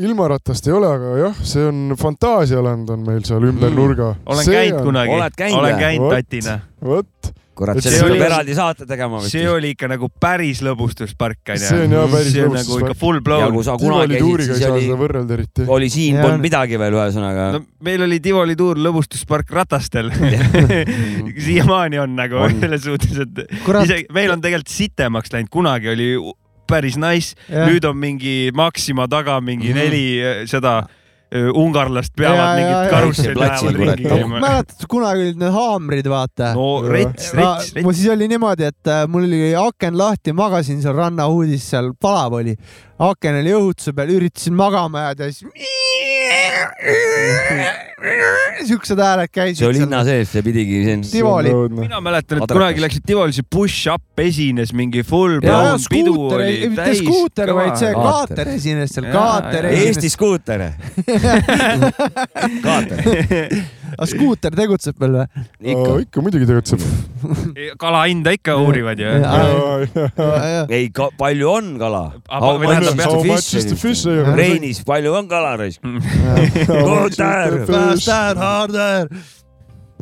A: ilmaratast Äh, ei ole , aga jah , see on fantaasialand on meil seal ümber
D: Mm.
A: nurga .
E: olen käinud kunagi ,
D: Oled käinud
E: olen
D: või?
E: käinud
A: Vot.
E: tatina .
A: vot ,
D: kurat ,
A: Et
D: sellest
E: see
D: peab
E: oli-
D: eraldi saate tegema vist .
E: see oli ikka nagu päris lõbustuspark onju .
A: See on jah, päris
E: see on nagu
A: lõbustuspark.
E: ikka full
D: ja
E: blown .
D: kui sa kunagi
A: Tivoli
D: käisid ,
A: tuuriga ei
D: siis
A: saa seda
D: oli ,
A: võrrelda eriti .
D: oli siin
C: Jaa.
D: polnud midagi veel , ühesõnaga
E: no meil oli Tivoli tuur lõbustuspark ratastel . siiamaani on nagu
D: On.
E: selles suhtes , et
C: kurat ,
E: isegi meil on tegelikult sitemaks läinud , kunagi oli u- päris nice ,
C: Jah.
E: nüüd on mingi Maxima taga mingi
D: Mhm.
E: neli eh, seda eh, ungarlast
C: Ja,
E: peavad
C: ja,
E: mingit
C: ja.
E: karusselli
D: Platsil,
E: ajavad ringi
D: kurat.
E: käima .
C: mäletad kunagi olid need haamrid , vaata .
E: no rets , rets ,
C: ma
E: rets .
C: siis oli niimoodi , et äh, mul oli aken lahti , magasin seal rannahuudis , seal palav oli . aken oli õhutuse peal , üritasin magama jääda ja siis . siuksed hääled käisid .
D: see oli linna sees , see pidigi siin .
C: Tivoli .
E: mina mäletan , et
D: Madarakas.
E: kunagi läksid Tivolisse , Push Up esines mingi full
C: jaa
E: blown , pidu
C: skuuter ,
E: oli
C: mitte
E: täis .
C: skuuter , vaid see
D: Kaater.
C: kaater esines seal ,
E: Jaa,
C: kaater
E: jaa.
D: Eesti
C: esines .
D: skuuter . kaater ,
C: aga skuuter tegutseb veel või ?
D: ikka .
A: ikka muidugi tegutseb .
E: Eh, kala hinda ikka uurivad ju .
C: Jaa.
D: ei , palju on kala
E: Aga või tähendab,
A: How much is the fish ?
D: Reinis , palju on kala raisk ?
C: Faster , harder .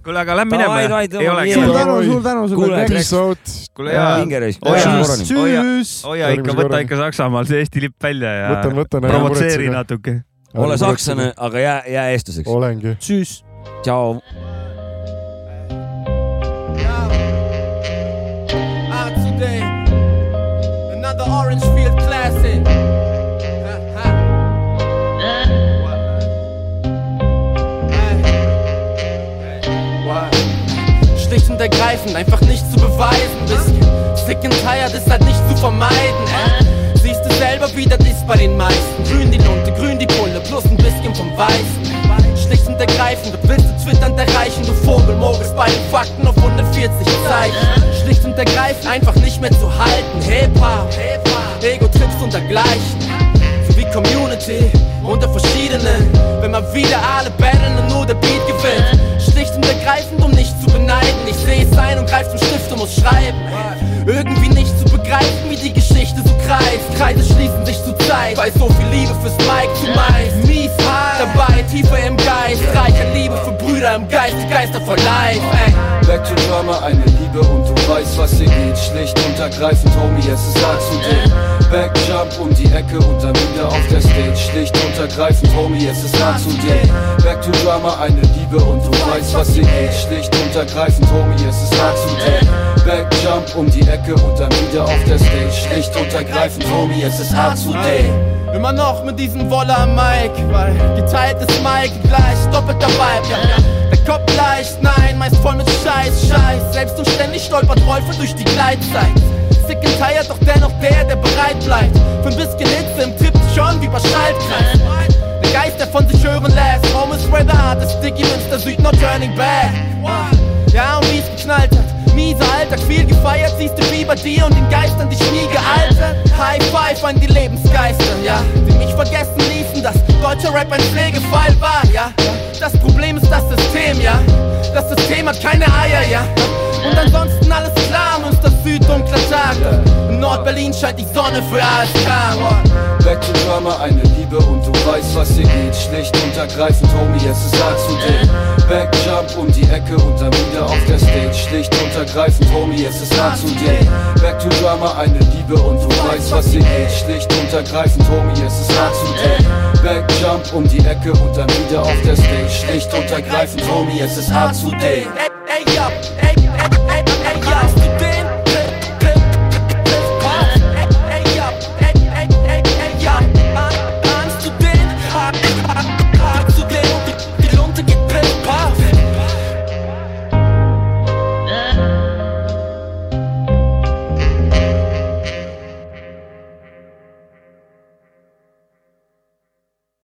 E: kuule , aga lähme
D: Davai,
E: minema
D: davai, . davai,
E: ei olegi
C: suur
A: Jaa. .
C: tänu , suur tänu
D: Kuule,
C: sulle .
A: Peace out .
E: kuule jaa
D: hinge raisk .
E: Oi,
D: Oi,
E: jaa. Hoia.
C: tšüss .
E: hoia ikka ,
A: Järgmise
E: võta
A: korrani.
E: ikka Saksamaal see Eesti lipp välja ja
A: võtan , võtan .
E: provotseeri . natuke .
D: ole sakslane , aga jää , jää eestlaseks .
A: olengi .
C: tšüss .
D: tšau .
B: Ah, today, another Orange Field classic. Ha, ha. What? Hey. Hey. What? Schlicht und ergreifend, einfach nicht zu beweisen. Bisschen sick and tired ist halt nicht zu vermeiden. Äh? Siehst du selber, wie das ist bei den meisten. Grün die Lunte, grün die Pulle, plus ein bisschen vom Weißen. Schlicht und ergreifend, du willst du twitternd erreichen, du Vogel, mogelst bei den Fakten auf 140 Zeichen. Schlicht und ergreifend, einfach nicht mehr zu halten. Hip-Hop, Ego-Trips und dergleichen sowie Community unter verschiedenen. Wenn man wieder alle battlen und nur der Beat gewinnt. Schlicht und ergreifend, um nicht zu beneiden. Ich seh es ein und greif zum Stift und muss schreiben. Irgendwie nicht zu begreifen, wie die Geschichte so kreist. Kreise schließen sich zu Zeit, weil so viel Liebe fürs Mike zumeist. Mies hart, dabei tiefer im Geist. Reich an Liebe für Brüder im Geist, die Geister for life. Ey.
G: Back to Drama, eine Liebe und du weißt, was hier geht. Schlicht und ergreifend, Homie, es ist hart zu dehnen. Backjump um die Ecke und dann wieder auf der Stage. Schlicht und ergreifend, Homie, es ist hart zu dehnen. Back to Drama, eine Liebe und du weißt, was hier geht. Schlicht und ergreifend, Homie, es ist hart zu dehnen. Backjump um die Ecke und dann wieder auf der Stage. Schlicht und ergreifend, Homie, es ist hart zu dehnen.
B: Immer noch mit diesem Wolle am Mic, weil geteiltes Mic gleich doppelter Vibe. Ja, der Kopf leicht, nein, meist voll mit Scheiß, Scheiß. Selbst und ständig stolpert Rolfe durch die Gleitzeit. Sick and tired, doch dennoch der, der bereit bleibt. Für ein bisschen Hitze im Trip schon wie bei Schaltkreis. Der Geist, der von sich hören lässt. Home is where the heart is, Dicky Münster Süd, no turning back. Ja, und wie es geknallt hat. Mieser Alltag, viel gefeiert, siehst du wie bei dir und den Geistern dich nie gealtert. High five an die Lebensgeister, ja, die mich vergessen ließen, dass deutscher Rap ein Pflegefall war, ja. Das Problem ist das System, ja. Das System hat keine Eier, ja. Und ansonsten alles klar, an uns das süddunkle Tag. In Nordberlin scheint die Sonne für ASK.
G: Back to Drama, eine Liebe und du weißt, was hier geht. Schlicht und ergreifend, Homie, es ist hart zu dehnen. Backjump um die Ecke und dann wieder auf der Stage. Schlicht und ergreifend, Homie, es ist hart zu dehnen. Back to Drama, eine Liebe und du weißt, was hier geht. Schlicht und ergreifend, Homie, es ist hart zu dehnen. Backjump um die Ecke und dann wieder auf der Stage. Schlicht und ergreifend, Homie, es ist hart zu dehnen.
B: Ey, ey, ja, ey,